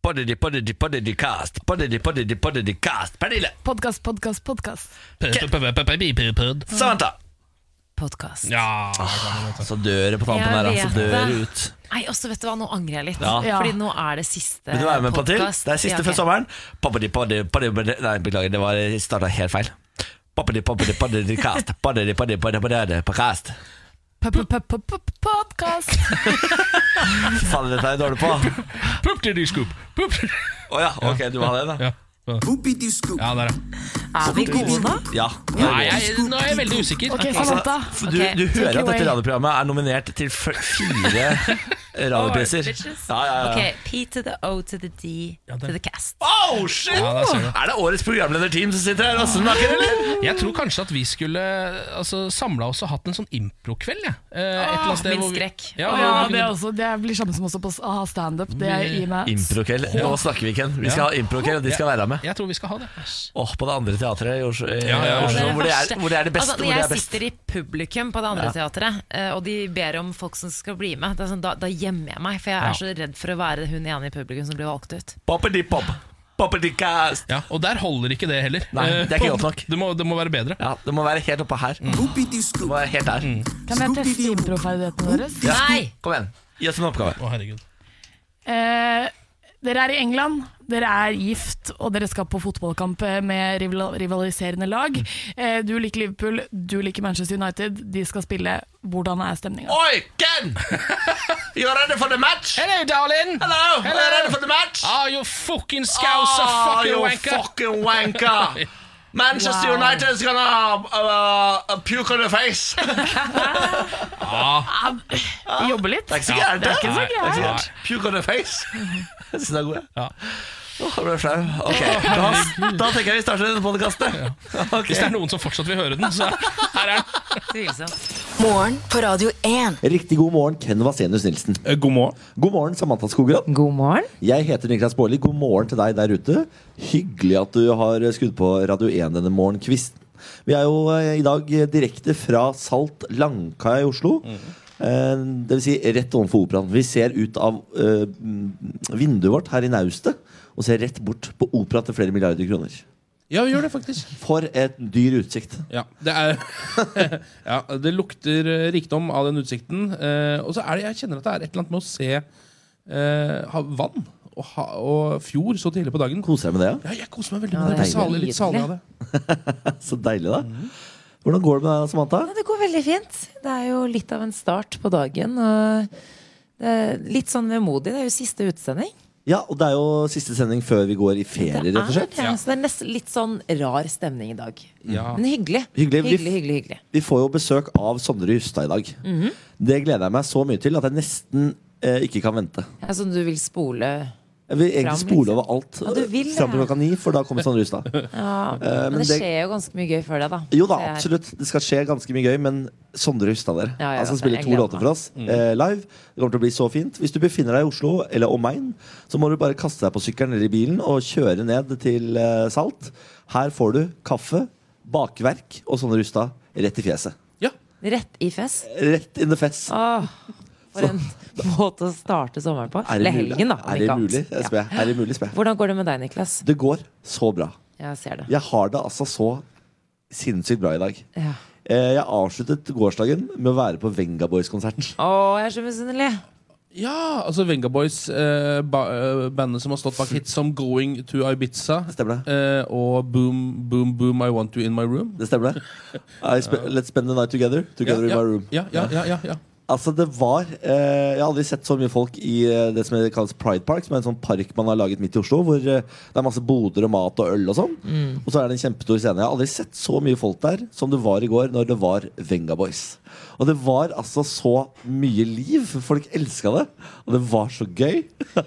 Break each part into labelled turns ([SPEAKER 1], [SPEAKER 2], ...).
[SPEAKER 1] Poddedy, poddedy, poddedy cast. Poddedy, poddedy, poddedy cast. Pernille.
[SPEAKER 2] Podkast, podkast, podkast.
[SPEAKER 3] P-p-p-p-p-p-p-p-p.
[SPEAKER 4] Mm.
[SPEAKER 1] Samantha.
[SPEAKER 4] Podkast.
[SPEAKER 3] Ja, det kan jeg godt.
[SPEAKER 1] Så dør det på tampen her,
[SPEAKER 4] Jeg
[SPEAKER 1] altså.
[SPEAKER 4] vet
[SPEAKER 1] Dør
[SPEAKER 4] det.
[SPEAKER 1] ut.
[SPEAKER 4] Nei, også vet du hva, nå angrer jeg litt.
[SPEAKER 1] Ja.
[SPEAKER 2] Ja.
[SPEAKER 4] Fordi nå er det siste
[SPEAKER 1] Vil du være med på en til?
[SPEAKER 4] podcast.
[SPEAKER 1] Det er siste
[SPEAKER 4] Ja, ok.
[SPEAKER 1] før sommeren. Poppity, poddy, poddy, poddy. Nei, beklager, det var starta helt feil. Poppity, poppity, poddity cast. Poddity, poddy, poddy, poddy, podcast.
[SPEAKER 2] P-p-p-p-podkast.
[SPEAKER 1] Fy Faen, dette er jeg dårlig på.
[SPEAKER 3] Pup-di-di-scoop. Pup-di-di-
[SPEAKER 1] Å ja, ok, du må ha det, da.
[SPEAKER 3] Ja, Ja, der, ja.
[SPEAKER 4] Er vi gode nå?
[SPEAKER 1] Ja.
[SPEAKER 3] Nei, jeg, nå er jeg veldig usikker.
[SPEAKER 2] Ok,
[SPEAKER 3] Jeg
[SPEAKER 1] Altså,
[SPEAKER 2] Samantha.
[SPEAKER 1] f- du, du
[SPEAKER 2] Ok, take
[SPEAKER 1] hører
[SPEAKER 2] it
[SPEAKER 1] at dette
[SPEAKER 2] away.
[SPEAKER 1] radioprogrammet er nominert til f- fire radiopriser. Ja, ja, ja.
[SPEAKER 4] Ok, P to the O to the D
[SPEAKER 3] Ja,
[SPEAKER 4] to
[SPEAKER 3] det-
[SPEAKER 4] the cast.
[SPEAKER 1] Oh, shit!
[SPEAKER 3] Ja, der ser du.
[SPEAKER 1] er det årets programlederteam som sitter her og snakker, eller?
[SPEAKER 3] Jeg tror kanskje at vi skulle altså, samla oss og hatt en sånn impro-kveld. jeg. Eh, et eller annet sted
[SPEAKER 4] min
[SPEAKER 3] hvor vi-
[SPEAKER 4] skrekk.
[SPEAKER 3] Ja,
[SPEAKER 2] Å
[SPEAKER 3] hvor
[SPEAKER 2] Ja,
[SPEAKER 3] vi
[SPEAKER 2] Ah, det,
[SPEAKER 3] kunne-
[SPEAKER 2] er altså- også, det blir samme som også på å ha standup. Det gir meg
[SPEAKER 1] Improkveld. Nå snakker vi, Ken. Vi skal ha improkveld, og de skal være med.
[SPEAKER 3] Jeg tror vi skal ha det.
[SPEAKER 1] Åh, På det andre teatret i Oslo, i
[SPEAKER 3] Ja, ja,
[SPEAKER 1] Oslo
[SPEAKER 4] Det
[SPEAKER 1] altså, hvor, det
[SPEAKER 4] verste.
[SPEAKER 1] er, hvor det er det beste.
[SPEAKER 4] Altså,
[SPEAKER 1] hvor
[SPEAKER 4] når
[SPEAKER 1] det er
[SPEAKER 4] jeg
[SPEAKER 1] best.
[SPEAKER 4] sitter i publikum på det andre teatret, eh, og de ber om folk som skal bli med, det er sånn, da, da gjemmer jeg meg. For jeg
[SPEAKER 3] Ja.
[SPEAKER 4] er så redd for å være hun ene i publikum som blir valgt ut.
[SPEAKER 1] Poppity pop. Poppity cast.
[SPEAKER 3] Ja, og der holder ikke det heller.
[SPEAKER 1] Nei, det er ikke
[SPEAKER 3] Eh,
[SPEAKER 1] godt nok.
[SPEAKER 3] Det må, det må være bedre.
[SPEAKER 1] Ja, det må være helt oppå her. Det må være helt der.
[SPEAKER 2] Kan jeg teste improferdighetene deres?
[SPEAKER 1] Ja.
[SPEAKER 4] Nei!
[SPEAKER 1] Kom igjen. Gi oss en oppgave.
[SPEAKER 3] Å, herregud.
[SPEAKER 2] Eh, dere er i England, dere er gift, og dere skal på fotballkamp eh, med rival rivaliserende lag. Eh, du liker Liverpool, du liker Manchester United. De skal spille. Hvordan er stemninga?
[SPEAKER 1] Oi, Ken! You're ready for the match?
[SPEAKER 3] Hello, darling!
[SPEAKER 1] Hello!
[SPEAKER 3] Hello.
[SPEAKER 1] You're ready for the match?
[SPEAKER 5] Ah,
[SPEAKER 3] Are you fucking scouser,
[SPEAKER 1] Ah,
[SPEAKER 3] fucking
[SPEAKER 1] you
[SPEAKER 3] wanker?
[SPEAKER 1] fucking wanker. Manchester United is gonna uh, uh, puke on your face. Det
[SPEAKER 2] Vi jobber litt.
[SPEAKER 1] er ikke så gærent, det.
[SPEAKER 2] ikke så
[SPEAKER 1] Nei,
[SPEAKER 2] gærent.
[SPEAKER 1] det er ikke Puke on your face. Jeg synes det er god, jeg.
[SPEAKER 3] Ja.
[SPEAKER 1] Åh, jeg ble flau. Ok, da, da tenker jeg vi starter denne podkasten.
[SPEAKER 3] Hvis det er noen som fortsatt vil høre den, så her er den.
[SPEAKER 4] Tvilsomt.
[SPEAKER 6] Morgen på Radio 1.
[SPEAKER 7] Riktig god morgen, Ken Vasenus Nilsen.
[SPEAKER 3] Eh, God morgen.
[SPEAKER 7] God morgen, Samantha Skogran.
[SPEAKER 4] God morgen.
[SPEAKER 7] Jeg heter Niklas Baarli. God morgen til deg der ute. Hyggelig at du har skrudd på Radio 1 denne morgenkvisten. Vi er jo eh, i dag direkte fra Salt Langkaia i Oslo. Eh, Det vil si rett ovenfor Operaen. Vi ser ut av eh, vinduet vårt her i naustet og ser rett bort på opera til flere milliarder kroner.
[SPEAKER 5] Ja, vi gjør det faktisk.
[SPEAKER 7] For et dyr utsikt.
[SPEAKER 5] Ja, Det, er, ja, det lukter eh, rikdom av den utsikten. Eh, og så er det, jeg kjenner at det er et eller annet med å se eh, ha, vann og, ha, og fjord så tidlig på dagen.
[SPEAKER 7] Koser deg med det? ja?
[SPEAKER 5] Ja, jeg koser meg veldig
[SPEAKER 4] Ja,
[SPEAKER 5] med
[SPEAKER 4] det
[SPEAKER 5] det.
[SPEAKER 4] er
[SPEAKER 5] Salig, litt salig av det.
[SPEAKER 7] Så deilig,
[SPEAKER 4] Mhm.
[SPEAKER 7] da. Hvordan går det med deg, Samantha?
[SPEAKER 4] Ja, det går veldig fint. Det er jo litt av en start på dagen. Og det er litt sånn vemodig. Det er jo siste utsending.
[SPEAKER 7] Ja, og det er jo siste sending før vi går i ferie, rett og slett.
[SPEAKER 4] Det er, så det er nesten litt sånn rar stemning i dag.
[SPEAKER 5] Ja.
[SPEAKER 4] Men hyggelig.
[SPEAKER 7] Hyggelig.
[SPEAKER 4] hyggelig, hyggelig, hyggelig.
[SPEAKER 7] Vi får jo besøk av Sondre Justad i dag.
[SPEAKER 4] Mhm.
[SPEAKER 7] Det gleder jeg meg så mye til at jeg nesten eh, ikke kan vente.
[SPEAKER 4] Ja, som du vil spole
[SPEAKER 7] Jeg vil egentlig
[SPEAKER 4] Fram,
[SPEAKER 7] spole
[SPEAKER 4] liksom.
[SPEAKER 7] over alt
[SPEAKER 4] Ja, du vil
[SPEAKER 7] eh, fram til
[SPEAKER 4] det.
[SPEAKER 7] klokka ni, for da kommer Sondre Justad.
[SPEAKER 4] ja,
[SPEAKER 7] Eh,
[SPEAKER 4] Men,
[SPEAKER 7] men
[SPEAKER 4] det,
[SPEAKER 7] det-
[SPEAKER 4] skjer jo ganske mye gøy før det, da.
[SPEAKER 7] Jo da,
[SPEAKER 4] Det er-
[SPEAKER 7] absolutt. Det skal skje ganske mye gøy, men Sondre Justad der.
[SPEAKER 4] Ja, jeg
[SPEAKER 7] Han
[SPEAKER 4] vet
[SPEAKER 7] skal
[SPEAKER 4] det.
[SPEAKER 7] spille
[SPEAKER 4] Jeg
[SPEAKER 7] to
[SPEAKER 4] gleder
[SPEAKER 7] låter
[SPEAKER 4] meg.
[SPEAKER 7] for oss eh, live. Det kommer til å bli så fint. Hvis du befinner deg i Oslo eller omegn, så må du bare kaste deg på sykkelen eller i bilen og kjøre ned til eh, Salt. Her får du kaffe, bakverk og Sondre Justad rett i fjeset.
[SPEAKER 5] Ja.
[SPEAKER 4] Rett i fest.
[SPEAKER 7] Rett in the fest.
[SPEAKER 4] Åh, for en måte å starte sommeren på.
[SPEAKER 7] Er det
[SPEAKER 4] Eller
[SPEAKER 7] mulig?
[SPEAKER 4] helgen, da. om
[SPEAKER 7] Er det
[SPEAKER 4] ikke annet.
[SPEAKER 7] mulig? Jeg spør. Er det mulig, spør.
[SPEAKER 4] Ja.
[SPEAKER 7] jeg.
[SPEAKER 4] Hvordan går det med deg, Niklas?
[SPEAKER 7] Det går så bra.
[SPEAKER 4] Jeg ser det.
[SPEAKER 7] Jeg har det altså så sinnssykt bra i dag.
[SPEAKER 4] Ja.
[SPEAKER 7] Eh, Jeg avsluttet gårsdagen med å være på Venga Boys-konsert.
[SPEAKER 4] Å, jeg er så misunnelig.
[SPEAKER 5] ja, altså Venga Boys, eh, ba, eh, bandet som har stått bak hits som Going to Ibiza
[SPEAKER 7] Stemmer det?
[SPEAKER 5] eh, og Boom Boom Boom I Want You In My Room.
[SPEAKER 7] Det stemmer det? I spe let's spend the night together. Together
[SPEAKER 5] ja,
[SPEAKER 7] in my room.
[SPEAKER 5] ja, ja, ja, ja, ja.
[SPEAKER 7] Altså, det var eh, Jeg har aldri sett så mye folk i eh, det som kalles Pride Park, som er en sånn park man har laget midt i Oslo, hvor eh, det er masse boder og mat og øl og sånn.
[SPEAKER 5] Mm.
[SPEAKER 7] Og så er det en kjempestor scene. Jeg har aldri sett så mye folk der som det var i går når det var Venga Boys. Og det var altså så mye liv. Folk elska det. Og det var så gøy.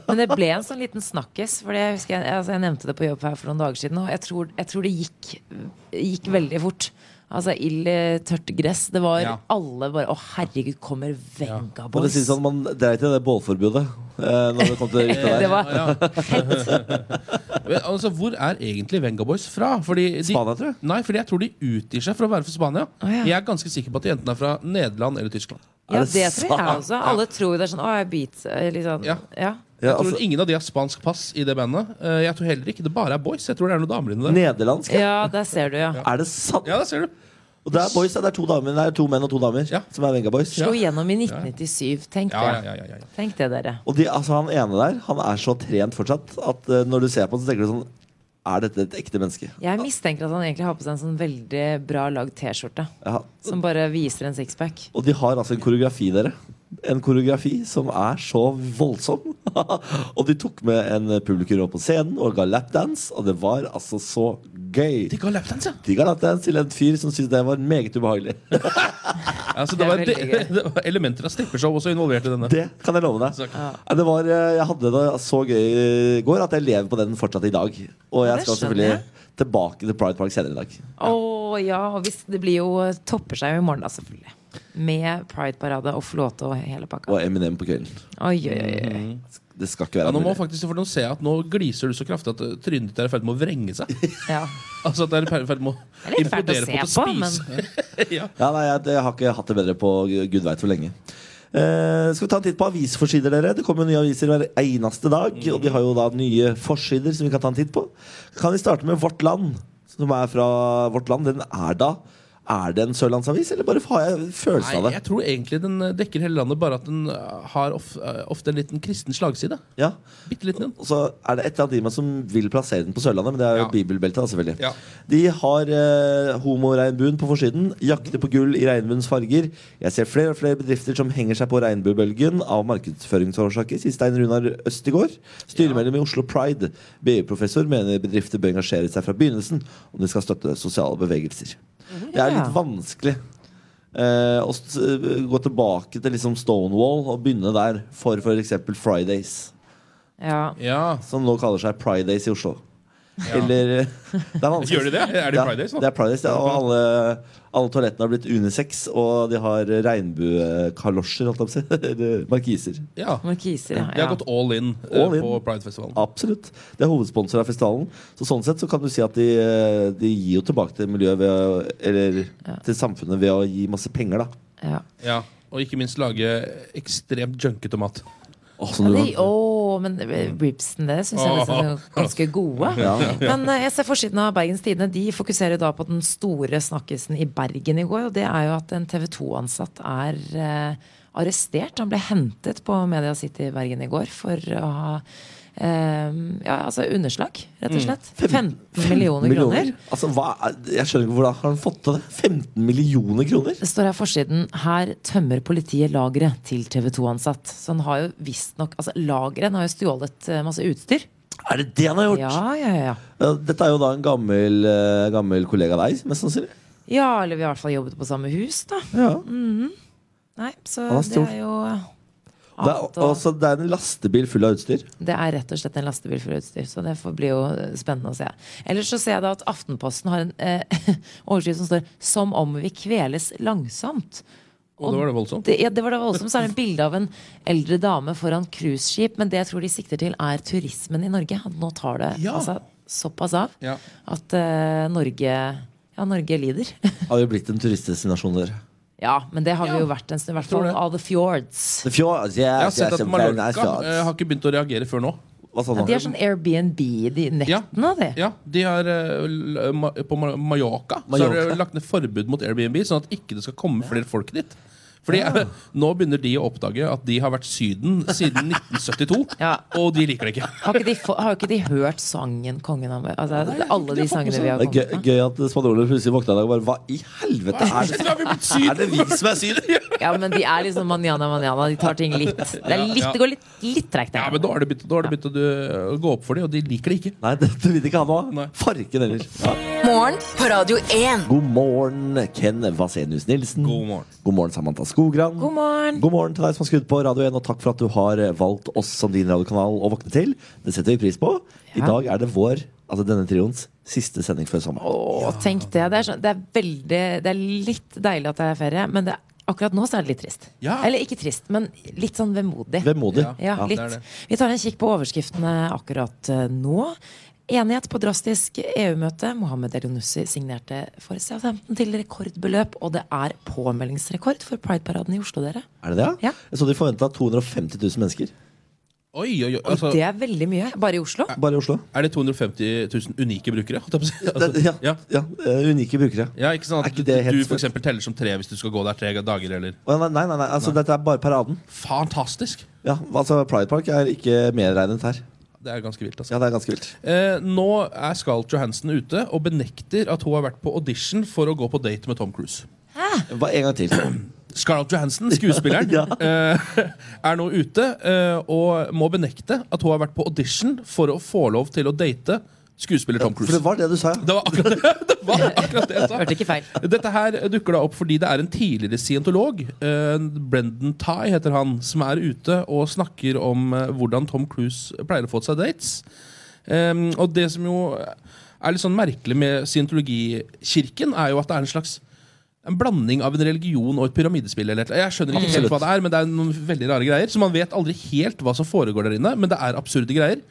[SPEAKER 4] Men det ble en sånn liten snakkis. For jeg, husker jeg, altså jeg nevnte det på jobb her for noen dager siden, og jeg tror, jeg tror det gikk, gikk veldig fort. Altså ild eh, tørt gress. Det var
[SPEAKER 5] Ja.
[SPEAKER 4] alle bare Å, herregud, kommer Venga
[SPEAKER 7] For å
[SPEAKER 4] Boys?
[SPEAKER 7] si det sånn, man dreit i det bålforbudet eh, når det kom til det ryktet
[SPEAKER 4] Det
[SPEAKER 7] der.
[SPEAKER 4] var
[SPEAKER 5] Men, Altså, Hvor er egentlig Venga Boys fra? Fordi de,
[SPEAKER 7] Spania, tror jeg.
[SPEAKER 5] Nei, fordi jeg tror de utgir seg for å være fra Spania.
[SPEAKER 4] ja.
[SPEAKER 5] Jeg er ganske sikker på at de enten er fra Nederland eller Tyskland.
[SPEAKER 4] Ja,
[SPEAKER 7] Er
[SPEAKER 4] det
[SPEAKER 7] det
[SPEAKER 4] tror jeg
[SPEAKER 7] sant?
[SPEAKER 4] også. Alle tror jo det er sånn Å, jeg beat eh, litt sånn.
[SPEAKER 5] Ja.
[SPEAKER 4] Ja.
[SPEAKER 7] Ja,
[SPEAKER 5] Jeg tror
[SPEAKER 7] altså-
[SPEAKER 5] Ingen av de har spansk pass i det bandet. Eh, Jeg tror heller ikke det bare er boys. Jeg tror det er noen damer inni der.
[SPEAKER 7] Nederlandsk? ja.
[SPEAKER 4] Ja, der ser du, ja.
[SPEAKER 7] Er det sant?
[SPEAKER 5] Ja, der ser du.
[SPEAKER 7] Og det er boys, ja, det er to damer Det er to menn og to damer
[SPEAKER 5] Ja.
[SPEAKER 7] som er Venga Boys.
[SPEAKER 4] Slo gjennom i 1997. Tenk
[SPEAKER 5] Ja, ja,
[SPEAKER 4] det.
[SPEAKER 5] ja, ja, ja.
[SPEAKER 4] Tenk det, dere.
[SPEAKER 7] Og de, altså, han ene der Han er så trent fortsatt at eh, når du ser på han, så tenker du sånn Er dette et ekte menneske?
[SPEAKER 4] Jeg mistenker at han egentlig har på seg en sånn veldig bra lagd T-skjorte.
[SPEAKER 7] Ja.
[SPEAKER 4] Som bare viser en sixpack.
[SPEAKER 7] Og de har altså en koreografi, dere. En koreografi som er så voldsom. og de tok med en publikum opp på scenen og ga lapdance, og det var altså så gøy.
[SPEAKER 5] De ga lapdance, ja.
[SPEAKER 7] De ga lapdance til en fyr som syntes det var meget ubehagelig.
[SPEAKER 5] Altså,
[SPEAKER 4] Det
[SPEAKER 5] det,
[SPEAKER 4] er
[SPEAKER 5] var, det,
[SPEAKER 4] veldig gøy.
[SPEAKER 5] det var elementer av strippeshow også involvert i denne.
[SPEAKER 7] Det kan jeg love deg.
[SPEAKER 5] Takk.
[SPEAKER 7] Ja, Det var, eh, jeg hadde det så gøy i går at jeg lever på den fortsatt i dag. Og jeg
[SPEAKER 4] det
[SPEAKER 7] skal
[SPEAKER 4] skjønner
[SPEAKER 7] selvfølgelig tilbake til Pride Park senere i dag.
[SPEAKER 4] Å ja, og hvis det blir jo topper seg jo i morgen, da, selvfølgelig. Med Pride-parade og flåte og hele pakka.
[SPEAKER 7] Og Eminem på kvelden.
[SPEAKER 4] Oi, oi, oi, oi.
[SPEAKER 7] Det skal ikke
[SPEAKER 5] Ja,
[SPEAKER 7] være
[SPEAKER 5] nå må
[SPEAKER 7] mulig.
[SPEAKER 5] faktisk for nå ser jeg at nå gliser du så kraftig at eh, trynet ditt er i ferd med å vrenge seg.
[SPEAKER 4] Ja.
[SPEAKER 5] Altså at det er i ferd med å
[SPEAKER 4] Det er litt fælt å
[SPEAKER 5] implodere
[SPEAKER 4] se
[SPEAKER 5] på at
[SPEAKER 4] på,
[SPEAKER 5] det
[SPEAKER 4] men
[SPEAKER 5] spiser.
[SPEAKER 7] Ja, nei, jeg, jeg har ikke hatt det bedre på gud veit hvor lenge. Eh, skal vi ta en titt på avisforsider, dere? Det kommer jo nye aviser hver eneste dag.
[SPEAKER 5] Mm.
[SPEAKER 7] Og de har jo da nye forsider som vi kan ta en titt på. Kan vi starte med Vårt Land, som er fra Vårt Land? Den er da Er det en sørlandsavis, eller bare har jeg følelsen av
[SPEAKER 5] Nei,
[SPEAKER 7] det?
[SPEAKER 5] jeg tror egentlig den eh, dekker hele landet, bare at den eh, har of, eh, ofte en liten kristen slagside.
[SPEAKER 7] Ja.
[SPEAKER 5] Bitte liten en.
[SPEAKER 7] Og så er det et eller annet i meg som vil plassere den på Sørlandet, men det er jo
[SPEAKER 5] Ja.
[SPEAKER 7] bibelbeltet, da, selvfølgelig.
[SPEAKER 5] Ja.
[SPEAKER 7] De har eh, homoregnbuen på forsiden. Jakter på gull i regnbuens farger. Jeg ser flere og flere bedrifter som henger seg på regnbuebølgen av markedsføringsårsaker, sier Stein Runar Østegård. Styremedlem i Oslo Pride. BI-professor mener bedrifter bør engasjere seg fra begynnelsen om de skal støtte sosiale bevegelser. Det er litt vanskelig. eh, å s- gå tilbake til liksom Stonewall og begynne der for f.eks. Fridays
[SPEAKER 4] ja.
[SPEAKER 5] Ja.
[SPEAKER 7] som nå kaller seg Pride Days i Oslo. Eller eh, det er vanskelig.
[SPEAKER 5] Gjør de det? Er det
[SPEAKER 7] Ja,
[SPEAKER 5] Pride Days nå?
[SPEAKER 7] Det er Pride Days, ja, og alle, alle toalettene har blitt unisex, og de har regnbuekalosjer, holdt jeg på å si. Eller markiser.
[SPEAKER 5] Ja.
[SPEAKER 4] Markiser, ja.
[SPEAKER 5] De har
[SPEAKER 4] ja.
[SPEAKER 5] gått all in, eh,
[SPEAKER 7] All in.
[SPEAKER 5] på Pride-festivalen.
[SPEAKER 7] Absolutt. Det er hovedsponsor av festivalen. Så sånn sett så kan du si at de, eh, de gir jo tilbake til miljøet ved å, Eller til samfunnet ved å gi masse penger, da.
[SPEAKER 4] ja.
[SPEAKER 5] Ja. Og ikke minst lage ekstremt junkete mat.
[SPEAKER 7] Åh,
[SPEAKER 4] Ja,
[SPEAKER 7] som du
[SPEAKER 4] de- Å, men eh, ribsen, det syns jeg liksom er ganske gode. Men eh, jeg ser forsiden av Bergens Tidende. De fokuserer da på den store snakkisen i Bergen i går. Og det er jo at en TV 2-ansatt er eh, arrestert. Han ble hentet på Media City i Bergen i går for å ha eh, ja, altså underslag, rett og slett. 15 millioner kroner.
[SPEAKER 7] Altså, hva er, jeg skjønner ikke hvordan har han fått til det? 15 millioner kroner?
[SPEAKER 4] Det står her forsiden Her tømmer politiet lagret til TV 2-ansatt. Så han har jo visstnok altså, Lageret har jo stjålet eh, masse utstyr.
[SPEAKER 7] Er det det han har gjort?
[SPEAKER 4] Ja, ja, ja.
[SPEAKER 7] Ja, Dette er jo da en gammel, eh, gammel kollega av deg, mest sannsynlig.
[SPEAKER 4] Ja, eller vi har i hvert fall jobbet på samme hus, da. Mhm.
[SPEAKER 7] Ja.
[SPEAKER 4] Nei, så
[SPEAKER 7] Han er
[SPEAKER 4] det
[SPEAKER 7] stor.
[SPEAKER 4] er jo
[SPEAKER 7] Det,
[SPEAKER 4] annet
[SPEAKER 7] er,
[SPEAKER 4] å-
[SPEAKER 7] altså, det er en lastebil full av utstyr.
[SPEAKER 4] det er rett og slett en lastebil for utstyr, så det får bli jo eh, spennende å se. Ellers så ser jeg da at Aftenposten har en eh, overskrift som står 'Som om vi kveles langsomt'.
[SPEAKER 5] Og det var det voldsomt.
[SPEAKER 4] Det, ja, det var da voldsomt. Så er det et bilde av en eldre dame foran cruiseskip, men det jeg tror de sikter til, er turismen i Norge. At nå tar det
[SPEAKER 5] Ja.
[SPEAKER 4] altså, såpass av
[SPEAKER 5] Ja.
[SPEAKER 4] at eh, Norge ja, Norge lider.
[SPEAKER 7] Har jo blitt en turistdestinasjon der.
[SPEAKER 4] ja, men det har vi jo vært en stund. I hvert
[SPEAKER 5] tror
[SPEAKER 4] fall
[SPEAKER 5] det.
[SPEAKER 4] all the fjords.
[SPEAKER 7] The fjords, yes,
[SPEAKER 5] Jeg har sett at
[SPEAKER 7] yes, a very nice
[SPEAKER 5] Mallorca
[SPEAKER 7] fjords.
[SPEAKER 5] eh, har ikke begynt å reagere før nå.
[SPEAKER 7] altså. Hva sa
[SPEAKER 4] Ja,
[SPEAKER 7] du?
[SPEAKER 4] de er sånn Airbnb de
[SPEAKER 5] Ja.
[SPEAKER 4] nettene, de.
[SPEAKER 5] Ja, de har, eh, l- ma- på Ma- Mallorca så har
[SPEAKER 7] Mallorca.
[SPEAKER 5] de lagt ned forbud mot Airbnb, sånn at ikke det skal komme flere folk dit. Fordi eh, Nå begynner de å oppdage at de har vært Syden siden 1972,
[SPEAKER 4] Ja.
[SPEAKER 5] og de liker det ikke.
[SPEAKER 4] Har, ikke de, få- har ikke de hørt sangen Kongen av altså, Alle de sangene vi har
[SPEAKER 7] Det er
[SPEAKER 4] kommet
[SPEAKER 7] gøy,
[SPEAKER 4] med.
[SPEAKER 7] gøy at spanjolene plutselig våkna i dag og bare Hva i helvete er det?
[SPEAKER 5] Nå har vi blitt syden.
[SPEAKER 7] Er det vi som er syden?
[SPEAKER 4] Ja, men de er liksom manjana, manjana. De tar ting litt. Det, er
[SPEAKER 5] Ja,
[SPEAKER 4] litt,
[SPEAKER 5] ja.
[SPEAKER 4] det går litt, litt tregt.
[SPEAKER 5] Ja,
[SPEAKER 4] der.
[SPEAKER 5] men Da har det begynt, da har det begynt å, du- å gå opp for dem, og de liker det ikke.
[SPEAKER 7] Nei, dette vil ikke han ha.
[SPEAKER 5] Nei.
[SPEAKER 7] Farken heller. Ja.
[SPEAKER 6] Morgen på Radio 1.
[SPEAKER 7] God morgen, Ken Vasenius Nilsen.
[SPEAKER 5] God morgen.
[SPEAKER 7] God morgen, Samantha Skogran.
[SPEAKER 4] God morgen.
[SPEAKER 7] God morgen til deg som har skrudd på Radio 1, og takk for at du har eh, valgt oss som din radiokanal å våkne til. Det setter vi pris på. I
[SPEAKER 4] Ja.
[SPEAKER 7] dag er det vår, altså denne trioens, siste sending før sommer.
[SPEAKER 4] Åh, tenk det. Det er, sånn, det er veldig Det er litt deilig at det er ferie, men det, er- akkurat nå så er det litt trist.
[SPEAKER 5] Ja.
[SPEAKER 4] Eller ikke trist, men litt sånn vemodig.
[SPEAKER 7] Vemodig.
[SPEAKER 4] Ja,
[SPEAKER 5] Ja, det er
[SPEAKER 4] litt.
[SPEAKER 5] det.
[SPEAKER 4] Vi tar en kikk på overskriftene akkurat eh, nå. Enighet på drastisk EU-møte. Mohammed Elionussi signerte for Southampton til rekordbeløp. Og det er påmeldingsrekord for Pride-paraden i Oslo, dere.
[SPEAKER 7] Er det det?
[SPEAKER 4] Ja.
[SPEAKER 7] Jeg så de forventa 250 000 mennesker.
[SPEAKER 5] Oi, oi, oi.
[SPEAKER 4] Og
[SPEAKER 5] Altså,
[SPEAKER 4] det er veldig mye. Bare i Oslo.
[SPEAKER 7] Bare i Oslo.
[SPEAKER 5] er det 250 000 unike brukere? holdt jeg på å si?
[SPEAKER 7] Det-
[SPEAKER 5] Altså,
[SPEAKER 7] ja,
[SPEAKER 5] ja.
[SPEAKER 7] ja, eh, Unike brukere.
[SPEAKER 5] Ja, ikke sånn
[SPEAKER 7] Er
[SPEAKER 5] at
[SPEAKER 7] ikke
[SPEAKER 5] du,
[SPEAKER 7] det helt
[SPEAKER 5] du for
[SPEAKER 7] sprøtt?
[SPEAKER 5] eksempel teller som tre hvis du skal gå der tre dager, eller
[SPEAKER 7] Å, Nei, nei, nei, nei, altså dette er bare paraden.
[SPEAKER 5] Fantastisk!
[SPEAKER 7] Ja, altså Pride Park er ikke medregnet her.
[SPEAKER 5] Det er ganske vilt, altså.
[SPEAKER 7] Ja, det er ganske vilt.
[SPEAKER 5] Eh, nå er Scarlett Johansen ute og benekter at hun har vært på audition for å gå på date med Tom Cruise.
[SPEAKER 7] Bare en gang til.
[SPEAKER 5] Scarlett Johansen, skuespilleren,
[SPEAKER 7] Ja.
[SPEAKER 5] eh, er nå ute eh, og må benekte at hun har vært på audition for å få lov til å date skuespiller Tom
[SPEAKER 7] For det
[SPEAKER 5] Cruise.
[SPEAKER 7] var det du sa.
[SPEAKER 5] Det var akkurat det, det, var akkurat det jeg sa.
[SPEAKER 4] Hørte ikke feil.
[SPEAKER 5] Dette her dukker da opp fordi det er en tidligere scientolog, eh, Brendan Ty heter han, som er ute og snakker om eh, hvordan Tom Cruise pleier å få seg dates. Em, og det som jo er litt sånn merkelig med scientologikirken, er jo at det er en slags en blanding av en religion og et pyramidespill. Eller et, eller annet. jeg skjønner ikke helt hva det er, men det er noen veldig rare greier. Så man vet aldri helt hva som foregår der inne, men det er absurde greier.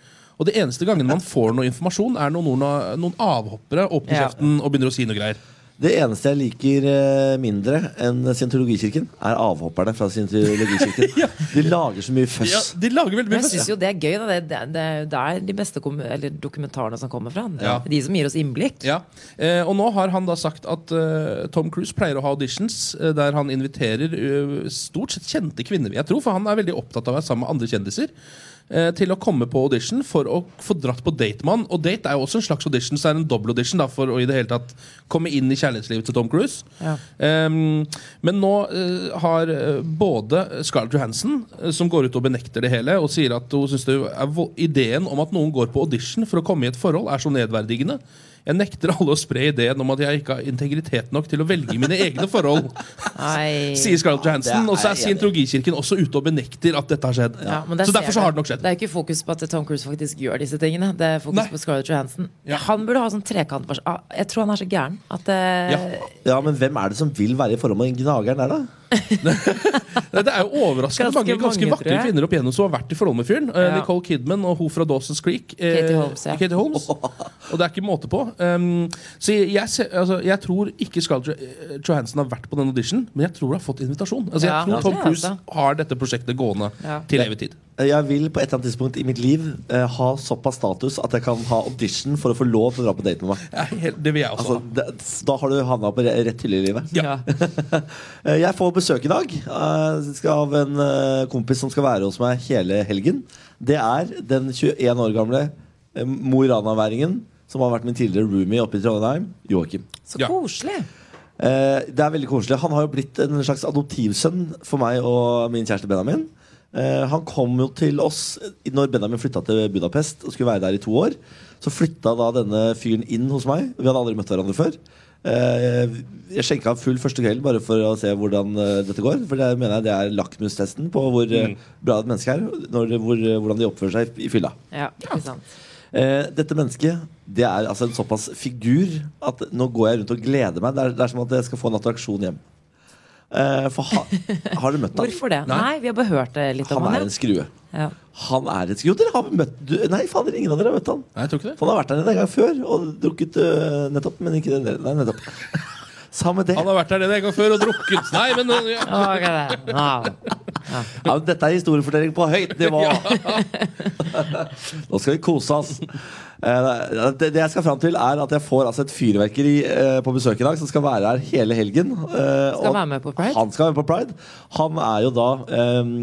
[SPEAKER 5] Og de eneste gangene man får noe informasjon, er når noen, noen avhoppere åpner
[SPEAKER 4] Ja.
[SPEAKER 5] kjeften og begynner å si noe greier.
[SPEAKER 7] Det eneste jeg liker eh, mindre enn scientologikirken, er avhopperne fra scientologikirken. De lager så mye
[SPEAKER 5] Ja,
[SPEAKER 7] føss.
[SPEAKER 5] de lager veldig
[SPEAKER 4] Men
[SPEAKER 5] mye
[SPEAKER 4] jeg
[SPEAKER 5] fest.
[SPEAKER 4] syns jo det er gøy. Da. Det, det, det er jo der de beste kom, eller dokumentarene som kommer fra.
[SPEAKER 5] Ja.
[SPEAKER 4] De som gir oss innblikk.
[SPEAKER 5] Ja. Eh, og nå har han da sagt at eh, Tom Cruise pleier å ha auditions eh, der han inviterer eh, stort sett kjente kvinner, jeg tror, for han er veldig opptatt av å være sammen med andre kjendiser, eh, til å komme på audition for å få dratt på date med han. Og date er jo også en slags audition, så det er en dobbel audition da, for å i det hele tatt komme inn i kjærlighetslivet til Tom Cruise.
[SPEAKER 4] Ja.
[SPEAKER 5] Ehm, men nå eh, har eh, både Scarlett Johansen, eh, som går ut og benekter det hele, og sier at hun synes det er vo ideen om at noen går på audition for å komme i et forhold, er så nedverdigende. Jeg nekter alle å spre ideen om at jeg ikke har integritet nok til å velge mine egne forhold,
[SPEAKER 4] Nei.
[SPEAKER 5] sier Scarlett Johansen. Og så er
[SPEAKER 7] jeg enig i.
[SPEAKER 5] Scientologikirken også ute og benekter at dette har skjedd.
[SPEAKER 4] Ja, men det
[SPEAKER 5] så
[SPEAKER 4] ser
[SPEAKER 5] derfor
[SPEAKER 4] jeg
[SPEAKER 5] så har det nok skjedd.
[SPEAKER 4] Det er jo ikke fokus på at Tom Cruise faktisk gjør disse tingene. Det er fokus
[SPEAKER 5] Nei.
[SPEAKER 4] på Scarlett Johansen.
[SPEAKER 5] Ja.
[SPEAKER 4] Han burde ha sånn trekant bare så- ah, Jeg tror han er så gæren at eh,
[SPEAKER 5] Ja.
[SPEAKER 7] Ja, men hvem er det som vil være i forhold med den gnageren der, da?
[SPEAKER 5] Nei, det er jo overraskende
[SPEAKER 4] Ganske
[SPEAKER 5] mange ganske
[SPEAKER 4] mange, tror
[SPEAKER 5] vakre
[SPEAKER 4] jeg.
[SPEAKER 5] kvinner opp igjennom som har vært i forhold med fyren. Eh,
[SPEAKER 4] Ja.
[SPEAKER 5] Nicole Kidman og hun fra Dawson's Creek. eh,
[SPEAKER 4] Katie Holmes, ja.
[SPEAKER 5] Katie Holmes. Og det er ikke måte på. Um, så jeg, jeg, ser- altså, jeg tror ikke Scarlett Jo- Johansson har vært på den audition, men jeg tror hun har fått invitasjon. Altså, jeg
[SPEAKER 4] Ja,
[SPEAKER 5] tror
[SPEAKER 4] ja,
[SPEAKER 5] Tom
[SPEAKER 4] det er
[SPEAKER 5] Cruise
[SPEAKER 4] det.
[SPEAKER 5] har dette prosjektet gående
[SPEAKER 4] Ja.
[SPEAKER 5] til evig tid.
[SPEAKER 7] Eh, Jeg vil på et eller annet tidspunkt i mitt liv eh, ha såpass status at jeg kan ha audition for å få lov til å dra på date med meg.
[SPEAKER 5] Ja, helt- Det vil jeg også
[SPEAKER 7] Altså,
[SPEAKER 5] ha.
[SPEAKER 7] det, da har du havna på re- rett hylle i livet.
[SPEAKER 5] Ja.
[SPEAKER 7] Eh, Jeg får besøk i dag eh, skal- av en eh, kompis som skal være hos meg hele helgen. Det er den 21 år gamle eh, Mo i Rana-væringen som har vært min tidligere roomie oppe i Trondheim, Joakim.
[SPEAKER 4] Så
[SPEAKER 5] Ja.
[SPEAKER 4] koselig!
[SPEAKER 7] Eh, Det er veldig koselig. Han har jo blitt en slags adoptivsønn for meg og min kjæreste Benjamin. Eh, Han kom jo til oss i- når Benjamin flytta til Budapest og skulle være der i to år. Så flytta da denne fyren inn hos meg. Vi hadde aldri møtt hverandre før. Eh, Jeg skjenka han full første kvelden bare for å se hvordan eh, dette går. For det mener jeg det er lakmustesten på hvor eh, bra et menneske er. Når, hvor, eh, hvordan de oppfører seg i- i fylla.
[SPEAKER 4] Ja, ikke sant.
[SPEAKER 7] Eh, dette mennesket det er altså en såpass figur at nå går jeg rundt og gleder meg. Det er, det er som at jeg skal få en attraksjon hjem. Eh, for ha, har dere møtt ham?
[SPEAKER 4] Hvorfor det? Nei. vi har bare hørt eh, litt om
[SPEAKER 7] Han
[SPEAKER 4] han.
[SPEAKER 7] er en skrue.
[SPEAKER 4] ja. Ja.
[SPEAKER 7] Han er en skrue. Jo, dere har møtt du, Nei, fader, ingen av dere har møtt han.
[SPEAKER 5] Nei, jeg tror ikke det.
[SPEAKER 7] For han har vært der en gang før og drukket øh, nettopp, men ikke den der. Nei, nettopp. Samme det.
[SPEAKER 5] Han har vært der en gang før og drukket. Nei, men øh, ja.
[SPEAKER 4] Å, hva er det? Ja.
[SPEAKER 7] Ja, men dette er historiefortelling på høyt nivå! Nå skal vi kose oss. Eh, Det, det jeg skal fram til, er at jeg får altså, et fyrverkeri eh, på besøk i dag, som skal være her hele helgen. eh,
[SPEAKER 4] Skal
[SPEAKER 7] og
[SPEAKER 4] være med på Pride?
[SPEAKER 7] Han skal være med på Pride. Han er jo da eh,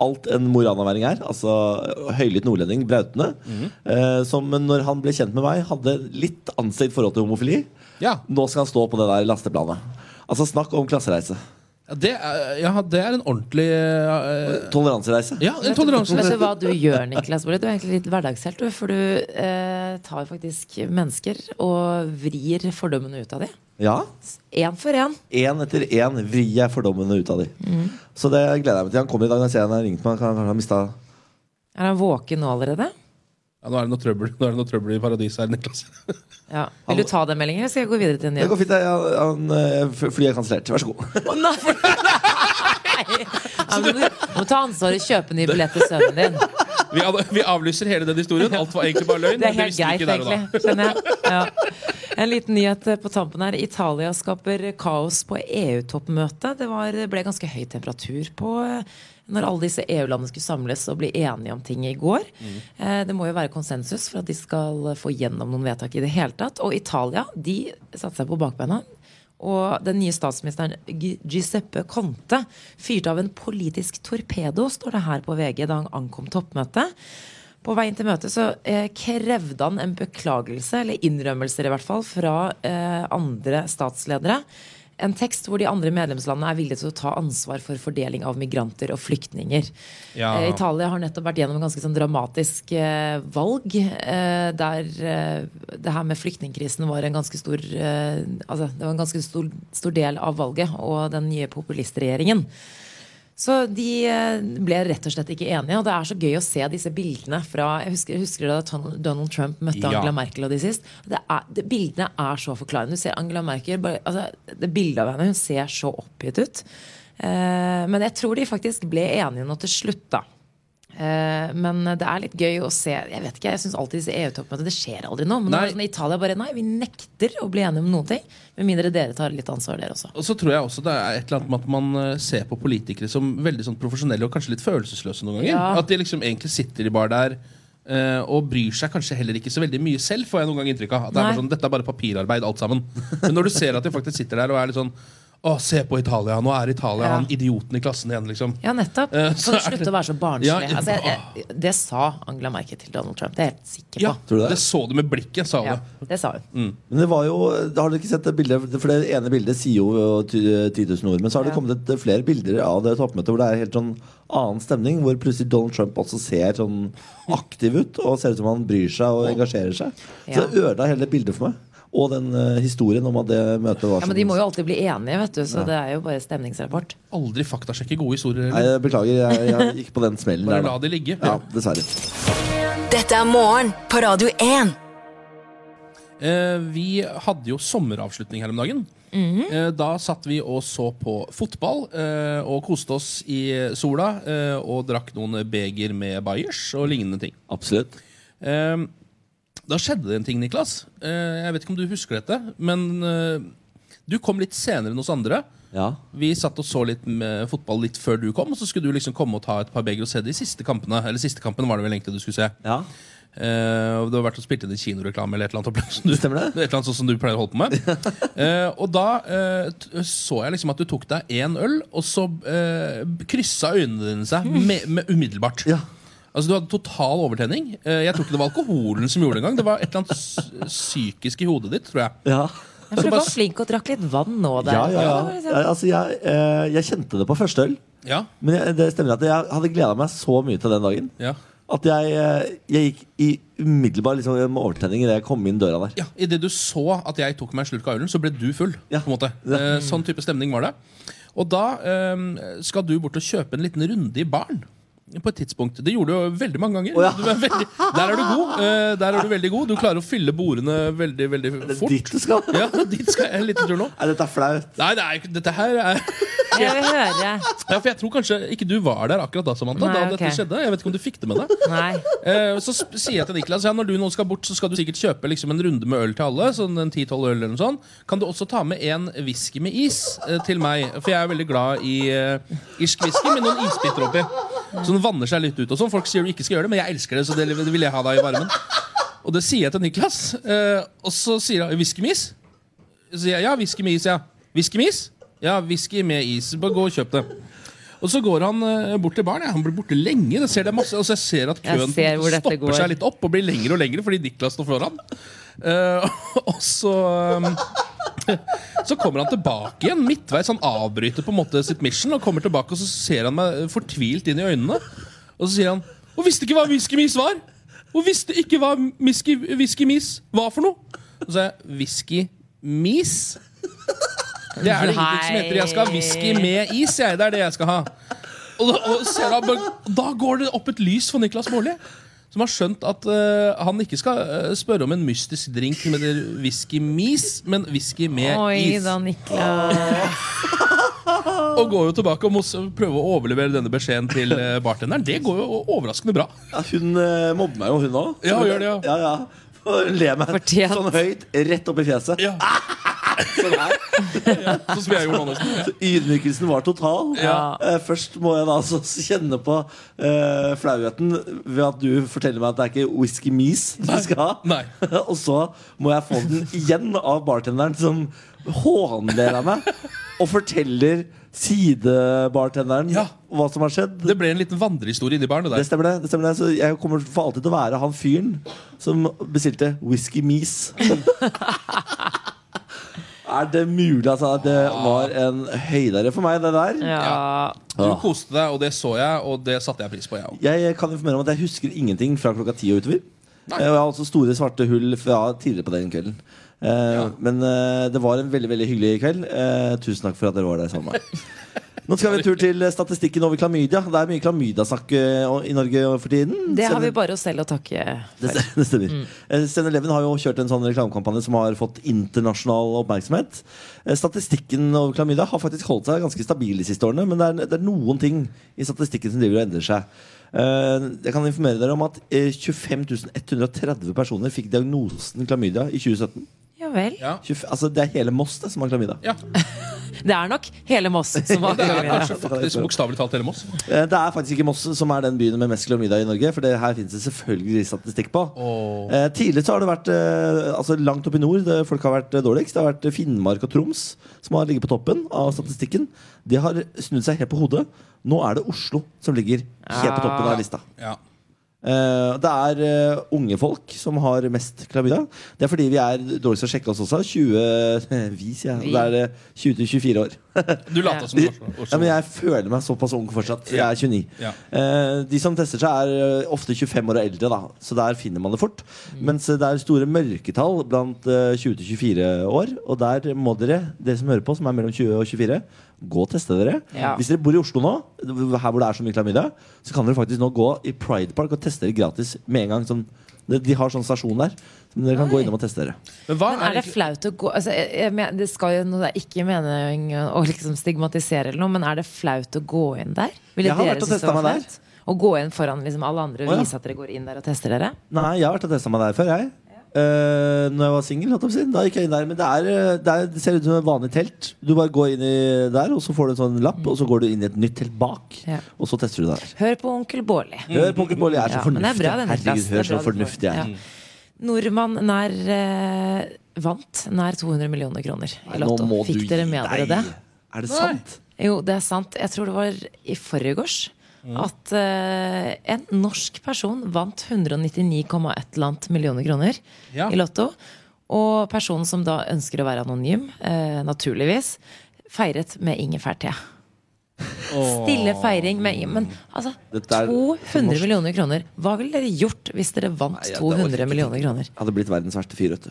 [SPEAKER 7] alt en moranaværing er. Altså høylytt nordlending, brautende.
[SPEAKER 4] Mhm.
[SPEAKER 7] eh, som når han ble kjent med meg, hadde litt anstrengt forhold til homofili.
[SPEAKER 5] Ja.
[SPEAKER 7] Nå skal han stå på det der lasteplanet. Altså, snakk om klassereise.
[SPEAKER 5] Det, er, ja, det er en ordentlig eh,
[SPEAKER 7] Toleransereise.
[SPEAKER 5] Ja, en toleranse.
[SPEAKER 4] Vet du hva du gjør, Niklas Baarli? Du er egentlig litt hverdagshelt, du. For du eh, tar faktisk mennesker og vrir fordommene ut av dem.
[SPEAKER 7] Ja.
[SPEAKER 4] Én for én.
[SPEAKER 7] én etter én vrir jeg fordommene ut av de.
[SPEAKER 4] Mm.
[SPEAKER 7] Så det gleder jeg meg til. Han kommer i dag. Når jeg ser han har ringt meg, kan han kanskje ha mista
[SPEAKER 4] Er han våken nå allerede?
[SPEAKER 5] Ja, nå er det noe trøbbel, nå er det noe trøbbel i paradiset her, Niklas.
[SPEAKER 4] Ja. Vil du ta den meldingen, eller skal jeg gå videre til en ny?
[SPEAKER 7] Det går fint. jeg- Han, eh, f- flyet er kansellert. Vær så god.
[SPEAKER 4] Å, Nei! Ja, men du må ta ansvar og kjøpe nye billetter til sønnen din.
[SPEAKER 5] Vi, av- vi avlyser hele den historien. Alt var egentlig bare løgn.
[SPEAKER 4] Det er
[SPEAKER 5] men
[SPEAKER 4] helt
[SPEAKER 5] visste vi ikke
[SPEAKER 4] greit,
[SPEAKER 5] der og da.
[SPEAKER 4] egentlig. Skjønner jeg. Ja. En liten nyhet eh, på tampen her. Italia E skaper kaos på EU-toppmøtet. Det var, ble ganske høy temperatur på eh, når alle disse EU-landene skulle samles og bli enige om ting i går. Eh, Det må jo være konsensus for at de skal få gjennom noen vedtak i det hele tatt. Og Italia de satte seg på bakbeina. Og den nye statsministeren Gi- Giuseppe Conte fyrte av en politisk torpedo, står det her på VG, da han ankom toppmøtet. På vei inn til møtet så eh, krevde han en beklagelse, eller innrømmelser i hvert fall, fra eh, andre statsledere. En tekst hvor de andre medlemslandene er villige til å ta ansvar for fordeling av migranter og flyktninger.
[SPEAKER 5] Ja.
[SPEAKER 4] Eh, Italia har nettopp vært gjennom en ganske sånn dramatisk eh, valg. Eh, der eh, det her med flyktningkrisen var en ganske stor eh, altså, Det var en ganske stor, stor del av valget og den nye populistregjeringen. Så de eh, ble rett og slett ikke enige. Og det er så gøy å se disse bildene fra Jeg husker, jeg husker da Ton- Donald Trump møtte
[SPEAKER 5] Ja.
[SPEAKER 4] Angela Merkel og de sist. Det er, det, bildene er så forklarende. Du ser Angela Merkel bare, altså, Det bildet av henne, hun ser så oppgitt ut. Eh, men jeg tror de faktisk ble enige nå til slutt, da. Eh, men det er litt gøy å se Jeg vet ikke, jeg syns alltid disse EU-toppmøtene Det skjer aldri noe. Men nå er det
[SPEAKER 5] Nei.
[SPEAKER 4] sånn, i Italia bare Nei, vi nekter å bli enige om noen ting. Med mindre dere tar litt ansvar, dere også.
[SPEAKER 5] Og så tror jeg også det er et eller annet med at man eh, ser på politikere som veldig sånn profesjonelle og kanskje litt følelsesløse noen ganger.
[SPEAKER 4] Ja.
[SPEAKER 5] At de liksom egentlig sitter de bare der eh, og bryr seg kanskje heller ikke så veldig mye selv, får jeg noen gang inntrykk av. At det er
[SPEAKER 4] Nei.
[SPEAKER 5] bare sånn, dette er bare papirarbeid, alt sammen. Men når du ser at de faktisk sitter der og er litt sånn Å, se på Italia, nå er Italia
[SPEAKER 4] Ja.
[SPEAKER 5] han idioten i klassen igjen, liksom.
[SPEAKER 4] Ja, nettopp.
[SPEAKER 5] Eh, så
[SPEAKER 4] Kan du
[SPEAKER 5] er det-
[SPEAKER 4] slutte å være så barnslig?
[SPEAKER 5] Ja,
[SPEAKER 4] altså, jeg, jeg, det sa Angela Merkel til Donald Trump. Det er jeg helt sikker
[SPEAKER 5] Ja, Mm,
[SPEAKER 4] på.
[SPEAKER 7] Tror du det?
[SPEAKER 5] det? så du med blikket, sa hun.
[SPEAKER 4] Ja, det sa hun.
[SPEAKER 7] Men det var jo, Har du ikke sett det bildet? For det ene bildet sier jo ty- 10 000 ord. Men så har det
[SPEAKER 4] Ja.
[SPEAKER 7] kommet et, eh, flere bilder av det toppmøtet hvor det er helt sånn annen stemning. Hvor plutselig Donald Trump også ser sånn aktiv ut og ser ut som han bryr seg og engasjerer seg. Så
[SPEAKER 4] Ja.
[SPEAKER 7] det ødela hele det bildet for meg. Og den eh, historien om at det møtet var
[SPEAKER 4] Ja,
[SPEAKER 5] sånn
[SPEAKER 4] Men de må jo alltid bli enige, vet du, så det er jo bare stemningsrapport.
[SPEAKER 5] Aldri faktasjekke gode historier.
[SPEAKER 7] Nei,
[SPEAKER 5] Eller?
[SPEAKER 7] jeg Beklager, jeg, jeg gikk på den smellen
[SPEAKER 5] Bare
[SPEAKER 7] der.
[SPEAKER 5] la
[SPEAKER 7] da.
[SPEAKER 5] de ligge.
[SPEAKER 7] Ja, dessverre.
[SPEAKER 6] Dette er morgen på Radio 1.
[SPEAKER 5] Eh, vi hadde jo sommeravslutning her om dagen. Eh, da satt vi og så på fotball eh, og koste oss i sola eh, og drakk noen beger med bayers og lignende ting.
[SPEAKER 7] Absolutt.
[SPEAKER 5] Eh, da skjedde det en ting, Niklas. Eh, jeg vet ikke om du husker dette, men eh, du kom litt senere enn oss andre.
[SPEAKER 7] Ja.
[SPEAKER 5] Vi satt og så litt med fotball litt før du kom, og så skulle du liksom komme og ta et par beger og se de siste kampene. Eller siste kampen var det vel egentlig du skulle se.
[SPEAKER 7] ja.
[SPEAKER 5] Eh, og du har vært og spilt inn i kinoreklame eller et eller annet opplegg som du,
[SPEAKER 7] Stemmer det?
[SPEAKER 5] et eller annet sånt som du pleier å holde på med. Eh, og da eh, t- så jeg liksom at du tok deg én øl, og så eh, kryssa øynene dine seg med, med umiddelbart.
[SPEAKER 7] Mm. Ja.
[SPEAKER 5] Altså Du hadde total overtenning. Eh, jeg tror ikke det var alkoholen som gjorde det engang. Det var et eller annet s- psykisk i hodet ditt, tror jeg.
[SPEAKER 7] ja.
[SPEAKER 4] Jeg tror du var flink og drakk litt vann nå der.
[SPEAKER 7] Ja, ja,
[SPEAKER 4] var
[SPEAKER 7] ja.
[SPEAKER 4] liksom-
[SPEAKER 7] Jeg, altså, jeg, eh, jeg kjente det på første øl.
[SPEAKER 5] Ja,
[SPEAKER 7] Men jeg, det stemmer at jeg hadde gleda meg så mye til den dagen
[SPEAKER 5] ja.
[SPEAKER 7] at jeg, eh, jeg gikk i umiddelbar liksom, med overtenning idet jeg kom inn døra der.
[SPEAKER 5] Ja, Idet du så at jeg tok meg en slurk av ølen, så ble du full.
[SPEAKER 7] Ja.
[SPEAKER 5] på en måte eh, Sånn type stemning var det. Og da eh, skal du bort og kjøpe en liten runde i baren. På et tidspunkt. Det gjorde du jo veldig mange ganger.
[SPEAKER 7] Å, ja.
[SPEAKER 5] du er veldig, der er du god. Eh, der er Du veldig god Du klarer å fylle bordene veldig veldig
[SPEAKER 7] Det er
[SPEAKER 5] fort.
[SPEAKER 7] dit du skal.
[SPEAKER 5] Ja, dit skal jeg en liten tur nå.
[SPEAKER 7] Nei, dette er flaut.
[SPEAKER 5] Nei, det er jo ikke, dette her er
[SPEAKER 4] Jeg vil høre.
[SPEAKER 5] ja, For jeg tror kanskje ikke du var der akkurat da, Samantha.
[SPEAKER 4] Nei,
[SPEAKER 5] da
[SPEAKER 4] ok.
[SPEAKER 5] dette skjedde Jeg vet ikke om du fikk det med deg.
[SPEAKER 4] Nei.
[SPEAKER 5] Eh, Så sp- sier jeg til Niklas ja, Når du nå skal bort, så skal du sikkert kjøpe liksom, en runde med øl til alle. Sånn en 10-12 øl eller noe sånt Kan du også ta med en whisky med is eh, til meg? For jeg er veldig glad i eh, irsk whisky med noen isbiter oppi. Så den vanner seg litt ut. og sånn Folk sier du ikke skal gjøre det, men jeg elsker det. Så det det vil jeg ha deg i varmen Og det sier jeg til Niklas. eh, Og så sier han whisky med is? Så sier jeg ja, whisky med is. ja Whisky med is? Ja, whisky med is. Bare gå og kjøp det. Og så går han eh, bort til baren. ja. Han blir borte lenge. Det ser det er masse, altså jeg ser at
[SPEAKER 4] Jeg
[SPEAKER 5] køen
[SPEAKER 4] ser hvor dette
[SPEAKER 5] stopper
[SPEAKER 4] går.
[SPEAKER 5] seg litt opp og blir lengre og lengre fordi Niklas står foran. Eh, og så um, Så kommer han tilbake igjen midtveis. Han avbryter på en måte sitt mission og kommer tilbake, og så ser han meg fortvilt inn i øynene. Og så sier han Og visste ikke hva whisky mis var! Og visste ikke hva whisky, whisky mis var for noe! Og så sa jeg whisky mis? Det er det ingenting som heter. Jeg skal ha whisky med is, jeg. Det er det jeg skal ha. Og da, og ser han bare- og da går det opp et lys for Niklas Baarli. Som har skjønt at eh, han ikke skal eh, spørre om en mystisk drink med det whisky mis, men whisky med
[SPEAKER 4] Oi
[SPEAKER 5] is.
[SPEAKER 4] da, Niklas.
[SPEAKER 5] Og går jo tilbake og må s- prøve å overlevere denne beskjeden til eh, bartenderen. Det går jo overraskende bra.
[SPEAKER 7] Ja, hun eh, mobber meg jo, hun òg.
[SPEAKER 5] Ja, hun gjør det, ja.
[SPEAKER 7] ja, ja. Og Hun ler meg
[SPEAKER 4] Fortjent.
[SPEAKER 7] sånn høyt, rett opp i fjeset.
[SPEAKER 5] Ja.
[SPEAKER 7] Sånn her.
[SPEAKER 5] Sånn som jeg gjorde nå nesten.
[SPEAKER 7] Så ydmykelsen var total.
[SPEAKER 4] Ja.
[SPEAKER 7] Eh, Først må jeg da altså kjenne på eh, flauheten ved at du forteller meg at det er ikke whisky mees du skal ha.
[SPEAKER 5] Nei.
[SPEAKER 7] Og så må jeg få den igjen av bartenderen som hånler av meg og forteller sidebartenderen
[SPEAKER 5] Ja.
[SPEAKER 7] hva som har skjedd.
[SPEAKER 5] Det ble en liten vandrehistorie inni baren. det
[SPEAKER 7] Det
[SPEAKER 5] der.
[SPEAKER 7] stemmer det. det, stemmer det. Så jeg kommer for alltid til å være han fyren som bestilte whisky mees. er det mulig, altså? Det var en høydere for meg, det der.
[SPEAKER 4] Ja.
[SPEAKER 5] Du koste deg, og det så jeg, og det satte jeg pris på, jeg òg.
[SPEAKER 7] Jeg kan informere om at jeg husker ingenting fra klokka ti og utover. Eh, Og jeg har også store svarte hull fra tidligere på den kvelden. Eh, Men eh, det var en veldig veldig hyggelig kveld. Eh, tusen takk for at dere var der sammen med meg. Nå skal vi en tur til statistikken over klamydia. Det er mye klamydiasnakk eh, i Norge for tiden.
[SPEAKER 4] Det har
[SPEAKER 7] Sender-
[SPEAKER 4] vi bare oss selv å takke.
[SPEAKER 7] Det stemmer. Det stemmer. Eh, Sten Eleven har jo kjørt en sånn reklamekampanje som har fått internasjonal oppmerksomhet. Eh, Statistikken over klamydia har faktisk holdt seg ganske stabil de siste årene, men det er, det er noen ting i statistikken som driver og endrer seg. Eh, Jeg kan informere dere om at eh, 25 130 personer fikk diagnosen klamydia i 2017.
[SPEAKER 4] Ja vel.
[SPEAKER 5] Ja.
[SPEAKER 7] 25 altså Det er hele Moss det, som har klamydia.
[SPEAKER 5] Ja,
[SPEAKER 4] Det er nok hele Moss som har
[SPEAKER 5] det er
[SPEAKER 4] klamydia.
[SPEAKER 5] kanskje faktisk bokstavelig talt hele Moss.
[SPEAKER 7] Eh, Det er faktisk ikke Moss som er den byen med mest klamydia i Norge. For det her finnes det selvfølgelig statistikk på. Eh, tidligere så har det vært eh, altså langt opp i nord det folk har vært eh, dårligst. Det har vært Finnmark og Troms som har ligget på toppen av statistikken. De har snudd seg helt på hodet. Nå er det Oslo som ligger helt på toppen av lista.
[SPEAKER 5] Ja.
[SPEAKER 7] Eh, det er eh, unge folk som har mest klamydia. Det er fordi vi er dårligst til å sjekke oss også. 20, vi, sier jeg.
[SPEAKER 4] Vi.
[SPEAKER 7] Det er eh, 20-24 år.
[SPEAKER 5] Du lata som du var
[SPEAKER 7] Ja, men jeg føler meg såpass ung fortsatt. Jeg er 29.
[SPEAKER 5] Ja.
[SPEAKER 7] Eh, de som tester seg, er eh, ofte 25 år og eldre, da. så der finner man det fort.
[SPEAKER 5] Mm.
[SPEAKER 7] Mens eh, det er store mørketall blant eh, 20-24 år. Og der må dere, dere som hører på, som er mellom 20 og 24, gå og teste dere.
[SPEAKER 4] Ja.
[SPEAKER 7] Hvis dere bor i Oslo nå, her hvor det er så mye klamydia, så kan dere faktisk nå gå i Pride Park og teste dere gratis med en gang. Sånn, de de har sånn stasjon der. Som dere kan gå innom og teste dere.
[SPEAKER 5] Men hva
[SPEAKER 4] Men er det flaut å gå altså, jeg, jeg, men- Det skal jo noe, det er ikke meningen å liksom stigmatisere eller noe, men er det flaut å gå inn der? Ville
[SPEAKER 7] Jeg har
[SPEAKER 4] dere
[SPEAKER 7] vært
[SPEAKER 4] synes
[SPEAKER 7] og
[SPEAKER 4] det
[SPEAKER 7] testet
[SPEAKER 4] var
[SPEAKER 7] meg der.
[SPEAKER 4] flaut? Å gå inn foran liksom alle andre og
[SPEAKER 7] Å, ja.
[SPEAKER 4] vise at dere går inn der og tester dere?
[SPEAKER 7] Nei, jeg har vært og testa meg der før, jeg. Eh, når jeg var singel. holdt jeg på å si. Da gikk jeg inn der. Men det, er, eh, det, er, det ser ut som et vanlig telt. Du bare går inn i der, og så får du en sånn lapp, og så går du inn i et nytt telt bak.
[SPEAKER 4] Ja.
[SPEAKER 7] Og så tester du det der.
[SPEAKER 4] Hør på onkel Bårli.
[SPEAKER 7] Hør, Pokémon, jeg Mm. er så
[SPEAKER 4] Ja, men det er
[SPEAKER 7] fornuftig.
[SPEAKER 4] bra, den
[SPEAKER 7] Herregud,
[SPEAKER 4] Niklas. Det er
[SPEAKER 7] hør så
[SPEAKER 4] bra du får-
[SPEAKER 7] fornuftig jeg er.
[SPEAKER 4] Ja. Nordmann nær eh, vant nær 200 millioner kroner i
[SPEAKER 7] Nå
[SPEAKER 4] Lotto.
[SPEAKER 7] må du
[SPEAKER 4] Fikk dere
[SPEAKER 7] gi
[SPEAKER 4] med dere
[SPEAKER 7] deg.
[SPEAKER 4] det?
[SPEAKER 7] Er det sant?
[SPEAKER 4] Jo, det er sant. Jeg tror det var i forgårs. At eh, en norsk person vant 199,1 eller annet millioner kroner
[SPEAKER 5] Ja.
[SPEAKER 4] i Lotto. Og personen som da ønsker å være anonym, eh, naturligvis, feiret med ingefærte. Stille feiring med ingefær. Men altså,
[SPEAKER 7] Dette er-
[SPEAKER 4] 200 millioner kroner. Hva ville dere gjort hvis dere vant
[SPEAKER 7] Nei, ja, det orker jeg
[SPEAKER 4] 200
[SPEAKER 7] ikke
[SPEAKER 4] millioner
[SPEAKER 7] tenke på.
[SPEAKER 4] kroner?
[SPEAKER 7] Jeg hadde blitt verdens verste fyr. vet du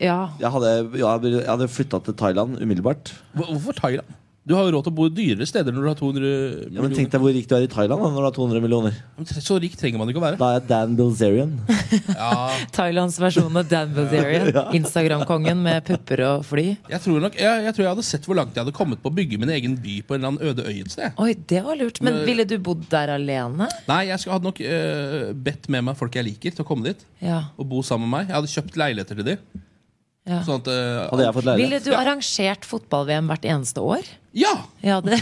[SPEAKER 4] Ja,
[SPEAKER 7] Jeg hadde, jeg hadde flytta til Thailand umiddelbart.
[SPEAKER 5] Hvor- Hvorfor Thailand? Du har jo råd til å bo i dyrere steder når du har 200
[SPEAKER 7] Ja, men
[SPEAKER 5] millioner.
[SPEAKER 7] Tenk deg hvor rik du er i Thailand da, når du har 200 millioner.
[SPEAKER 5] Så rik trenger man ikke å være.
[SPEAKER 7] Da er jeg Dan Bilzerian.
[SPEAKER 4] Thailands versjon av Dan Bilzerian. Instagram-kongen med pupper og fly.
[SPEAKER 5] Jeg tror, nok, jeg, jeg tror jeg hadde sett hvor langt jeg hadde kommet på å bygge min egen by på en eller annen øde øy et sted.
[SPEAKER 4] Oi, det var lurt. Men ville du bodd der alene?
[SPEAKER 5] Nei, jeg skulle- hadde nok eh, bedt med meg folk jeg liker, til å komme dit
[SPEAKER 4] Ja.
[SPEAKER 5] og bo sammen med meg. Jeg hadde kjøpt leiligheter til de.
[SPEAKER 4] Ja.
[SPEAKER 5] Sånn at eh,
[SPEAKER 7] Hadde jeg fått
[SPEAKER 4] Ville
[SPEAKER 7] leilighet.
[SPEAKER 4] du arrangert fotball-VM hvert eneste år?
[SPEAKER 5] Ja!
[SPEAKER 4] Ja, det,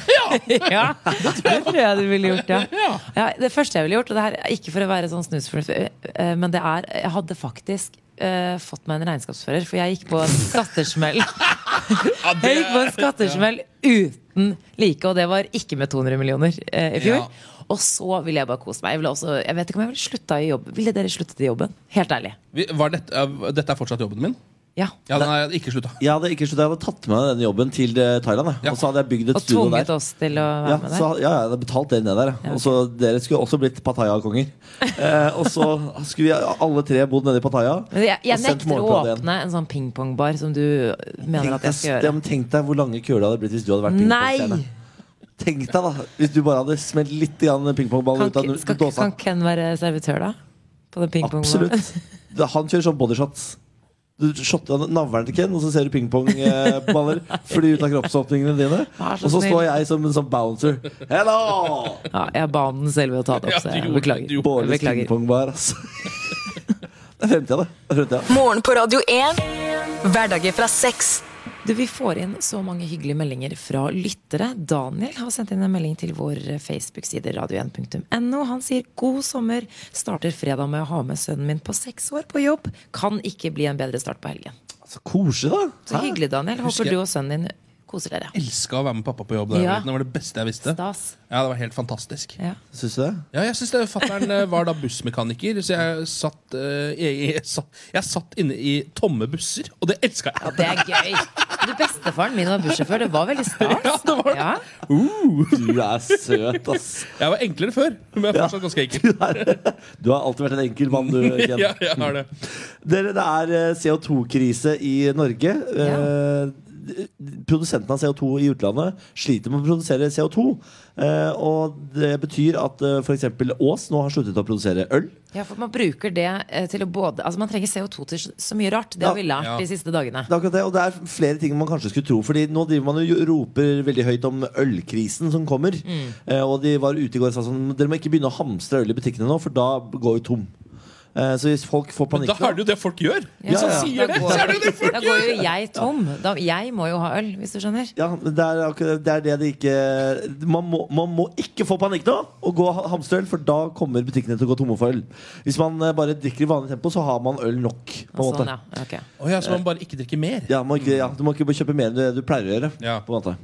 [SPEAKER 4] ja, det tror jeg du ville gjort, ja.
[SPEAKER 5] Ja.
[SPEAKER 4] ja. Det første jeg ville gjort, og det her er ikke for å være sånn snusfornuft, eh, men det er Jeg hadde faktisk eh, fått meg en regnskapsfører, for jeg gikk på en skattesmell. Jeg gikk på en skattesmell uten like, og det var ikke med 200 millioner eh, i fjor.
[SPEAKER 5] Ja.
[SPEAKER 4] Og så ville jeg bare kose meg. Jeg, ville også, jeg vet ikke om jeg ville slutta i jobb. Ville dere sluttet i jobben? Helt ærlig.
[SPEAKER 5] Vi- Var dette, eh, dette er fortsatt jobben min?
[SPEAKER 4] Ja.
[SPEAKER 5] Ja, den har jeg ikke slutta.
[SPEAKER 7] Jeg hadde, ikke, sluttet, jeg hadde tatt med meg denne jobben til eh, Thailand. jeg.
[SPEAKER 5] Ja.
[SPEAKER 7] Og så hadde jeg bygd et
[SPEAKER 4] Og
[SPEAKER 7] studio der.
[SPEAKER 4] tvunget oss til å være
[SPEAKER 7] Ja,
[SPEAKER 4] med der.
[SPEAKER 7] så, ja, jeg hadde betalt dere ned der. ja. Og så Dere skulle også blitt Pattaya-konger. Eh, og så skulle vi alle tre bodd nede i Pattaya.
[SPEAKER 4] Men jeg jeg
[SPEAKER 7] og sendt
[SPEAKER 4] nekter å
[SPEAKER 7] morgenplaten igjen.
[SPEAKER 4] åpne en sånn pingpongbar som du mener at jeg skal
[SPEAKER 7] Tenk deg-
[SPEAKER 4] gjøre.
[SPEAKER 7] ja, men Tenk deg hvor lange køer det hadde blitt hvis du hadde vært pingpongstjerne.
[SPEAKER 4] Nei!
[SPEAKER 7] Tenk deg da, hvis du bare hadde smelt litt grann pingpongball
[SPEAKER 4] Kan,
[SPEAKER 7] ut av
[SPEAKER 4] Ke- skal,
[SPEAKER 7] dåsa.
[SPEAKER 4] kan Ken være servitør, da? På den pingpongbaren?
[SPEAKER 7] Absolutt. Da- Han kjører sånn bodyshots. Du shotter han- navlen til Ken, og så ser du pingpongballer fly ut av kroppsåpningene dine.
[SPEAKER 4] Vær så
[SPEAKER 7] Og så
[SPEAKER 4] snill.
[SPEAKER 7] står jeg som en sånn bouncer. Hello!
[SPEAKER 4] Ja, jeg ba om den selv ved å ta det opp, så
[SPEAKER 5] Ja, du
[SPEAKER 4] jeg
[SPEAKER 5] gjorde- du
[SPEAKER 4] beklager.
[SPEAKER 5] gjorde-
[SPEAKER 7] Bårlis
[SPEAKER 4] Beklager.
[SPEAKER 7] pingpongbar, altså. Det er fremtida, det. det. er fremtida.
[SPEAKER 6] Morgen på Radio 1. Hverdager fra seks.
[SPEAKER 4] Du, Vi får inn så mange hyggelige meldinger fra lyttere. Daniel har sendt inn en melding til vår Facebook-side radio1.no. Han sier god sommer. Starter fredag med å ha med sønnen min på seks år på jobb. Kan ikke bli en bedre start på helgen.
[SPEAKER 7] Så koselig, da.
[SPEAKER 4] Så
[SPEAKER 7] Hæ?
[SPEAKER 4] hyggelig, Daniel.
[SPEAKER 5] Husker
[SPEAKER 4] Håper
[SPEAKER 5] jeg-
[SPEAKER 4] du og sønnen din koser dere.
[SPEAKER 5] Elska å være med pappa på jobb. da jeg var
[SPEAKER 4] Ja.
[SPEAKER 5] liten. Det var det beste jeg visste.
[SPEAKER 4] Stas.
[SPEAKER 5] Ja, det var helt fantastisk.
[SPEAKER 4] Ja.
[SPEAKER 7] Syns du det?
[SPEAKER 5] Ja, jeg synes det Fattern eh, var da bussmekaniker, så jeg satt, eh, jeg, jeg, satt, jeg satt inne i tomme busser, og det elska jeg.
[SPEAKER 4] Ja, det er gøy. Du, Bestefaren min var bussjåfør. Det var veldig stas.
[SPEAKER 5] Ja, det var det.
[SPEAKER 4] Ja.
[SPEAKER 7] Du er søt, ass.
[SPEAKER 5] Jeg var enklere før, men jeg er fortsatt ganske enkel.
[SPEAKER 7] Du har alltid vært en enkel mann, du. Ken.
[SPEAKER 5] Ja, jeg har det.
[SPEAKER 7] Dere, det er eh, CO2-krise i Norge. Eh, d- Produsenten av CO2 i utlandet sliter med å produsere CO2. Eh, og det betyr at eh, for f.eks. Ås nå har sluttet å produsere øl.
[SPEAKER 4] Ja, for Man bruker det eh, til å både Altså man trenger CO2 til så mye rart. Det har vi lært
[SPEAKER 5] Ja.
[SPEAKER 4] de siste dagene.
[SPEAKER 7] Det er akkurat det, og det er flere ting man kanskje skulle tro. Fordi nå driver man og roper veldig høyt om ølkrisen som kommer. Eh, og de var ute i går og sa sånn Dere må ikke begynne å hamstre øl i butikkene nå, for da går vi tom. Eh, så hvis folk får
[SPEAKER 5] Men
[SPEAKER 7] panikk
[SPEAKER 5] da er det jo det folk gjør.
[SPEAKER 4] Ja,
[SPEAKER 5] Så
[SPEAKER 7] ja.
[SPEAKER 5] sier
[SPEAKER 4] Da
[SPEAKER 5] det, så er det jo det
[SPEAKER 4] går, da
[SPEAKER 5] folk
[SPEAKER 4] går
[SPEAKER 5] gjør.
[SPEAKER 4] jo jeg tom. Da, jeg må jo ha øl, hvis du skjønner.
[SPEAKER 7] Ja, men det er, akkurat, det er det de ikke man må, man må ikke få panikk nå og gå og hamstre øl, for da kommer butikkene til å gå tomme for øl. Hvis man eh, bare drikker i vanlig tempo, så har man øl nok. På en
[SPEAKER 4] Og
[SPEAKER 7] måte.
[SPEAKER 4] Sånn, ja. Ok.
[SPEAKER 5] Å ja, så man bare ikke drikker mer.
[SPEAKER 7] Ja, må ikke, ja, du må ikke kjøpe mer enn det du pleier å gjøre.
[SPEAKER 5] Ja.
[SPEAKER 7] På en måte.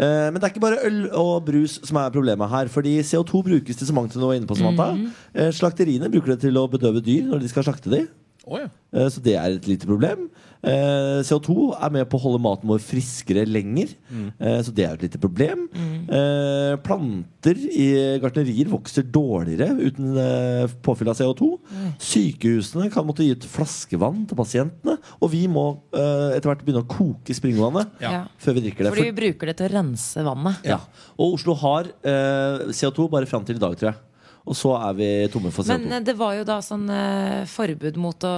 [SPEAKER 7] Eh, men det er ikke bare øl og brus som er problemet her. Fordi CO2 brukes til så mangt. som du var inne på Samantha. Eh, Slakteriene bruker det til å bedøve dyr når de skal slakte dem.
[SPEAKER 5] Å ja.
[SPEAKER 7] Eh, Så det er et lite problem. Eh, CO2 er med på å holde maten vår friskere lenger.
[SPEAKER 4] Mm.
[SPEAKER 7] Eh, Så det er et lite problem. Eh, Planter i gartnerier vokser dårligere uten eh, påfyll av CO2.
[SPEAKER 4] Mm.
[SPEAKER 7] Sykehusene kan måtte gi ut flaskevann til pasientene. Og vi må eh, etter hvert begynne å koke springvannet
[SPEAKER 5] Ja.
[SPEAKER 4] Ja.
[SPEAKER 7] før vi drikker det.
[SPEAKER 4] Fordi vi bruker det til å rense vannet.
[SPEAKER 7] ja. Og Oslo har eh, CO2 bare fram til i dag, tror jeg. Og så er vi tomme for CO2.
[SPEAKER 4] Men eh, det var jo da sånn eh, forbud mot å,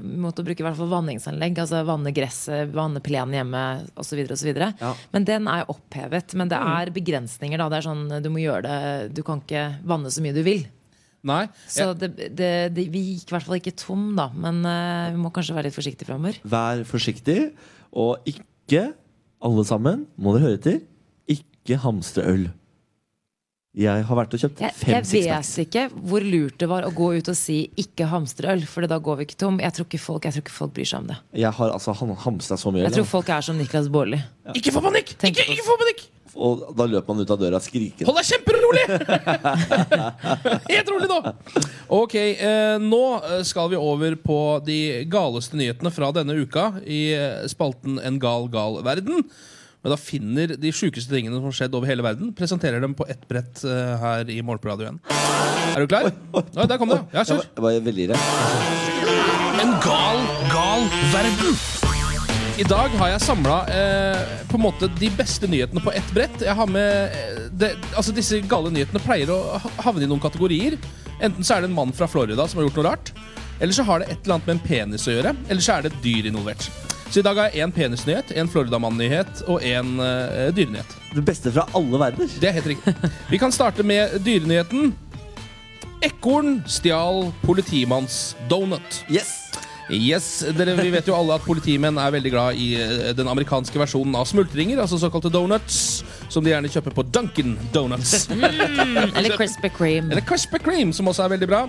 [SPEAKER 4] mot å bruke i hvert fall vanningsanlegg. Altså vanne gresset, vanne plenen hjemme osv. osv.
[SPEAKER 7] Ja.
[SPEAKER 4] Men den er jo opphevet. Men det
[SPEAKER 5] Mm.
[SPEAKER 4] er begrensninger, da. Det er sånn eh, du må gjøre det Du kan ikke vanne så mye du vil.
[SPEAKER 5] Nei.
[SPEAKER 4] Så det, det, det, vi gikk i hvert fall ikke tom, da. Men eh, vi må kanskje være litt forsiktige framover.
[SPEAKER 7] Vær forsiktig, og ikke alle sammen, må dere høre etter, ikke hamstre øl. Jeg har vært og kjøpt
[SPEAKER 4] Jeg,
[SPEAKER 7] fem
[SPEAKER 4] jeg
[SPEAKER 7] sixpacks.
[SPEAKER 4] vet ikke hvor lurt det var å gå ut og si 'ikke hamstre øl', for da går vi ikke tom. Jeg tror ikke folk, jeg tror ikke folk bryr seg om det.
[SPEAKER 7] Jeg har altså han- hamstra så mye
[SPEAKER 4] Jeg tror
[SPEAKER 7] øl,
[SPEAKER 4] folk er som Niklas Baarli.
[SPEAKER 5] Ikke få panikk!
[SPEAKER 4] Tenk
[SPEAKER 5] Ikke,
[SPEAKER 4] på-
[SPEAKER 5] ikke få panikk!
[SPEAKER 7] og da løp man ut av døra skrikende.
[SPEAKER 5] Hold deg kjemperolig! Helt rolig nå! Ok, eh, nå eh, skal vi over på de galeste nyhetene fra denne uka i eh, spalten En gal, gal verden. Men da finner de sjukeste tingene som har skjedd over hele verden, presenterer dem på ett brett eh, her i Morgenradioen. Er du klar? Ja, der kom det. Ja,
[SPEAKER 7] Jeg
[SPEAKER 5] kjør.
[SPEAKER 7] var, jeg var veldig redd.
[SPEAKER 5] En gal, gal verden. I dag har jeg samla eh, på en måte de beste nyhetene på ett brett. Jeg har med eh, det, altså Disse gale nyhetene pleier å ha- havne i noen kategorier. Enten så er det en mann fra Florida som har gjort noe rart, eller så har det et eller annet med en penis å gjøre, eller så er det et dyr involvert. Så i dag har jeg én penisnyhet, én Floridamann-nyhet og én eh, dyrenyhet.
[SPEAKER 7] Det beste fra alle verdener.
[SPEAKER 5] Det er helt riktig. Vi kan starte med dyrenyheten. Ekorn stjal politimanns donut.
[SPEAKER 7] Yes!
[SPEAKER 5] Yes, dere, Vi vet jo alle at politimenn er veldig glad i eh, den amerikanske versjonen av smultringer, altså såkalte donuts, som de gjerne kjøper på Dunkin' Donuts.
[SPEAKER 4] Eller Crispy Cream.
[SPEAKER 5] Eller Krispy Kreme, som også er veldig bra.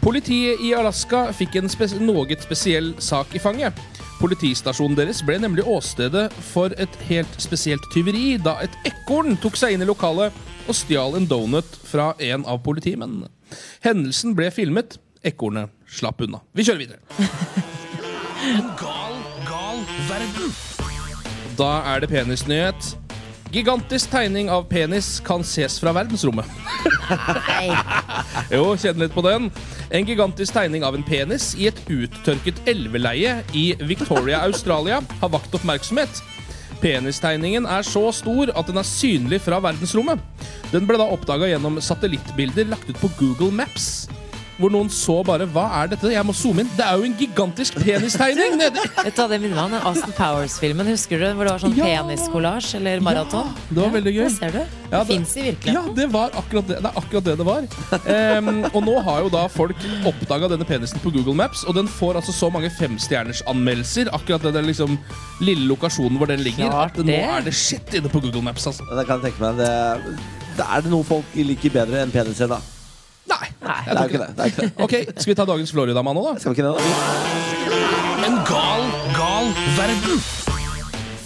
[SPEAKER 5] Politiet i Alaska fikk en spes noe spesiell sak i fanget. Politistasjonen deres ble nemlig åstedet for et helt spesielt tyveri da et ekorn tok seg inn i lokalet og stjal en donut fra en av politimennene. Hendelsen ble filmet. Ekornet slapp unna. Vi kjører videre. En gal, gal verden. Da er det penisnyhet. Gigantisk tegning av penis kan ses fra verdensrommet. Jo, kjenn litt på den. En gigantisk tegning av en penis i et uttørket elveleie i Victoria, Australia, har vakt oppmerksomhet. Penistegningen er så stor at den er synlig fra verdensrommet. Den ble da oppdaga gjennom satellittbilder lagt ut på Google Maps. Hvor noen så bare Hva er dette? Jeg må zoome inn. Det er jo en gigantisk penistegning nede!
[SPEAKER 4] Vet du hva det minner meg om? Den Aston Powers-filmen, husker du? Hvor det var sånn
[SPEAKER 5] Ja.
[SPEAKER 4] peniskollasj eller maraton.
[SPEAKER 5] Det var veldig gøy.
[SPEAKER 4] Det ser du.
[SPEAKER 5] Ja,
[SPEAKER 4] det fins i virkeligheten.
[SPEAKER 5] Ja, det var akkurat det det, er akkurat det, det var. Ehm, og nå har jo da folk oppdaga denne penisen på Google Maps, og den får altså så mange femstjernersanmeldelser, akkurat det der liksom lille lokasjonen hvor den ligger,
[SPEAKER 4] Klart
[SPEAKER 5] at nå
[SPEAKER 4] det.
[SPEAKER 5] er det shit inne på Google Maps, altså.
[SPEAKER 7] Det kan jeg tenke meg. Det, det er det noe folk liker bedre enn peniser, da.
[SPEAKER 5] Nei!
[SPEAKER 7] Det er jo ikke det. det, er ikke det.
[SPEAKER 5] Ok, Skal vi ta dagens Florida-mann òg, da?
[SPEAKER 7] Skal vi ikke det, da?
[SPEAKER 5] En gal, gal verden.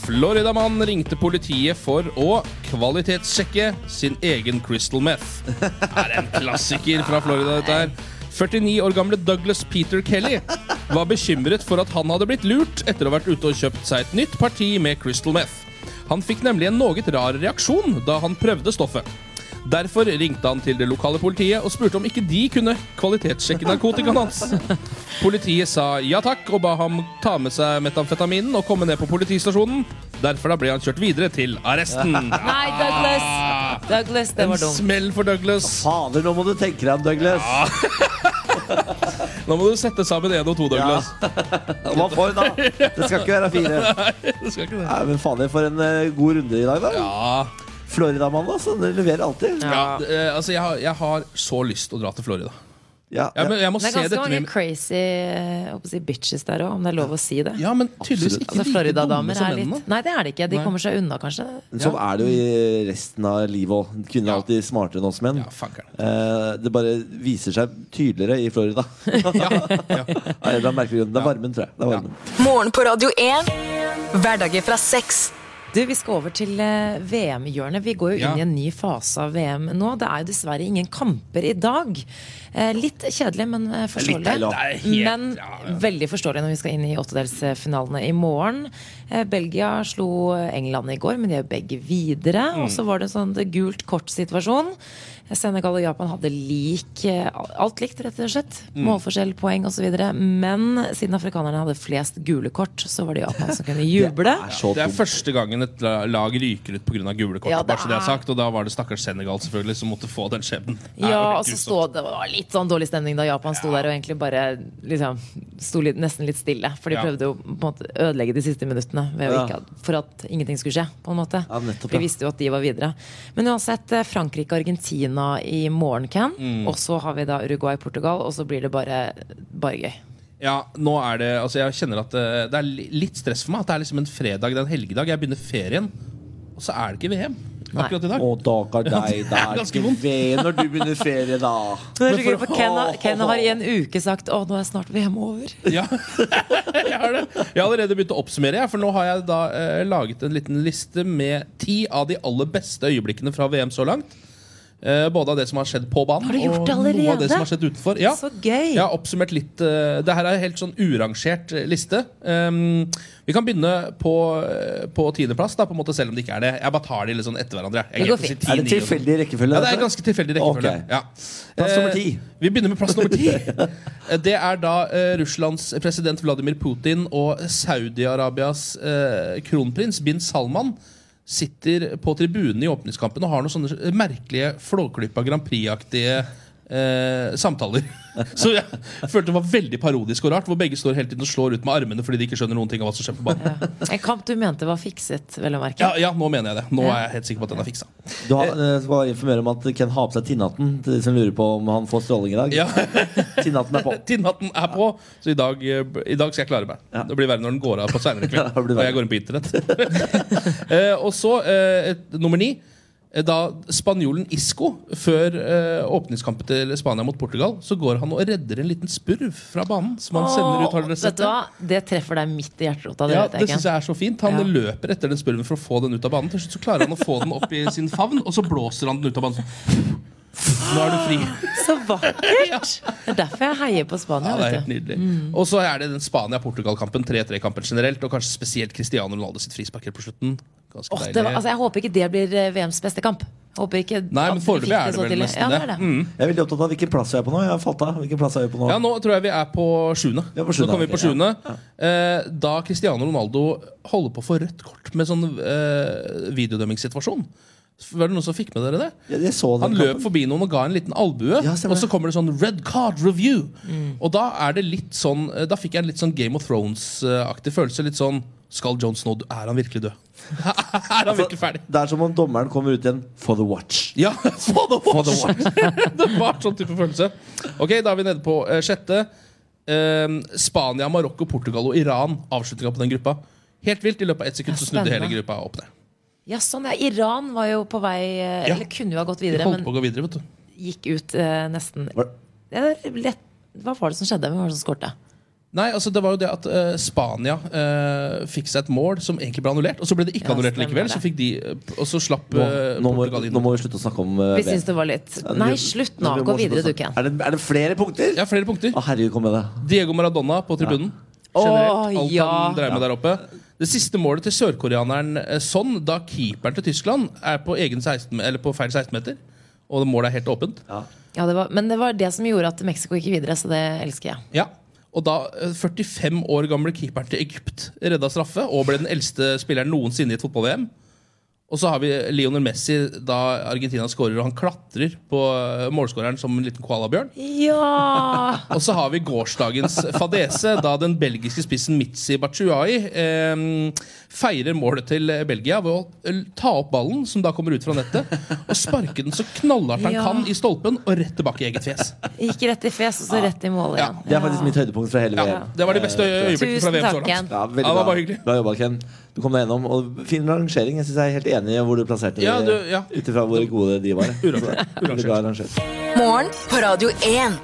[SPEAKER 5] Floridamann ringte politiet for å kvalitetssjekke sin egen crystal meth. Det er en klassiker fra Florida, dette her. 49 år gamle Douglas Peter Kelly var bekymret for at han hadde blitt lurt etter å ha vært ute og kjøpt seg et nytt parti med crystal meth. Han fikk nemlig en noe rar reaksjon da han prøvde stoffet. Derfor ringte han til det lokale politiet og spurte om ikke de kunne kvalitetssjekke narkotikaen hans. Politiet sa ja takk og ba ham ta med seg metamfetaminen og komme ned på politistasjonen. Derfor da ble han kjørt videre til arresten.
[SPEAKER 4] Nei, Douglas! Douglas, det
[SPEAKER 5] Ah. En
[SPEAKER 4] var dumt.
[SPEAKER 5] smell for Douglas.
[SPEAKER 7] Fader, nå må du tenke deg om, Douglas.
[SPEAKER 5] Nå må du sette sammen én og to, Douglas.
[SPEAKER 7] Hva får du da? Det skal ikke være fire.
[SPEAKER 5] Du skal ikke det.
[SPEAKER 7] Nei, men fader, for en eh, god runde i dag, da.
[SPEAKER 5] Ja,
[SPEAKER 7] Floridamann, altså. Den leverer alltid.
[SPEAKER 5] ja. eh, altså jeg har, jeg har så lyst til å dra til Florida.
[SPEAKER 7] Ja,
[SPEAKER 5] Ja, men jeg må
[SPEAKER 4] Det er
[SPEAKER 5] se
[SPEAKER 4] ganske
[SPEAKER 5] dette
[SPEAKER 4] mange
[SPEAKER 5] med
[SPEAKER 4] crazy eh, jeg håper å si bitches der òg, om det er lov å si det.
[SPEAKER 5] Ja, men tydeligvis ikke like
[SPEAKER 4] Altså,
[SPEAKER 5] dumme
[SPEAKER 4] Florida-damer
[SPEAKER 5] som
[SPEAKER 4] er
[SPEAKER 5] mennene.
[SPEAKER 4] litt Nei, det er de ikke. De
[SPEAKER 5] Nei.
[SPEAKER 4] kommer seg unna, kanskje.
[SPEAKER 7] Men Sånn er det jo i resten av livet òg. Kvinner
[SPEAKER 5] Ja.
[SPEAKER 7] er alltid smartere enn oss menn.
[SPEAKER 5] Ja, fankeren.
[SPEAKER 7] Eh, det bare viser seg tydeligere i Florida.
[SPEAKER 5] Ja, ja.
[SPEAKER 7] Av en eller annen merkelig grunn. Det er varmen, tror jeg. Det er varmen.
[SPEAKER 6] Morgen på Radio 1. Hverdager fra seks.
[SPEAKER 4] Du, Vi skal over til eh, VM-hjørnet. Vi går jo
[SPEAKER 5] Ja.
[SPEAKER 4] inn i en ny fase av VM nå. Det er jo dessverre ingen kamper i dag. Eh, Litt kjedelig, men eh, forståelig.
[SPEAKER 7] deilig, da.
[SPEAKER 5] Det er helt-
[SPEAKER 4] men
[SPEAKER 5] ja, ja.
[SPEAKER 4] veldig forståelig når vi skal inn i åttedelsfinalene i morgen. Eh, Belgia slo England i går, men de er jo begge videre.
[SPEAKER 5] Mm.
[SPEAKER 4] Og så var det en sånn det gult kort-situasjon. Senegal og Japan hadde lik eh, alt likt, rett og slett.
[SPEAKER 5] Mm.
[SPEAKER 4] Målforskjell, poeng osv. Men siden afrikanerne hadde flest gule kort, så var det Japan som kunne juble.
[SPEAKER 7] Det er så
[SPEAKER 5] Det er
[SPEAKER 7] dumt.
[SPEAKER 5] første gangen et la- lag ryker ut pga. gule kort.
[SPEAKER 4] Ja, det
[SPEAKER 5] bare så det er
[SPEAKER 4] er-
[SPEAKER 5] sagt, og da var det stakkars Senegal selvfølgelig som måtte få den skjebnen. Det er jo
[SPEAKER 4] Ja,
[SPEAKER 5] helt
[SPEAKER 4] og så
[SPEAKER 5] grusomt.
[SPEAKER 4] stå, det var litt sånn dårlig stemning da Japan sto der og egentlig bare liksom, sto litt, nesten litt stille. For de
[SPEAKER 5] Ja.
[SPEAKER 4] prøvde jo på en måte å ødelegge de siste minuttene ved å
[SPEAKER 7] Ja.
[SPEAKER 4] ikke, ha- for at ingenting skulle skje. på en måte
[SPEAKER 7] Ja, nettopp, ja.
[SPEAKER 4] Vi visste jo at de var videre. Men uansett, eh, Frankrike-Argentina i morgen, Ken.
[SPEAKER 5] Mm.
[SPEAKER 4] Og så har vi da Uruguay-Portugal, og så blir det bare, bare gøy.
[SPEAKER 5] Ja, nå er det Altså, jeg kjenner at eh, det er li- litt stress for meg. At det er liksom en fredag, det er en helgedag, jeg begynner ferien, og så er det ikke VM akkurat i dag.
[SPEAKER 7] Å, dager deg, da
[SPEAKER 5] er
[SPEAKER 7] er
[SPEAKER 5] ganske
[SPEAKER 7] ikke
[SPEAKER 5] vondt.
[SPEAKER 7] ved når du begynner ferie, da.
[SPEAKER 4] Det er så gøy,
[SPEAKER 5] for-
[SPEAKER 4] for Ken, har- Ken har i en uke sagt 'Å, nå er snart VM over'.
[SPEAKER 5] Ja, jeg har det. Jeg har allerede begynt å oppsummere, jeg, for nå har jeg da eh, laget en liten liste med ti av de aller beste øyeblikkene fra VM så langt. Eh, både av det som har skjedd på banen,
[SPEAKER 4] Har du gjort
[SPEAKER 5] og
[SPEAKER 4] det allerede?
[SPEAKER 5] noe av det som har skjedd utenfor. Ja.
[SPEAKER 4] Så gøy!
[SPEAKER 5] Jeg har oppsummert litt eh, Det her er en helt sånn urangert eh, liste. Um, vi kan begynne på, eh, på tiendeplass, da, på en måte, selv om det ikke er det. Jeg bare tar de litt sånn etter hverandre. Jeg
[SPEAKER 4] Det går
[SPEAKER 5] glemte å si
[SPEAKER 4] fint.
[SPEAKER 5] ti,
[SPEAKER 7] Er det
[SPEAKER 5] ni og sånn.
[SPEAKER 7] tilfeldig rekkefølge?
[SPEAKER 5] Ja, det er
[SPEAKER 7] dette?
[SPEAKER 5] ganske tilfeldig rekkefølge.
[SPEAKER 7] Ok.
[SPEAKER 5] Ja.
[SPEAKER 7] Plass nummer
[SPEAKER 5] Eh,
[SPEAKER 7] ti.
[SPEAKER 5] Vi begynner med plass nummer ti. Eh, Det er da eh, Russlands president Vladimir Putin og Saudi-Arabias eh, kronprins bin Salman sitter på tribunen i åpningskampen og har noen sånne merkelige Flåklypa Grand Prix-aktige eh, samtaler. Så jeg følte det var veldig parodisk og rart, hvor begge står hele tiden og slår ut med armene fordi de ikke skjønner noen ting av hva som skjer på banen.
[SPEAKER 4] En kamp du mente var fikset, vel å merke.
[SPEAKER 5] Ja, ja, nå mener jeg det. Nå er jeg helt sikker på at den er fiksa.
[SPEAKER 7] Du har, eh, jeg skal bare informere om at Ken har på seg tinnhatten til de som lurer på om han får stråling i dag.
[SPEAKER 5] Ja.
[SPEAKER 7] Tinnhatten er på.
[SPEAKER 5] Tinnhatten er på, så i dag, eh, i dag skal jeg klare meg. Det blir verre når den går av på seinere kveld.
[SPEAKER 7] det blir
[SPEAKER 5] og jeg går inn på internett. Eh, og så eh, et, nummer ni. Eh, Da spanjolen Isco, før eh, åpningskampen til Spania mot Portugal, så går han og redder en liten spurv fra banen. Som han sender ut, har dere
[SPEAKER 4] Vet
[SPEAKER 5] sett
[SPEAKER 4] du
[SPEAKER 5] det?
[SPEAKER 4] hva? Det treffer deg midt i hjerterota. Det
[SPEAKER 5] Ja,
[SPEAKER 4] vet
[SPEAKER 5] det
[SPEAKER 4] jeg ikke.
[SPEAKER 5] synes jeg er så fint Han
[SPEAKER 4] Ja.
[SPEAKER 5] løper etter den spurven for å få den ut av banen. Til slutt så klarer han å få den opp i sin favn, og så blåser han den ut av banen. sånn. Nå er du fri.
[SPEAKER 4] Så vakkert! Det er derfor jeg heier på Spania.
[SPEAKER 5] Ja, det er
[SPEAKER 4] vet
[SPEAKER 5] helt
[SPEAKER 4] du. Mm.
[SPEAKER 5] nydelig. Og så er det den Spania-Portugal-kampen, 3-3-kampen generelt, og kanskje spesielt Cristiano Ronaldo sitt frisparker på slutten. Ganske
[SPEAKER 4] Åh, det
[SPEAKER 5] deilig.
[SPEAKER 4] var, altså, jeg håper ikke det blir eh, VMs beste kamp. Jeg Håper ikke
[SPEAKER 5] Nei, men
[SPEAKER 4] at vi
[SPEAKER 5] foreløpig
[SPEAKER 4] fikk
[SPEAKER 5] er det
[SPEAKER 4] så
[SPEAKER 5] vel
[SPEAKER 4] tidlig.
[SPEAKER 5] nesten
[SPEAKER 4] ja, det.
[SPEAKER 5] det. Mm.
[SPEAKER 4] Er det.
[SPEAKER 7] Jeg er veldig opptatt av hvilken plass jeg er på nå. Jeg har falt av. Hvilken plass er jeg på nå?
[SPEAKER 5] Ja, nå tror jeg vi er på sjuende.
[SPEAKER 7] Vi er på
[SPEAKER 5] Nå
[SPEAKER 7] sjuende,
[SPEAKER 5] kommer vi på
[SPEAKER 7] ok, ja.
[SPEAKER 5] sjuende. Eh, Da Cristiano Ronaldo holder på å få rødt kort med sånn eh, videodømmingssituasjon, Var det noen som fikk med dere det?
[SPEAKER 7] Jeg, jeg så den
[SPEAKER 5] Han
[SPEAKER 7] kampen.
[SPEAKER 5] løp forbi noen og ga en liten albue,
[SPEAKER 7] Ja, stemmer
[SPEAKER 5] og så
[SPEAKER 7] det.
[SPEAKER 5] kommer det sånn 'Red Card Review'. Og da er det litt sånn Da fikk jeg en litt sånn Game of Thrones-aktig følelse. Litt sånn Skal Jon Snow dø? Er han virkelig død? er
[SPEAKER 7] Altså-
[SPEAKER 5] han virkelig ferdig?
[SPEAKER 7] Det er som om dommeren kommer ut igjen for the watch.
[SPEAKER 5] Ja, få det bort! det var sånn type følelse. Ok, Da er vi nede på eh, sjette. Ehm, Spania, Marokko, Portugal og Iran. Avslutninga på den gruppa. Helt vilt. I løpet av ett sekund
[SPEAKER 4] Ja,
[SPEAKER 5] så snudde hele
[SPEAKER 4] spennende.
[SPEAKER 5] gruppa opp ned.
[SPEAKER 4] Ja, sånn, ja. Iran var jo på vei eh,
[SPEAKER 5] Ja.
[SPEAKER 4] Eller kunne jo ha gått
[SPEAKER 5] De
[SPEAKER 4] videre,
[SPEAKER 5] holdt på
[SPEAKER 4] men
[SPEAKER 5] å gå videre, vet du.
[SPEAKER 4] gikk ut eh, nesten
[SPEAKER 7] Var-
[SPEAKER 4] Det er lett. Hva var det som skjedde? Hvem var det som skårte?
[SPEAKER 5] Nei, altså det var jo det at eh, Spania eh, fikk seg et mål som egentlig ble annullert. Og så ble det ikke
[SPEAKER 4] Ja,
[SPEAKER 5] annullert
[SPEAKER 4] stemmer
[SPEAKER 5] likevel,
[SPEAKER 4] det.
[SPEAKER 5] så fikk de, og så slapp
[SPEAKER 7] Nå,
[SPEAKER 5] eh,
[SPEAKER 7] nå, må,
[SPEAKER 5] Portugal inn.
[SPEAKER 7] nå må vi slutte å snakke om eh,
[SPEAKER 4] Vi
[SPEAKER 7] VM.
[SPEAKER 4] syns det var litt
[SPEAKER 7] Ja, det
[SPEAKER 4] Nei,
[SPEAKER 7] blir-
[SPEAKER 4] slutt
[SPEAKER 7] det
[SPEAKER 4] nå.
[SPEAKER 7] blir
[SPEAKER 4] Gå
[SPEAKER 7] morsomt
[SPEAKER 4] videre,
[SPEAKER 7] å
[SPEAKER 4] du,
[SPEAKER 7] snakke.
[SPEAKER 4] Ken.
[SPEAKER 7] Er, det- er det flere punkter?
[SPEAKER 5] Ja, flere punkter.
[SPEAKER 7] Å, herregud, kom med det.
[SPEAKER 5] Diego Maradona på tribunen. Generelt, alt
[SPEAKER 4] ja.
[SPEAKER 5] han drev med der oppe. Det siste målet til sørkoreaneren eh, Son, da keeperen til Tyskland er på, egen 16, eller på feil 16-meter, og det målet er helt åpent
[SPEAKER 4] Ja, det var, men det var det som gjorde at Mexico gikk videre, så det elsker jeg.
[SPEAKER 5] Ja og da eh, 45 år gamle keeperen til Egypt redda straffe og ble den eldste spilleren noensinne i et fotball-VM. Og så har vi Lionel Messi da Argentina skårer, og han klatrer på eh, målskåreren som en liten koalabjørn.
[SPEAKER 4] Ja!
[SPEAKER 5] Og så har vi gårsdagens fadese, da den belgiske spissen Mitzi Batshuayi eh, feirer målet til Belgia ved å eh, ta opp ballen, som da kommer ut fra nettet, og sparke den så knallhardt han
[SPEAKER 4] Ja.
[SPEAKER 5] kan i stolpen, og rett tilbake i eget fjes.
[SPEAKER 4] Gikk rett i fjes, og så rett i mål igjen.
[SPEAKER 7] Det er faktisk mitt høydepunkt fra hele
[SPEAKER 5] Ja,
[SPEAKER 7] VM.
[SPEAKER 5] det var de beste øy- øyeblikkene fra
[SPEAKER 4] Tusen
[SPEAKER 5] VM så
[SPEAKER 4] takk,
[SPEAKER 5] langt.
[SPEAKER 4] Ken.
[SPEAKER 7] Ja, veldig
[SPEAKER 5] Ja, det var
[SPEAKER 7] bra.
[SPEAKER 5] bare hyggelig.
[SPEAKER 7] Bra jobba, Ken. Du kom deg gjennom. Og fin rangering. Jeg synes jeg er helt enig i hvor du plasserte
[SPEAKER 5] Ja,
[SPEAKER 7] de,
[SPEAKER 5] du- ja.
[SPEAKER 7] ut ifra hvor gode de var. Så, veldig bra rangert.
[SPEAKER 6] Morgen på Radio 1.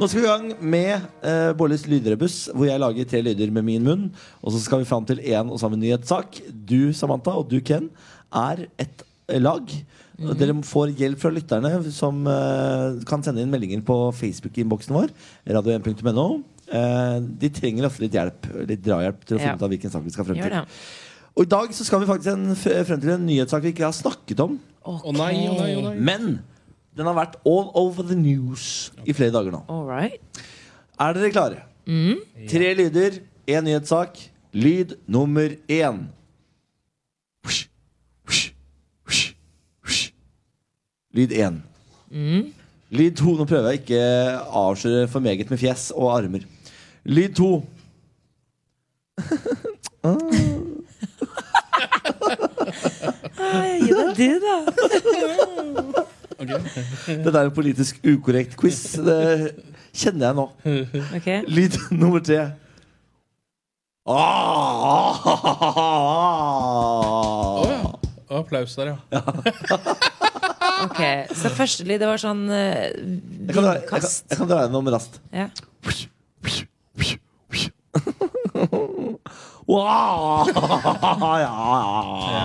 [SPEAKER 7] Nå skal vi i gang med uh, Bårlis lydrebuss, hvor jeg lager tre lyder med min munn. Og så skal vi fram til én og samme nyhetssak. Du, Samantha, og du, Ken, er et lag.
[SPEAKER 4] Mhm.
[SPEAKER 7] Og Dere får hjelp fra lytterne, som eh, kan sende inn meldinger på Facebook-innboksen vår. radio1.no Eh, De trenger ofte litt hjelp, litt drahjelp til å
[SPEAKER 4] Ja.
[SPEAKER 7] finne ut av hvilken sak vi skal frem
[SPEAKER 4] Gjør
[SPEAKER 7] til.
[SPEAKER 4] det.
[SPEAKER 7] Og i dag så skal vi faktisk en, f- frem til en nyhetssak vi ikke har snakket om.
[SPEAKER 4] Ok.
[SPEAKER 5] Å nei, å nei, å nei.
[SPEAKER 7] Men den har vært all over the news i flere dager nå.
[SPEAKER 4] All right.
[SPEAKER 7] Er dere klare? Tre lyder, én nyhetssak. Lyd nummer én. Lyd én. Lyd to. Nå prøver jeg ikke å avsløre for meget med fjes og armer. Lyd to.
[SPEAKER 4] Gi deg du, da.
[SPEAKER 7] Dette er en politisk ukorrekt quiz. Det kjenner jeg nå.
[SPEAKER 4] Ok.
[SPEAKER 7] Lyd nummer tre. Ah!
[SPEAKER 5] Og Applaus der, ja.
[SPEAKER 4] Ok, Så første lyd, det var sånn eh,
[SPEAKER 7] Jeg kan dra, jeg kan,
[SPEAKER 4] vindkast.
[SPEAKER 7] jeg kan dra gjennom raskt.
[SPEAKER 4] Ja.
[SPEAKER 7] Wow! ja.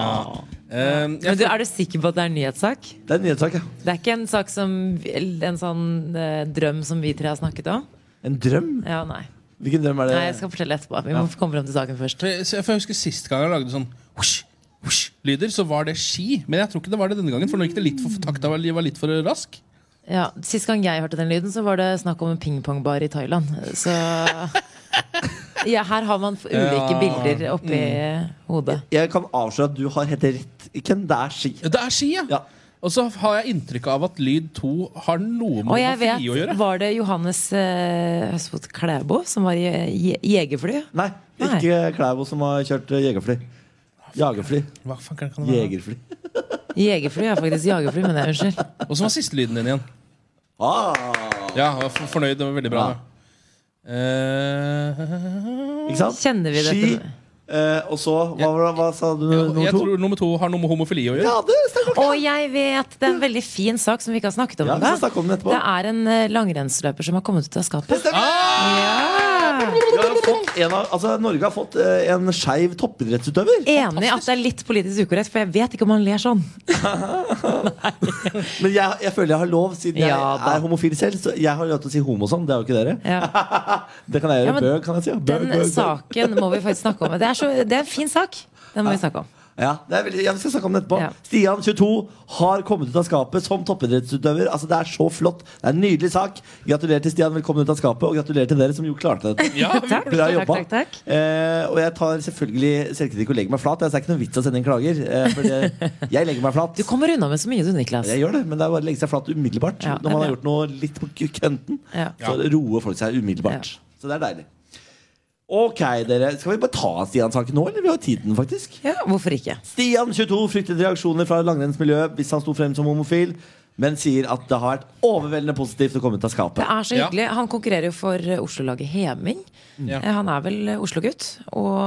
[SPEAKER 5] Eh, jeg
[SPEAKER 4] Men du, Er du sikker på at det er en nyhetssak?
[SPEAKER 7] Det er en nyhetssak, ja.
[SPEAKER 4] Det er ikke en sak som En sånn eh, drøm som vi tre har snakket om?
[SPEAKER 7] En drøm?
[SPEAKER 4] Ja, nei.
[SPEAKER 7] Hvilken drøm er det?
[SPEAKER 4] nei jeg skal fortelle etterpå. Vi må komme frem til saken først.
[SPEAKER 5] For jeg, så jeg for jeg husker Sist gang jeg lagde sånn hush, hush, lyder, så var det ski. Men jeg tror ikke det var det denne gangen, for nå gikk det litt for takta var var litt for rask.
[SPEAKER 4] Ja, Sist gang jeg hørte den lyden, så var det snakk om en pingpongbar i Thailand. Så ja, her har man f- ulike
[SPEAKER 5] Ja. Mm.
[SPEAKER 4] bilder oppi hodet.
[SPEAKER 7] Jeg kan avsløre at du har helt rett. Ken, det er ski.
[SPEAKER 5] Ja, Det er ski, ja.
[SPEAKER 7] Ja.
[SPEAKER 5] Og så har jeg inntrykk av at lyd 2 har noe
[SPEAKER 4] Og
[SPEAKER 5] med
[SPEAKER 4] jeg
[SPEAKER 5] homofili å
[SPEAKER 4] vet,
[SPEAKER 5] gjøre.
[SPEAKER 4] var det Johannes eh, Høsfot Klæbo som var i je jegerfly?
[SPEAKER 7] Nei,
[SPEAKER 4] Nei.
[SPEAKER 7] ikke Klæbo som har kjørt eh, jegerfly. Jagerfly.
[SPEAKER 5] Hva faen kan kan det være?
[SPEAKER 7] Jegerfly.
[SPEAKER 4] Jegerfly er faktisk jagerfly, men jeg unnskyld.
[SPEAKER 5] Og så var siste lyden din igjen.
[SPEAKER 7] Ah.
[SPEAKER 5] Ja, jeg var for- fornøyd. Det var veldig bra.
[SPEAKER 7] Ja.
[SPEAKER 5] da. Eh,
[SPEAKER 7] Ikke sant?
[SPEAKER 4] Kjenner vi
[SPEAKER 7] Ski,
[SPEAKER 4] dette?
[SPEAKER 7] eh, og så Hva, var det- hva sa du?
[SPEAKER 5] jeg
[SPEAKER 7] Nummer to?
[SPEAKER 5] tror nummer to har noe med homofili å gjøre.
[SPEAKER 7] Ja, det stemmer.
[SPEAKER 4] Og jeg vet, det er en veldig fin sak som vi ikke har snakket om.
[SPEAKER 7] Ja, vi
[SPEAKER 4] ennå.
[SPEAKER 7] skal snakke om den etterpå.
[SPEAKER 4] det er en eh, langrennsløper som har kommet ut av skapet.
[SPEAKER 7] Vi har jo fått en av, altså, Norge har fått eh, en skeiv toppidrettsutøver.
[SPEAKER 4] Enig i at det er litt politisk ukorrekt, for jeg vet ikke om han ler sånn.
[SPEAKER 7] Men jeg, jeg føler jeg har lov, siden jeg
[SPEAKER 4] Ja, da.
[SPEAKER 7] er homofil selv. Så jeg har lov til å si homo sånn. Det har jo ikke dere.
[SPEAKER 4] Ja.
[SPEAKER 7] Det kan jeg
[SPEAKER 4] Ja,
[SPEAKER 7] gjøre.
[SPEAKER 4] men
[SPEAKER 7] bøg, kan jeg si. ja. Bøg,
[SPEAKER 4] Den
[SPEAKER 7] bøg, bøg.
[SPEAKER 4] saken må vi faktisk snakke om. Det er, så, det er en fin sak. Den må vi snakke om.
[SPEAKER 7] Ja, det er veldig, ja, vi skal snakke om det etterpå.
[SPEAKER 4] Ja.
[SPEAKER 7] Stian, 22, har kommet ut av skapet som toppidrettsutøver. Altså, det er så flott. Det er en nydelig sak. Gratulerer til Stian, velkommen ut av skapet. Og gratulerer til dere som jo klarte det.
[SPEAKER 5] Ja,
[SPEAKER 4] Takk.
[SPEAKER 7] Bra
[SPEAKER 4] Takk,
[SPEAKER 7] jobba.
[SPEAKER 4] takk, takk.
[SPEAKER 7] Eh, og jeg tar selvfølgelig selvkritikk og legger meg flat. Altså, Det er ikke noe vits å sende inn klager. Eh, for det, jeg legger meg flat.
[SPEAKER 4] Du kommer unna med så mye, du, Niklas.
[SPEAKER 7] Jeg gjør det, men det er bare å legge seg flat umiddelbart.
[SPEAKER 4] Ja, det er
[SPEAKER 7] Når man har
[SPEAKER 4] bra.
[SPEAKER 7] gjort noe litt på kønten,
[SPEAKER 4] Ja.
[SPEAKER 7] så roer folk seg umiddelbart. Så det er deilig. Ok, dere. Skal vi bare ta Stian-saken nå, eller? Vi har tiden, faktisk.
[SPEAKER 4] Ja, hvorfor ikke?
[SPEAKER 7] Stian, 22, fryktet reaksjoner fra langrennsmiljøet hvis han sto frem som homofil, men sier at det har vært overveldende positivt å komme ut av skapet.
[SPEAKER 4] Det er så hyggelig. Han konkurrerer jo for eh, Oslo-laget Heming.
[SPEAKER 3] Ja.
[SPEAKER 4] Eh, Han er vel eh, Oslo-gutt. Og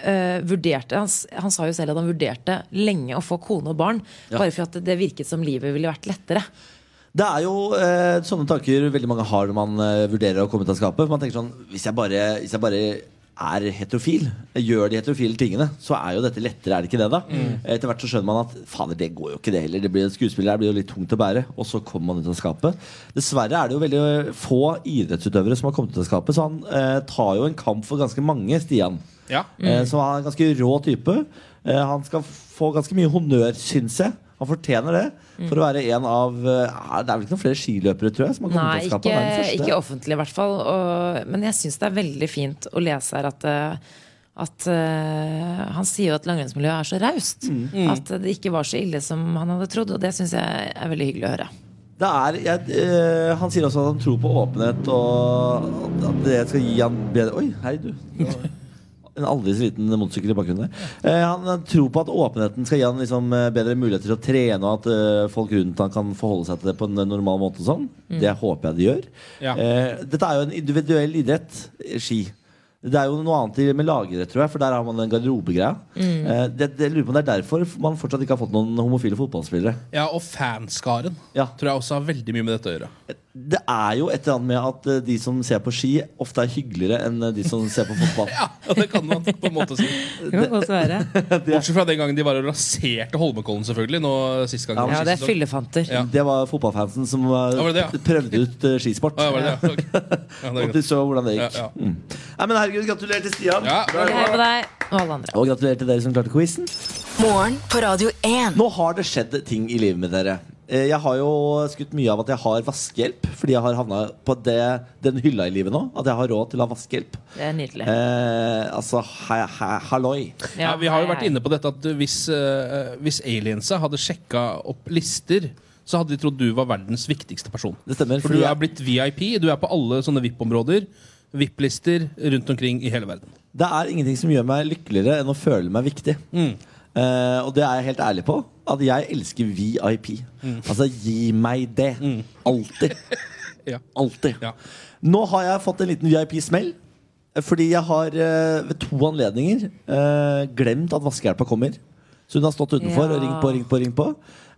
[SPEAKER 4] eh, vurderte han, s- han sa jo selv at han vurderte lenge å få kone og barn. Bare for at det virket som livet ville vært lettere.
[SPEAKER 7] Det er jo eh, sånne tanker veldig mange har når man eh, vurderer å komme ut av skapet. Man tenker sånn Hvis jeg bare, hvis jeg bare er heterofil, gjør de heterofile tingene, så er jo dette lettere, er det ikke det, da? Eh, Etter hvert så skjønner man at fader, det går jo ikke, det heller. Det blir en skuespiller her, blir jo litt tungt å bære. Og så kommer man ut av skapet. Dessverre er det jo veldig eh, få idrettsutøvere som har kommet ut av skapet, så han eh, tar jo en kamp for ganske mange, Stian.
[SPEAKER 5] Ja.
[SPEAKER 4] Mm.
[SPEAKER 7] Eh, Så han er en ganske rå type. Eh, Han skal få ganske mye honnør, syns jeg. Han fortjener det.
[SPEAKER 4] Mm.
[SPEAKER 7] For å være en av eh, Det er vel ikke noen flere skiløpere, tror jeg? Som har kommet
[SPEAKER 4] Nei,
[SPEAKER 7] til å skape
[SPEAKER 4] ikke,
[SPEAKER 7] Han er den første.
[SPEAKER 4] ikke offentlig i hvert fall. Og, men jeg syns det er veldig fint å lese her at eh, at eh, Han sier jo at langrennsmiljøet er så raust. At det ikke var så ille som han hadde trodd. Og det syns jeg er veldig hyggelig å høre.
[SPEAKER 7] det er, jeg, eh, han sier også at han tror på åpenhet, og at det skal gi han bedre Oi, hei, du. En aldri så liten motorsykkel i bakgrunnen der. Eh, han, han tror på at åpenheten skal gi han liksom, eh, bedre muligheter til å trene, og at eh, folk rundt han kan forholde seg til det på en eh, normal måte. og Sånn. Det håper jeg de gjør.
[SPEAKER 5] Ja.
[SPEAKER 7] Eh, dette er jo en individuell idrett, eh, ski. Det er jo noe annet i- med lagidrett, tror jeg, for der har man den garderobegreia. Eh, det, det, jeg lurer på om det er derfor man fortsatt ikke har fått noen homofile fotballspillere.
[SPEAKER 5] ja, og fanskaren
[SPEAKER 7] Ja.
[SPEAKER 5] tror jeg også har veldig mye med dette å gjøre.
[SPEAKER 7] Det er jo et eller annet med at eh, de som ser på ski, ofte er hyggeligere enn eh, de som ser på fotball.
[SPEAKER 5] Ja, og det kan man på en måte si.
[SPEAKER 4] Det kan godt være.
[SPEAKER 5] Bortsett fra den gangen de var og raserte Holmenkollen, selvfølgelig. Nå sist gang.
[SPEAKER 4] Ja,
[SPEAKER 5] sist
[SPEAKER 4] det er
[SPEAKER 5] sesong.
[SPEAKER 4] fyllefanter.
[SPEAKER 5] Ja.
[SPEAKER 7] Det var fotballfansen som eh,
[SPEAKER 5] var det det, ja?
[SPEAKER 7] prøvde ut eh, skisport.
[SPEAKER 5] Å, ja, var det det? Ok. Ja, det er
[SPEAKER 7] Og
[SPEAKER 5] greit.
[SPEAKER 7] de så hvordan det
[SPEAKER 5] Ja,
[SPEAKER 7] gikk. Mm.
[SPEAKER 5] ja.
[SPEAKER 7] Nei, men herregud, Gratulerer til Stian.
[SPEAKER 5] Ja, bra,
[SPEAKER 4] Hei på
[SPEAKER 5] bra.
[SPEAKER 4] deg og alle andre.
[SPEAKER 7] Og gratulerer til dere som klarte quizen.
[SPEAKER 6] Morgen på Radio 1.
[SPEAKER 7] Nå har det skjedd ting i livet med dere. Eh, Jeg har jo skutt mye av at jeg har vaskehjelp, fordi jeg har havna på det, den hylla i livet nå. At jeg har råd til å ha vaskehjelp.
[SPEAKER 4] Det er nydelig.
[SPEAKER 7] Eh, altså, he, he, halloi.
[SPEAKER 5] Ja, vi har jo vært inne på dette at hvis, eh, hvis aliensa hadde sjekka opp lister, så hadde de trodd du var verdens viktigste person.
[SPEAKER 7] Det stemmer.
[SPEAKER 5] For
[SPEAKER 7] fordi
[SPEAKER 5] du
[SPEAKER 7] jeg-
[SPEAKER 5] er blitt VIP. Du er på alle sånne VIP-områder. VIP-lister rundt omkring i hele verden.
[SPEAKER 7] Det er ingenting som gjør meg lykkeligere enn å føle meg viktig. Eh, og det er jeg helt ærlig på. At jeg elsker VIP. Altså, gi meg det. Alltid.
[SPEAKER 5] Ja.
[SPEAKER 7] Alltid.
[SPEAKER 5] Ja.
[SPEAKER 7] Nå har jeg fått en liten VIP-smell. eh, Fordi jeg har eh, ved to anledninger eh, glemt at vaskehjelpa kommer. Så hun har stått utenfor
[SPEAKER 4] Ja.
[SPEAKER 7] og ringt på, ringt på, ringt på.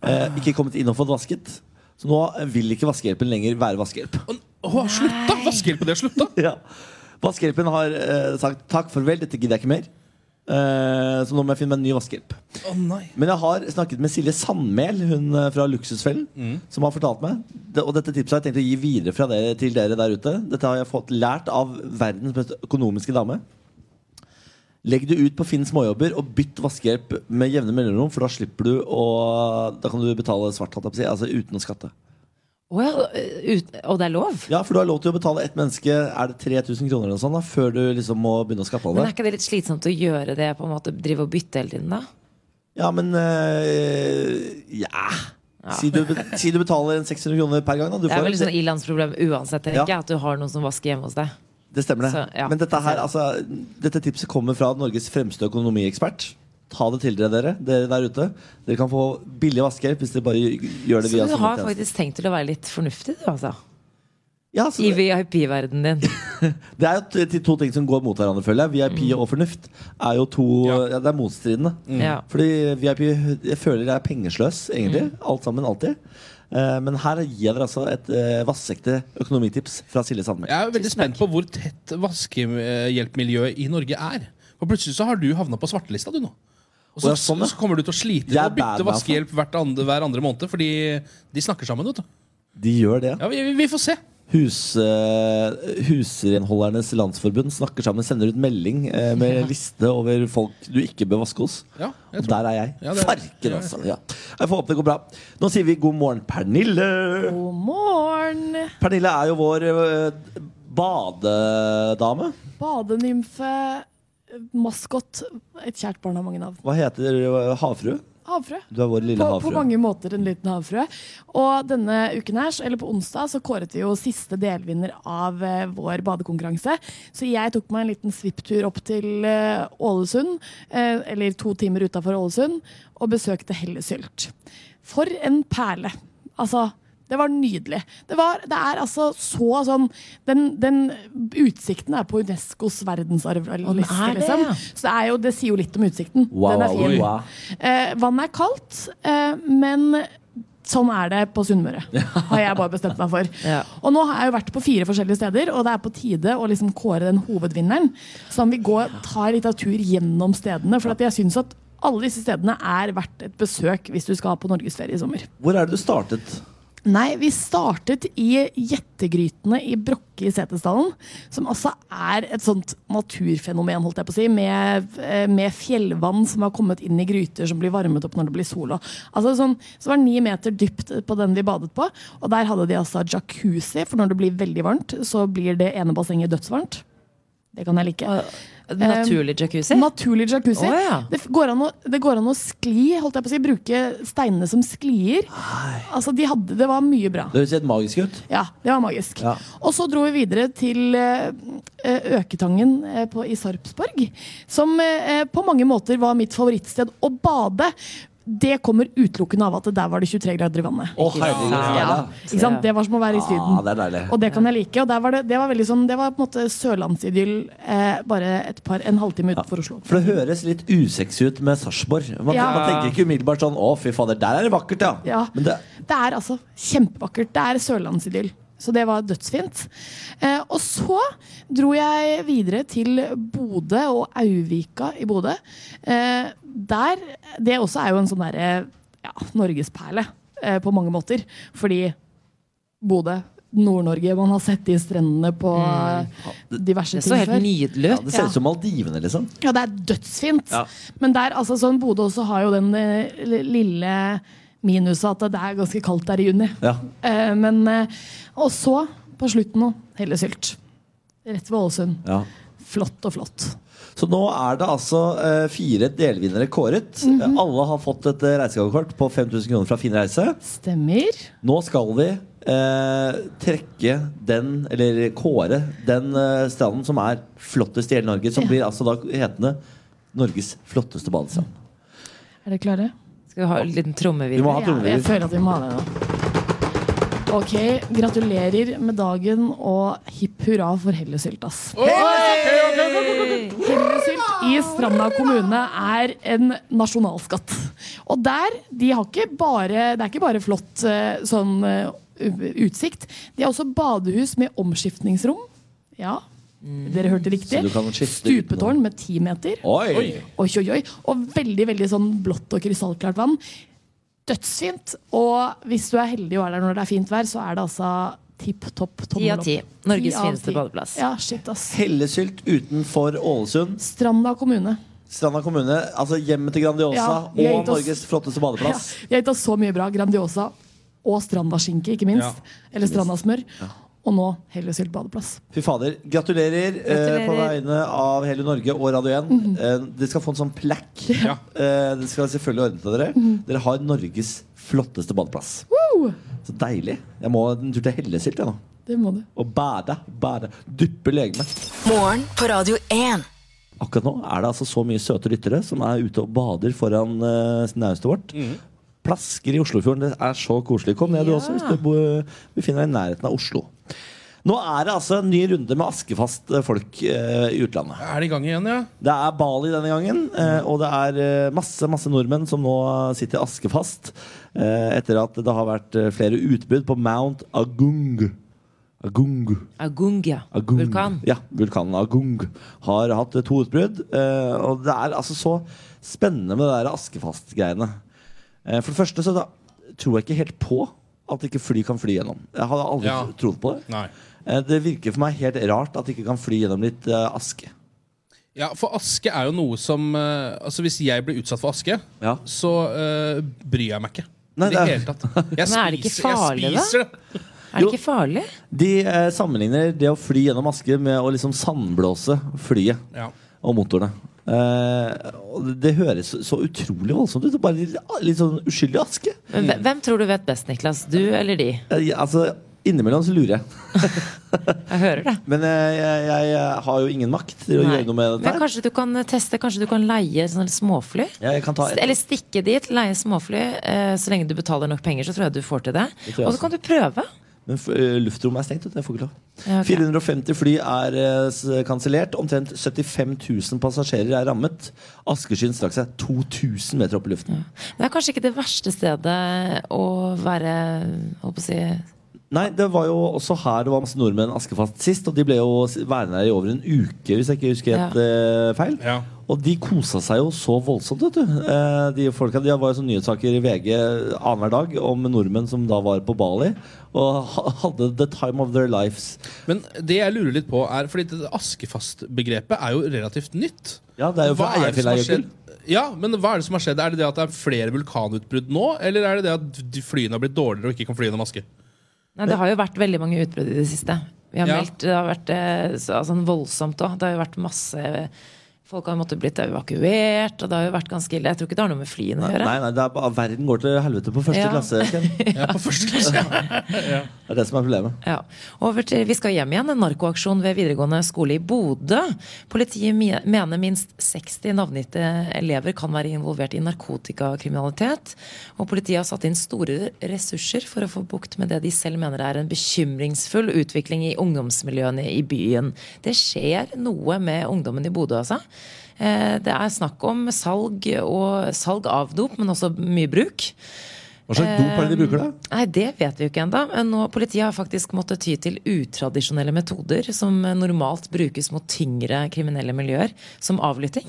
[SPEAKER 7] Eh, ikke kommet inn og fått vasket. Så nå vil ikke vaskehjelpen lenger være vaskehjelp.
[SPEAKER 5] Å, å, slutta! Vaskehjelpen, det har slutta!
[SPEAKER 7] Ja. Vaskehjelpen har eh, sagt takk, farvel, dette gidder jeg ikke mer. Eh, så nå må jeg finne meg en ny vaskehjelp.
[SPEAKER 5] Å nei.
[SPEAKER 7] Men jeg har snakket med Silje Sandmæl, hun eh, fra Luksusfellen, som har fortalt meg. Det, og dette tipset har jeg tenkt å gi videre fra dere til dere der ute. Dette har jeg fått lært av verdens mest økonomiske dame. Legg det ut på Finn småjobber og bytt vaskehjelp med jevne mellomrom, for da slipper du å Da kan du betale svart, holdt jeg på å si, altså uten å skatte.
[SPEAKER 4] Å ja, eh, ut, og det er lov?
[SPEAKER 7] Ja, for du har lov til å betale ett menneske Er det 3000 kroner eller noe sånt da Før du liksom må begynne å skatte av
[SPEAKER 4] Men
[SPEAKER 7] det
[SPEAKER 4] er ikke det litt slitsomt å gjøre det? på en måte Drive og bytte hele tiden, da?
[SPEAKER 7] Ja, men øh, Ja Si, du, be- si du betaler en 600 kroner per gang da. Du
[SPEAKER 4] Det er
[SPEAKER 7] får
[SPEAKER 4] vel
[SPEAKER 7] en-
[SPEAKER 4] sånn ilandsproblem uansett, tenker
[SPEAKER 7] Ja.
[SPEAKER 4] jeg. At du har noen som vasker hjemme hos deg.
[SPEAKER 7] Det stemmer det
[SPEAKER 4] Så, ja,
[SPEAKER 7] Men dette,
[SPEAKER 4] jeg ser
[SPEAKER 7] her,
[SPEAKER 4] det.
[SPEAKER 7] altså, dette tipset kommer fra Norges fremste økonomiekspert Ta det til dere, dere, dere der ute Dere kan få billig vaskehjelp hvis dere bare gjør det
[SPEAKER 4] Så
[SPEAKER 7] via
[SPEAKER 4] du
[SPEAKER 7] sånne
[SPEAKER 4] har
[SPEAKER 7] tjenester.
[SPEAKER 4] faktisk tenkt til å være litt fornuftig, du, altså.
[SPEAKER 7] ja, så
[SPEAKER 4] I
[SPEAKER 7] det-
[SPEAKER 4] VIP-verdenen din.
[SPEAKER 7] Det er jo t- til to ting som går mot hverandre, føler jeg. VIP
[SPEAKER 5] Mm.
[SPEAKER 7] og fornuft er jo to ja, Det er motstridende.
[SPEAKER 4] Ja.
[SPEAKER 7] Fordi VIP jeg føler jeg er pengesløs, egentlig.
[SPEAKER 5] Mm.
[SPEAKER 7] Alt sammen, alltid. Eh, men her gir jeg dere altså et uh, vassekte økonomitips fra Silje Sandmæl.
[SPEAKER 5] Jeg er veldig spent på hvor tett vaskehjelpmiljøet i Norge er. For plutselig så har du havna på svartelista, du nå. Og så,
[SPEAKER 7] Å, ja, sånn, ja.
[SPEAKER 5] så kommer du til å slite
[SPEAKER 7] Jeg
[SPEAKER 5] med
[SPEAKER 7] altså. er
[SPEAKER 5] å bytte
[SPEAKER 7] bad,
[SPEAKER 5] vaskehjelp hvert andre, hver andre måned, fordi de snakker sammen. Vet du.
[SPEAKER 7] De gjør det.
[SPEAKER 5] Ja, vi, vi får se.
[SPEAKER 7] Hus, eh, Husrenholdernes Landsforbund snakker sammen, sender ut melding eh, med liste over folk du ikke bør vaske hos.
[SPEAKER 5] Ja, jeg
[SPEAKER 7] Og
[SPEAKER 5] tror.
[SPEAKER 7] der er jeg.
[SPEAKER 5] Ja, det er-
[SPEAKER 7] Farken, altså. Ja. Jeg får håpe det går bra. Nå sier vi god morgen, Pernille.
[SPEAKER 2] God morgen,
[SPEAKER 7] Pernille er jo vår eh, badedame.
[SPEAKER 2] badenymfe, maskott. Et kjært barn har mange navn.
[SPEAKER 7] Hva heter eh, havfrue?
[SPEAKER 2] Havfrue.
[SPEAKER 7] Du er vår lille
[SPEAKER 2] På, på
[SPEAKER 7] havfrue.
[SPEAKER 2] mange måter en liten havfrue. Og denne uken her, så- eller på onsdag så kåret vi jo siste delvinner av eh, vår badekonkurranse. Så jeg tok meg en liten svipptur opp til eh, Ålesund, eh, eller to timer utafor Ålesund, og besøkte Hellesylt. For en perle. Altså, det var nydelig. Det, var, det er altså så sånn Den, den utsikten er på Unescos
[SPEAKER 4] den
[SPEAKER 2] verdensarvliste,
[SPEAKER 4] er det,
[SPEAKER 2] liksom.
[SPEAKER 4] ja.
[SPEAKER 2] Så det, er jo, det sier jo litt om utsikten.
[SPEAKER 7] Wow,
[SPEAKER 2] den er
[SPEAKER 7] wow,
[SPEAKER 2] fin.
[SPEAKER 7] wow.
[SPEAKER 2] Eh, vannet er kaldt, eh, men sånn er det på Sunnmøre. Har jeg bare bestemt meg for.
[SPEAKER 4] Ja.
[SPEAKER 2] Og nå har jeg jo vært på fire forskjellige steder, og det er på tide å liksom kåre den hovedvinneren. Som vil gå, ta en liten tur gjennom stedene, for at jeg syns at alle disse stedene er verdt et besøk hvis du skal på norgesferie i sommer.
[SPEAKER 7] Hvor er det du startet?
[SPEAKER 2] Nei, vi startet i Gjettegrytene i Brokke i Setesdalen. Som altså er et sånt naturfenomen, holdt jeg på å si. Med, eh, med fjellvann som har kommet inn i gryter som blir varmet opp når det blir sol. og- Altså sånn, så var det ni meter dypt på den vi badet på. Og der hadde de altså jacuzzi, for når det blir veldig varmt, så blir det ene bassenget dødsvarmt. Det kan jeg like.
[SPEAKER 4] Naturlig jacuzzi?
[SPEAKER 2] Naturlig jacuzzi.
[SPEAKER 4] Å, ja.
[SPEAKER 2] det, f- går an å, det går an å skli, holdt jeg på å si. Bruke steinene som sklier. Altså, de hadde, det var mye bra.
[SPEAKER 7] Det høres helt magisk ut.
[SPEAKER 2] Ja, det var magisk.
[SPEAKER 7] Ja.
[SPEAKER 2] Og så dro vi videre til eh, Øketangen eh, på, i Sarpsborg, som eh, på mange måter var mitt favorittsted å bade. Det kommer utelukkende av at der var det 23 grader i vannet.
[SPEAKER 7] Å, herregud. Ja.
[SPEAKER 2] Ikke sant? Det var som å være i
[SPEAKER 7] Ah,
[SPEAKER 2] Syden.
[SPEAKER 7] det er deilig.
[SPEAKER 2] Og det kan jeg like. Og der var det, det, var veldig sånn, det var på en måte sørlandsidyll eh, bare et par, en halvtime utenfor Oslo.
[SPEAKER 7] For det høres litt usexy ut med Sarpsborg. Man,
[SPEAKER 2] Ja.
[SPEAKER 7] man tenker ikke umiddelbart sånn 'Å, fy fader, der er det vakkert', ja.
[SPEAKER 2] Ja.
[SPEAKER 7] Men det,
[SPEAKER 2] Det er altså kjempevakkert. Det er sørlandsidyll. Så det var dødsfint. Eh, og så dro jeg videre til Bodø og Auvika i Bodø. Eh, der Det også er jo en sånn derre ja, norgesperle eh, på mange måter. Fordi Bodø, Nord-Norge Man har sett de strendene på
[SPEAKER 7] Mm.
[SPEAKER 2] eh, diverse
[SPEAKER 4] Det
[SPEAKER 2] ting
[SPEAKER 4] så helt
[SPEAKER 2] før.
[SPEAKER 4] nydelig
[SPEAKER 7] ja,
[SPEAKER 4] ut.
[SPEAKER 7] det ser
[SPEAKER 2] Ja.
[SPEAKER 7] ut som Maldivene, liksom.
[SPEAKER 2] Ja, det er dødsfint.
[SPEAKER 7] Ja.
[SPEAKER 2] Men der, altså, sånn, Bodø også har jo den eh, lille minuset at det er ganske kaldt der i juni.
[SPEAKER 7] Ja.
[SPEAKER 2] Eh, men, eh, og så, på slutten nå, Hellesylt. Rett ved Ålesund.
[SPEAKER 7] ja.
[SPEAKER 2] Flott og flott.
[SPEAKER 7] Så nå er det altså eh, fire delvinnere kåret.
[SPEAKER 2] Mhm.
[SPEAKER 7] Eh, Alle har fått et eh, reisegavekort på 5000 kroner fra Fin reise.
[SPEAKER 2] Stemmer.
[SPEAKER 7] Nå skal vi eh, trekke den, eller kåre den eh, stranden som er flottest i hele Norge. Som blir altså da hetende Norges flotteste badestrand.
[SPEAKER 2] Er dere klare?
[SPEAKER 4] Skal vi ha en liten
[SPEAKER 7] Vi må
[SPEAKER 4] trommevirvel?
[SPEAKER 7] ha
[SPEAKER 2] Ja, jeg
[SPEAKER 7] trommevirvel.
[SPEAKER 2] føler at vi må ha det nå. Ok, gratulerer med dagen og hipp hurra for Hellesylt, ass. Hellesylt i Stranda kommune er en nasjonalskatt. Og der, de har ikke bare, det er ikke bare flott eh, sånn eh, u- utsikt. De har også badehus med omskiftningsrom. Ja, dere hørte riktig.
[SPEAKER 7] Mm. Så du kan skifte uten å-
[SPEAKER 2] Stupetårn med ti meter.
[SPEAKER 7] Oi!
[SPEAKER 2] Oi, oi, oi. Og veldig veldig sånn blått og krystallklart vann. Dødsfint. Og hvis du er heldig og er der når det er fint vær, så er det altså tipp topp
[SPEAKER 4] Ti
[SPEAKER 2] tommel
[SPEAKER 4] av
[SPEAKER 2] opp.
[SPEAKER 4] ti. Norges
[SPEAKER 2] Ti av
[SPEAKER 4] fineste
[SPEAKER 2] ti.
[SPEAKER 4] badeplass.
[SPEAKER 2] Ja, shit, ass.
[SPEAKER 7] Hellesylt utenfor Ålesund.
[SPEAKER 2] Stranda kommune.
[SPEAKER 7] Stranda kommune, altså hjemmet til
[SPEAKER 2] Ja,
[SPEAKER 7] Grandiosa
[SPEAKER 2] vi har
[SPEAKER 7] og
[SPEAKER 2] gitt oss-
[SPEAKER 7] Norges flotteste
[SPEAKER 2] Ja,
[SPEAKER 7] badeplass.
[SPEAKER 2] vi har gitt oss så mye bra. Grandiosa og Strandaskinke, ikke minst. Eller Strandasmør. Og nå Hellesylt badeplass.
[SPEAKER 7] Fy fader. Gratulerer, Eh, på
[SPEAKER 4] Gratulerer.
[SPEAKER 7] vegne av hele Norge og Radio 1. eh, dere skal få en sånn plekk.
[SPEAKER 5] Ja.
[SPEAKER 7] Eh, det skal jeg selvfølgelig ordne til dere. Dere har Norges flotteste badeplass. Så deilig. Jeg må en tur til Hellesylt jeg, nå.
[SPEAKER 2] Det må du.
[SPEAKER 7] og bade. bade. Dyppe legemet.
[SPEAKER 6] Morgen på Radio 1.
[SPEAKER 7] Akkurat nå er det altså så mye søte lyttere som er ute og bader foran uh, naustet vårt. Plasker i Oslofjorden. Det er så koselig. Kom ned du også hvis du bo- befinner deg i nærheten av Oslo. Nå er det altså en ny runde med askefast eh, folk eh, i utlandet.
[SPEAKER 5] Er det i gang igjen, ja?
[SPEAKER 7] Det er Bali denne gangen, eh, og det er eh, masse masse nordmenn som nå sitter askefast eh, etter at det har vært eh, flere utbrudd på Mount Agung. Agung.
[SPEAKER 4] Agungia.
[SPEAKER 7] Agung.
[SPEAKER 4] Vulkan.
[SPEAKER 7] Ja, vulkanen Agung har hatt to utbrudd. eh, og det er altså så spennende med det der Askefast-greiene. Eh, for det første så da, tror jeg ikke helt på at ikke fly kan fly gjennom. Jeg hadde aldri
[SPEAKER 5] Ja.
[SPEAKER 7] trodd på det.
[SPEAKER 5] Nei.
[SPEAKER 7] Eh, Det virker for meg helt rart at det ikke kan fly gjennom litt eh, aske.
[SPEAKER 5] Ja, for aske er jo noe som eh, Altså Hvis jeg blir utsatt for aske,
[SPEAKER 7] Ja.
[SPEAKER 5] så eh, bryr jeg meg ikke.
[SPEAKER 7] Nei,
[SPEAKER 5] I det
[SPEAKER 7] det er-
[SPEAKER 5] hele tatt. Jeg
[SPEAKER 4] Men er det ikke farlig, da?
[SPEAKER 5] jeg spiser det.
[SPEAKER 4] Er det ikke farlig?
[SPEAKER 7] De eh, sammenligner det å fly gjennom aske med å liksom sandblåse flyet
[SPEAKER 5] Ja.
[SPEAKER 7] og motorene. Eh, og det- det høres så utrolig voldsomt ut. Bare litt- litt sånn uskyldig aske.
[SPEAKER 4] Men hvem- hvem tror du vet best, Niklas? Du eller de?
[SPEAKER 7] Eh, ja, altså, innimellom så lurer jeg.
[SPEAKER 4] Jeg hører det.
[SPEAKER 7] Men eh, jeg, jeg, jeg har jo ingen makt til å
[SPEAKER 4] Nei.
[SPEAKER 7] gjøre noe med
[SPEAKER 4] Men
[SPEAKER 7] dette. her.
[SPEAKER 4] kanskje du kan teste, kanskje du kan leie sånne småfly?
[SPEAKER 7] Ja, jeg kan ta
[SPEAKER 4] Eller stikke dit, leie småfly. eh, Så lenge du betaler nok penger, så tror jeg du får til det.
[SPEAKER 7] tror jeg
[SPEAKER 4] Og så kan du prøve.
[SPEAKER 7] Men f- eh, luftrommet er stengt. vet du, Jeg får ikke lov.
[SPEAKER 4] Ja, ok.
[SPEAKER 7] 450 fly er eh, s- kansellert. Omtrent 75 000 passasjerer er rammet. Askeskyen strakk seg 2000 meter opp i luften.
[SPEAKER 4] Det er kanskje ikke det verste stedet å være holdt på å si,
[SPEAKER 7] Nei, det var jo også her det var masse nordmenn askefast sist, og de ble jo s- værende her i over en uke, hvis jeg ikke husker helt eh, feil.
[SPEAKER 5] Ja.
[SPEAKER 7] Og de kosa seg jo så voldsomt, vet du. Eh, de folka de var jo sånn nyhetssaker i VG annenhver dag om nordmenn som da var på Bali og ha- hadde the time of their lives.
[SPEAKER 5] Men det jeg lurer litt på er Fordi det askefast-begrepet er jo relativt nytt.
[SPEAKER 7] Ja, det er jo fra
[SPEAKER 5] Hva er det som har
[SPEAKER 7] Eierfjellet,
[SPEAKER 5] skjedd? Ja, men hva er det som har skjedd? Er det det at det er flere vulkanutbrudd nå, eller er det det at de flyene har blitt dårligere og ikke kan fly gjennom aske?
[SPEAKER 4] Nei, det har jo vært veldig mange utbrudd i det siste. Vi har
[SPEAKER 5] Ja.
[SPEAKER 4] meldt, Det har vært eh, så- altså, voldsomt òg. Det har jo vært masse Folk har måttet blitt evakuert, og det har jo vært ganske ille. Jeg tror ikke det har noe med flyene å
[SPEAKER 7] Nei,
[SPEAKER 4] gjøre.
[SPEAKER 7] nei, det er bare, verden går til helvete på første
[SPEAKER 4] Ja.
[SPEAKER 7] klasse. Ken.
[SPEAKER 5] Ja, på første klasse.
[SPEAKER 7] Det er det som er problemet.
[SPEAKER 4] Ja. Over til, vi skal hjem igjen. En narkoaksjon ved videregående skole i Bodø. Politiet mi- mener minst 60 navngitte elever kan være involvert i narkotikakriminalitet. Og politiet har satt inn store ressurser for å få bukt med det de selv mener er en bekymringsfull utvikling i ungdomsmiljøene i byen. Det skjer noe med ungdommen i Bodø, altså. Eh, Det er snakk om salg, og salg av dop, men også mye bruk.
[SPEAKER 7] Hva slags dop er det de bruker, da?
[SPEAKER 4] Nei, det vet vi jo ikke ennå. Politiet har faktisk måttet ty til utradisjonelle metoder som eh, normalt brukes mot tyngre kriminelle miljøer, som avlytting.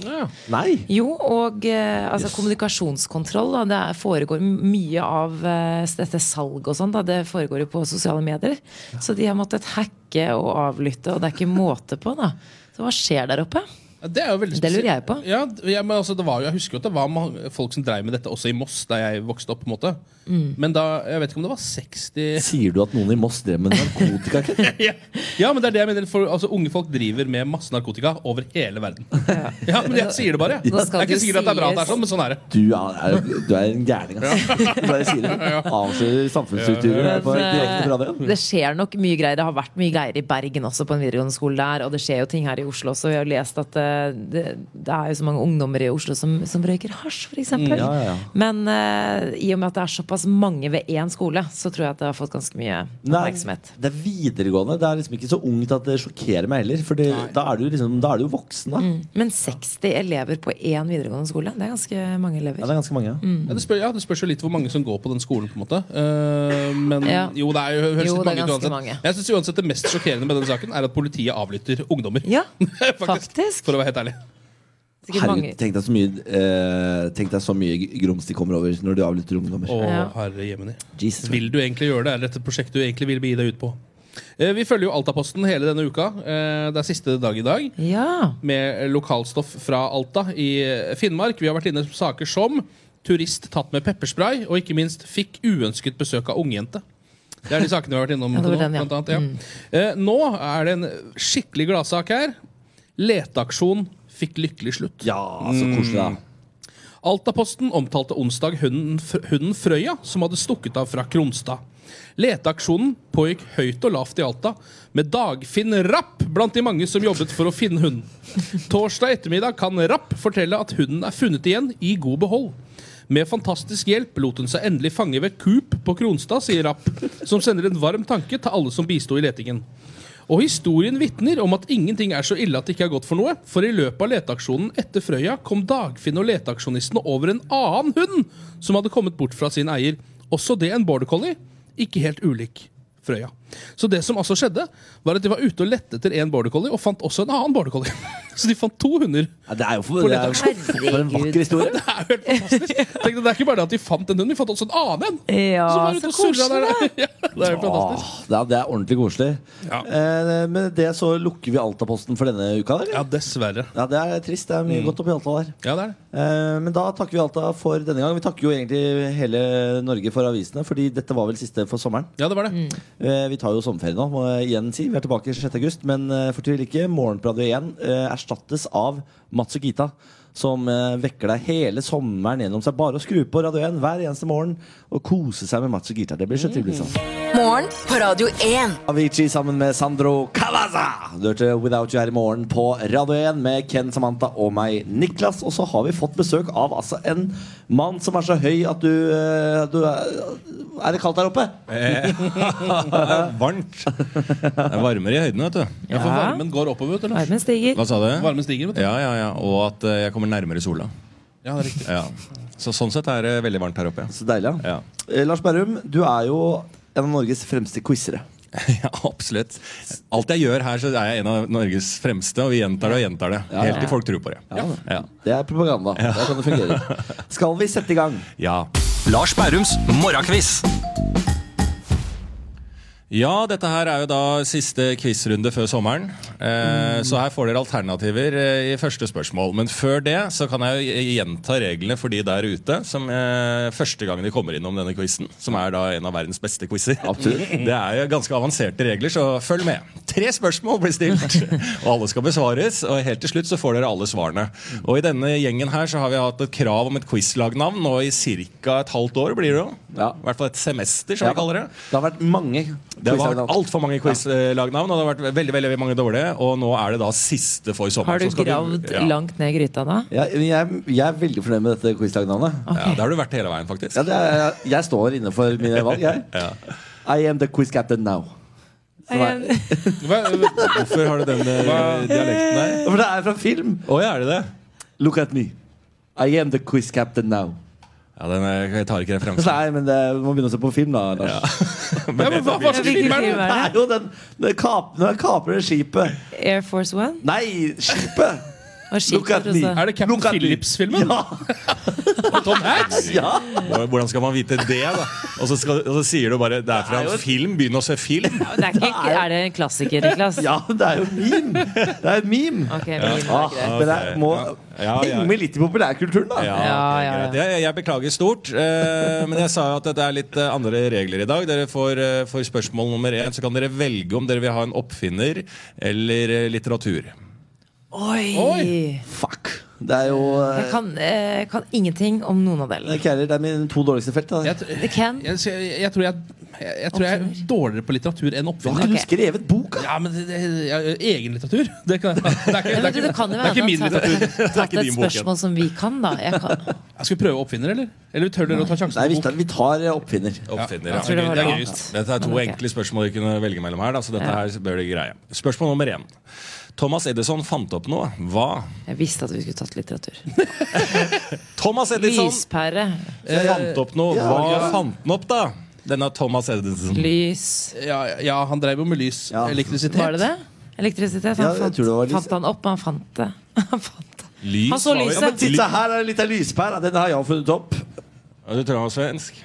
[SPEAKER 7] Nei!
[SPEAKER 4] Jo, og eh, altså, kommunikasjonskontroll. Da, det er- foregår mye av eh, dette salget og sånn. da, Det foregår jo på sosiale medier. Så de har måttet hacke og avlytte, og det er ikke måte på. da. Så hva skjer der oppe?
[SPEAKER 5] Ja, Det er jo veldig
[SPEAKER 4] Det lurer
[SPEAKER 5] spesielt.
[SPEAKER 4] jeg på.
[SPEAKER 5] Ja, d- ja, men altså, det var jo, jeg husker jo at det var ma- folk som drev med dette også i Moss, da jeg vokste opp. på en måte
[SPEAKER 4] Mm.
[SPEAKER 5] Men da, jeg vet ikke om det var 60
[SPEAKER 7] Sier du at noen i Moss drev med narkotika? Ken?
[SPEAKER 5] Ja, men det er det jeg mener for, altså, Unge folk driver med masse narkotika over hele verden. Ja, men Jeg sier det bare. jeg.
[SPEAKER 4] Nå
[SPEAKER 5] Det
[SPEAKER 4] skal
[SPEAKER 5] er ikke
[SPEAKER 4] det
[SPEAKER 5] sikkert at det er bra at det er
[SPEAKER 4] sies.
[SPEAKER 5] sånn, men sånn er det.
[SPEAKER 7] Du er, du er en gærning, altså. Det er det jeg sier. Avslører samfunnsstrukturer her på
[SPEAKER 4] eh,
[SPEAKER 7] direkte på radioen.
[SPEAKER 4] Det skjer nok mye greier. Det har vært mye greier i Bergen også, på en videregående skole der. Og det skjer jo ting her i Oslo også. Vi har lest at eh, det, det er jo så mange ungdommer i Oslo som, som røyker hasj, f.eks.
[SPEAKER 7] Mm, ja, ja, ja.
[SPEAKER 4] Men eh, i og med at det er såpass mange ved én skole, så tror jeg at det har fått ganske mye
[SPEAKER 7] Nei,
[SPEAKER 4] oppmerksomhet.
[SPEAKER 7] det er videregående. Det er liksom ikke så ungt at det sjokkerer meg heller. For det, da, er du liksom, da er du jo voksen, da.
[SPEAKER 4] Men 60 elever på én videregående skole, det er ganske mange
[SPEAKER 7] Ja,
[SPEAKER 4] elever.
[SPEAKER 7] det er ganske mange.
[SPEAKER 4] Mm.
[SPEAKER 5] Ja, det, spør, ja, det spørs jo litt hvor mange som går på den skolen. på en måte Eh, Men
[SPEAKER 4] Ja.
[SPEAKER 5] jo, det er jo høres
[SPEAKER 4] Jo,
[SPEAKER 5] litt
[SPEAKER 4] det er
[SPEAKER 5] mange ut
[SPEAKER 4] ganske
[SPEAKER 5] uansett.
[SPEAKER 4] mange.
[SPEAKER 5] Jeg synes uansett det mest sjokkerende med den saken er at politiet avlytter ungdommer.
[SPEAKER 4] Ja,
[SPEAKER 5] Faktisk,
[SPEAKER 4] faktisk.
[SPEAKER 5] For å være helt ærlig.
[SPEAKER 4] Sikkert
[SPEAKER 7] Herregud,
[SPEAKER 4] mange.
[SPEAKER 7] tenk deg så mye, eh, tenk deg så mye grums de kommer over når du avlytter ungdommer.
[SPEAKER 5] Å,
[SPEAKER 4] Ja.
[SPEAKER 5] herre jemini.
[SPEAKER 7] Jesus.
[SPEAKER 5] Vil du egentlig gjøre det? Er dette prosjektet du egentlig vil begi deg ut på? Eh, Vi følger jo Altaposten hele denne uka. Eh, Det er siste dag i dag.
[SPEAKER 4] Ja.
[SPEAKER 5] med lokalstoff fra Alta i eh, Finnmark. Vi har vært inne på saker som turist tatt med pepperspray, og ikke minst fikk uønsket besøk av ungjente. Det er de sakene vi har vært innom.
[SPEAKER 4] Ja, det var
[SPEAKER 5] til nå,
[SPEAKER 4] den, ja. Mm.
[SPEAKER 5] blant annet, ja. Eh, Nå er det en skikkelig gladsak her. Leteaksjon fikk lykkelig slutt.
[SPEAKER 7] Ja, så koselig, da.
[SPEAKER 5] Altaposten omtalte onsdag hunden, Fr- hunden Frøya, som hadde stukket av fra Kronstad. Leteaksjonen pågikk høyt og lavt i Alta, med Dagfinn Rapp blant de mange som jobbet for å finne hunden. Torsdag ettermiddag kan Rapp fortelle at hunden er funnet igjen i god behold. Med fantastisk hjelp lot hun seg endelig fange ved Coop på Kronstad, sier Rapp, som sender en varm tanke til alle som bisto i letingen. Og historien vitner om at ingenting er så ille at det ikke er godt for noe, for i løpet av leteaksjonen etter Frøya kom Dagfinn og leteaksjonistene over en annen hund som hadde kommet bort fra sin eier. Også det en border collie, ikke helt ulik Frøya. Så det som altså skjedde, var at de var ute og lette etter en border collie, og fant også en annen border collie. Så de fant to hunder.
[SPEAKER 7] Ja, det er jo for, det er, jo-
[SPEAKER 4] Herregud.
[SPEAKER 7] for en vakker historie.
[SPEAKER 5] Det er jo helt fantastisk. Tenk deg, det er ikke bare det at de fant en hund, de fant også en annen en!
[SPEAKER 4] Ja,
[SPEAKER 5] Som var ute
[SPEAKER 4] så
[SPEAKER 5] og surra
[SPEAKER 4] koselig, da.
[SPEAKER 5] der. Ja, det er jo fantastisk.
[SPEAKER 7] Åh, det, er, det er ordentlig koselig.
[SPEAKER 5] Ja.
[SPEAKER 7] Eh, med det så lukker vi Altaposten for denne uka. Eller?
[SPEAKER 5] Ja, Mm. dessverre.
[SPEAKER 7] Ja, Det er trist. Det er mye godt oppi Alta der.
[SPEAKER 5] Ja, det er det.
[SPEAKER 7] Eh, men da takker vi Alta for denne gang. Vi takker jo egentlig hele Norge for avisene, fordi dette var vel siste for sommeren.
[SPEAKER 5] Ja, det var det.
[SPEAKER 4] Mm,
[SPEAKER 7] Eh, vi tar jo sommerferie nå, må jeg igjen si. Vi er tilbake 6. august, men eh, fortvil ikke. Morgenpradio 1 eh, erstattes av Matsukita. Som eh, vekker deg hele sommeren gjennom seg. Bare å skru på Radio 1 hver eneste morgen og kose seg med Matsukita. Det blir så trivelig. sånn.
[SPEAKER 6] Morgen på Radio 1.
[SPEAKER 7] Avicii sammen med Sandro Calaza. Du hørte Without You her i morgen på Radio 1 med Ken Samantha og meg, Niklas. Og så har vi fått besøk av altså, en mann som er så høy at du, eh, du er- Er det kaldt der oppe?
[SPEAKER 8] Varmt. Det er varmere i høyden, vet du.
[SPEAKER 5] Ja, for varmen går oppover, vet du. Lars.
[SPEAKER 4] Armen stiger.
[SPEAKER 8] Hva sa du?
[SPEAKER 5] Varmen stiger, vet du.
[SPEAKER 8] Ja, ja, ja. Og at eh, jeg kommer nærmere sola.
[SPEAKER 5] Ja, det er riktig.
[SPEAKER 8] Ja. Så sånn sett er det veldig varmt her oppe.
[SPEAKER 7] Så deilig. Ja.
[SPEAKER 8] Ja,
[SPEAKER 7] Eh, Lars Berrum, du er jo en av Norges fremste quizere.
[SPEAKER 8] ja absolutt. Alt jeg gjør her, så er jeg en av Norges fremste, og vi gjentar det og gjentar det. Helt til folk tror på det. Ja.
[SPEAKER 7] Det er propaganda. Det er sånn det fungerer. Skal vi sette i gang?
[SPEAKER 8] ja.
[SPEAKER 9] Lars Bærums morgenkviss.
[SPEAKER 8] Ja, dette her er jo da siste quizrunde før sommeren. Eh, Så her får dere alternativer eh, i første spørsmål. Men før det så kan jeg jo gjenta reglene for de der ute som eh, første gang de kommer innom denne quizen, som er da en av verdens beste quizer. Det er jo ganske avanserte regler, så følg med. Tre spørsmål blir stilt, og alle skal besvares. Og helt til slutt så får dere alle svarene. Og i denne gjengen her så har vi hatt et krav om et quizlagnavn nå i ca. et halvt år, blir det jo.
[SPEAKER 7] Ja.
[SPEAKER 8] I hvert fall et semester, som vi kaller det.
[SPEAKER 7] Det har vært mange
[SPEAKER 8] Det har
[SPEAKER 7] quizer.
[SPEAKER 8] vært altfor mange quizlagnavn, og det har vært veldig veldig mange dårlige. Og nå er det da siste for sommeren.
[SPEAKER 4] Har du
[SPEAKER 8] så skal
[SPEAKER 4] gravd
[SPEAKER 8] ja.
[SPEAKER 4] langt ned i gryta da?
[SPEAKER 7] Ja, jeg, jeg er veldig fornøyd med dette quizlagnavnet.
[SPEAKER 8] Ja, det har du vært hele veien, faktisk.
[SPEAKER 7] Ja, det er- jeg står inne for mine valg, jeg. I am the quiz captain now. Som er,
[SPEAKER 5] Hva,
[SPEAKER 8] Hvorfor har du den eh, dialekten der?
[SPEAKER 7] for det er fra film!
[SPEAKER 8] Å ja, er det det?
[SPEAKER 7] Look at me. I am the quiz captain now.
[SPEAKER 8] Ja, den er, Jeg tar ikke referansen.
[SPEAKER 7] Nei, men det, vi må begynne å se på film, da. Lars.
[SPEAKER 5] ja, men hva, hva slags film er det?
[SPEAKER 7] Det er jo den, den kap, Når jeg kaprer det skipet
[SPEAKER 4] Air Force One?
[SPEAKER 7] Nei, skipet!
[SPEAKER 4] Og
[SPEAKER 7] Look at
[SPEAKER 4] skipper også.
[SPEAKER 7] me.
[SPEAKER 5] Er det Captain
[SPEAKER 7] Look at me.
[SPEAKER 5] Phillips-filmen?
[SPEAKER 7] Ja.
[SPEAKER 5] Tom Hanks?
[SPEAKER 7] ja.
[SPEAKER 8] Hvordan skal man vite det? da? Og så, skal, og så sier du bare det er fra en film. Begynn å se film.
[SPEAKER 4] Det er, ikke, er det en klassiker, Niklas?
[SPEAKER 7] Ja, det er jo en meme! Det er en meme.
[SPEAKER 4] Ok, men
[SPEAKER 7] Ah, men jeg må
[SPEAKER 8] Ja, ja.
[SPEAKER 7] henge med litt i populærkulturen, da.
[SPEAKER 8] Ja,
[SPEAKER 4] Ja,
[SPEAKER 8] det er
[SPEAKER 4] ja,
[SPEAKER 8] greit. Jeg, jeg beklager stort, eh, men jeg sa jo at det er litt eh, andre regler i dag. Dere får, eh, får spørsmål nummer én, så kan dere velge om dere vil ha en oppfinner eller eh, litteratur.
[SPEAKER 4] Oi!
[SPEAKER 7] Fuck. Det er jo
[SPEAKER 4] Jeg
[SPEAKER 7] eh,
[SPEAKER 4] kan, eh, kan ingenting om noen av delene.
[SPEAKER 7] det er- Det er mine to dårligste felt. Da.
[SPEAKER 5] Jeg, t-
[SPEAKER 4] Det kan.
[SPEAKER 5] jeg, jeg, jeg tror jeg, jeg, jeg, tror jeg er dårligere på litteratur enn
[SPEAKER 7] Har ikke
[SPEAKER 5] oppfinner.
[SPEAKER 7] du skrevet bok? da?
[SPEAKER 5] Ja, men det, det, ja, Egen litteratur? Det, kan, det, er ikke, det, er
[SPEAKER 4] Ja, men du, det
[SPEAKER 5] ikke,
[SPEAKER 4] kan
[SPEAKER 5] det
[SPEAKER 4] jo
[SPEAKER 5] er
[SPEAKER 4] hende
[SPEAKER 5] ikke min
[SPEAKER 4] at
[SPEAKER 5] litteratur.
[SPEAKER 4] jeg har tatt
[SPEAKER 8] ikke
[SPEAKER 4] et
[SPEAKER 8] din bok, ja.
[SPEAKER 4] spørsmål som vi kan, da. Jeg kan.
[SPEAKER 5] Jeg skal prøve oppfinner, eller? Eller tør dere å ta
[SPEAKER 7] Nei,
[SPEAKER 5] sjansen
[SPEAKER 7] vi
[SPEAKER 5] på
[SPEAKER 7] tar, vi tar eh, oppfinner.
[SPEAKER 8] Oppfinner,
[SPEAKER 4] Jeg tror det
[SPEAKER 8] ja.
[SPEAKER 4] var
[SPEAKER 5] det er
[SPEAKER 4] noe
[SPEAKER 5] gøyest.
[SPEAKER 4] annet.
[SPEAKER 8] Dette er to
[SPEAKER 4] Ok.
[SPEAKER 8] enkle spørsmål dere kunne velge mellom her. Da, så dette her bør dere greie. Spørsmål nummer én. Thomas Edison fant opp noe. Hva?
[SPEAKER 4] Jeg visste at vi skulle tatt litteratur.
[SPEAKER 8] Thomas Edison
[SPEAKER 4] Lyspære. Eh,
[SPEAKER 8] fant opp noe. Hva fant han opp, da? Denne Thomas Edison.
[SPEAKER 4] Lys.
[SPEAKER 5] Ja, ja, han drev jo med lys.
[SPEAKER 7] Ja.
[SPEAKER 5] Elektrisitet.
[SPEAKER 4] Var det det? Elektrisitet.
[SPEAKER 7] Ja,
[SPEAKER 4] Han
[SPEAKER 7] jeg
[SPEAKER 4] fant,
[SPEAKER 7] tror det var lys.
[SPEAKER 4] fant han opp, han fant det. Han fant det.
[SPEAKER 8] Lys.
[SPEAKER 4] Han så
[SPEAKER 8] var jo-
[SPEAKER 4] lyset.
[SPEAKER 8] Ja, men
[SPEAKER 7] Titt,
[SPEAKER 8] ly-
[SPEAKER 7] se her er det litt av lyspæra. Den har jeg funnet opp.
[SPEAKER 8] Ja, Du tror han var svensk?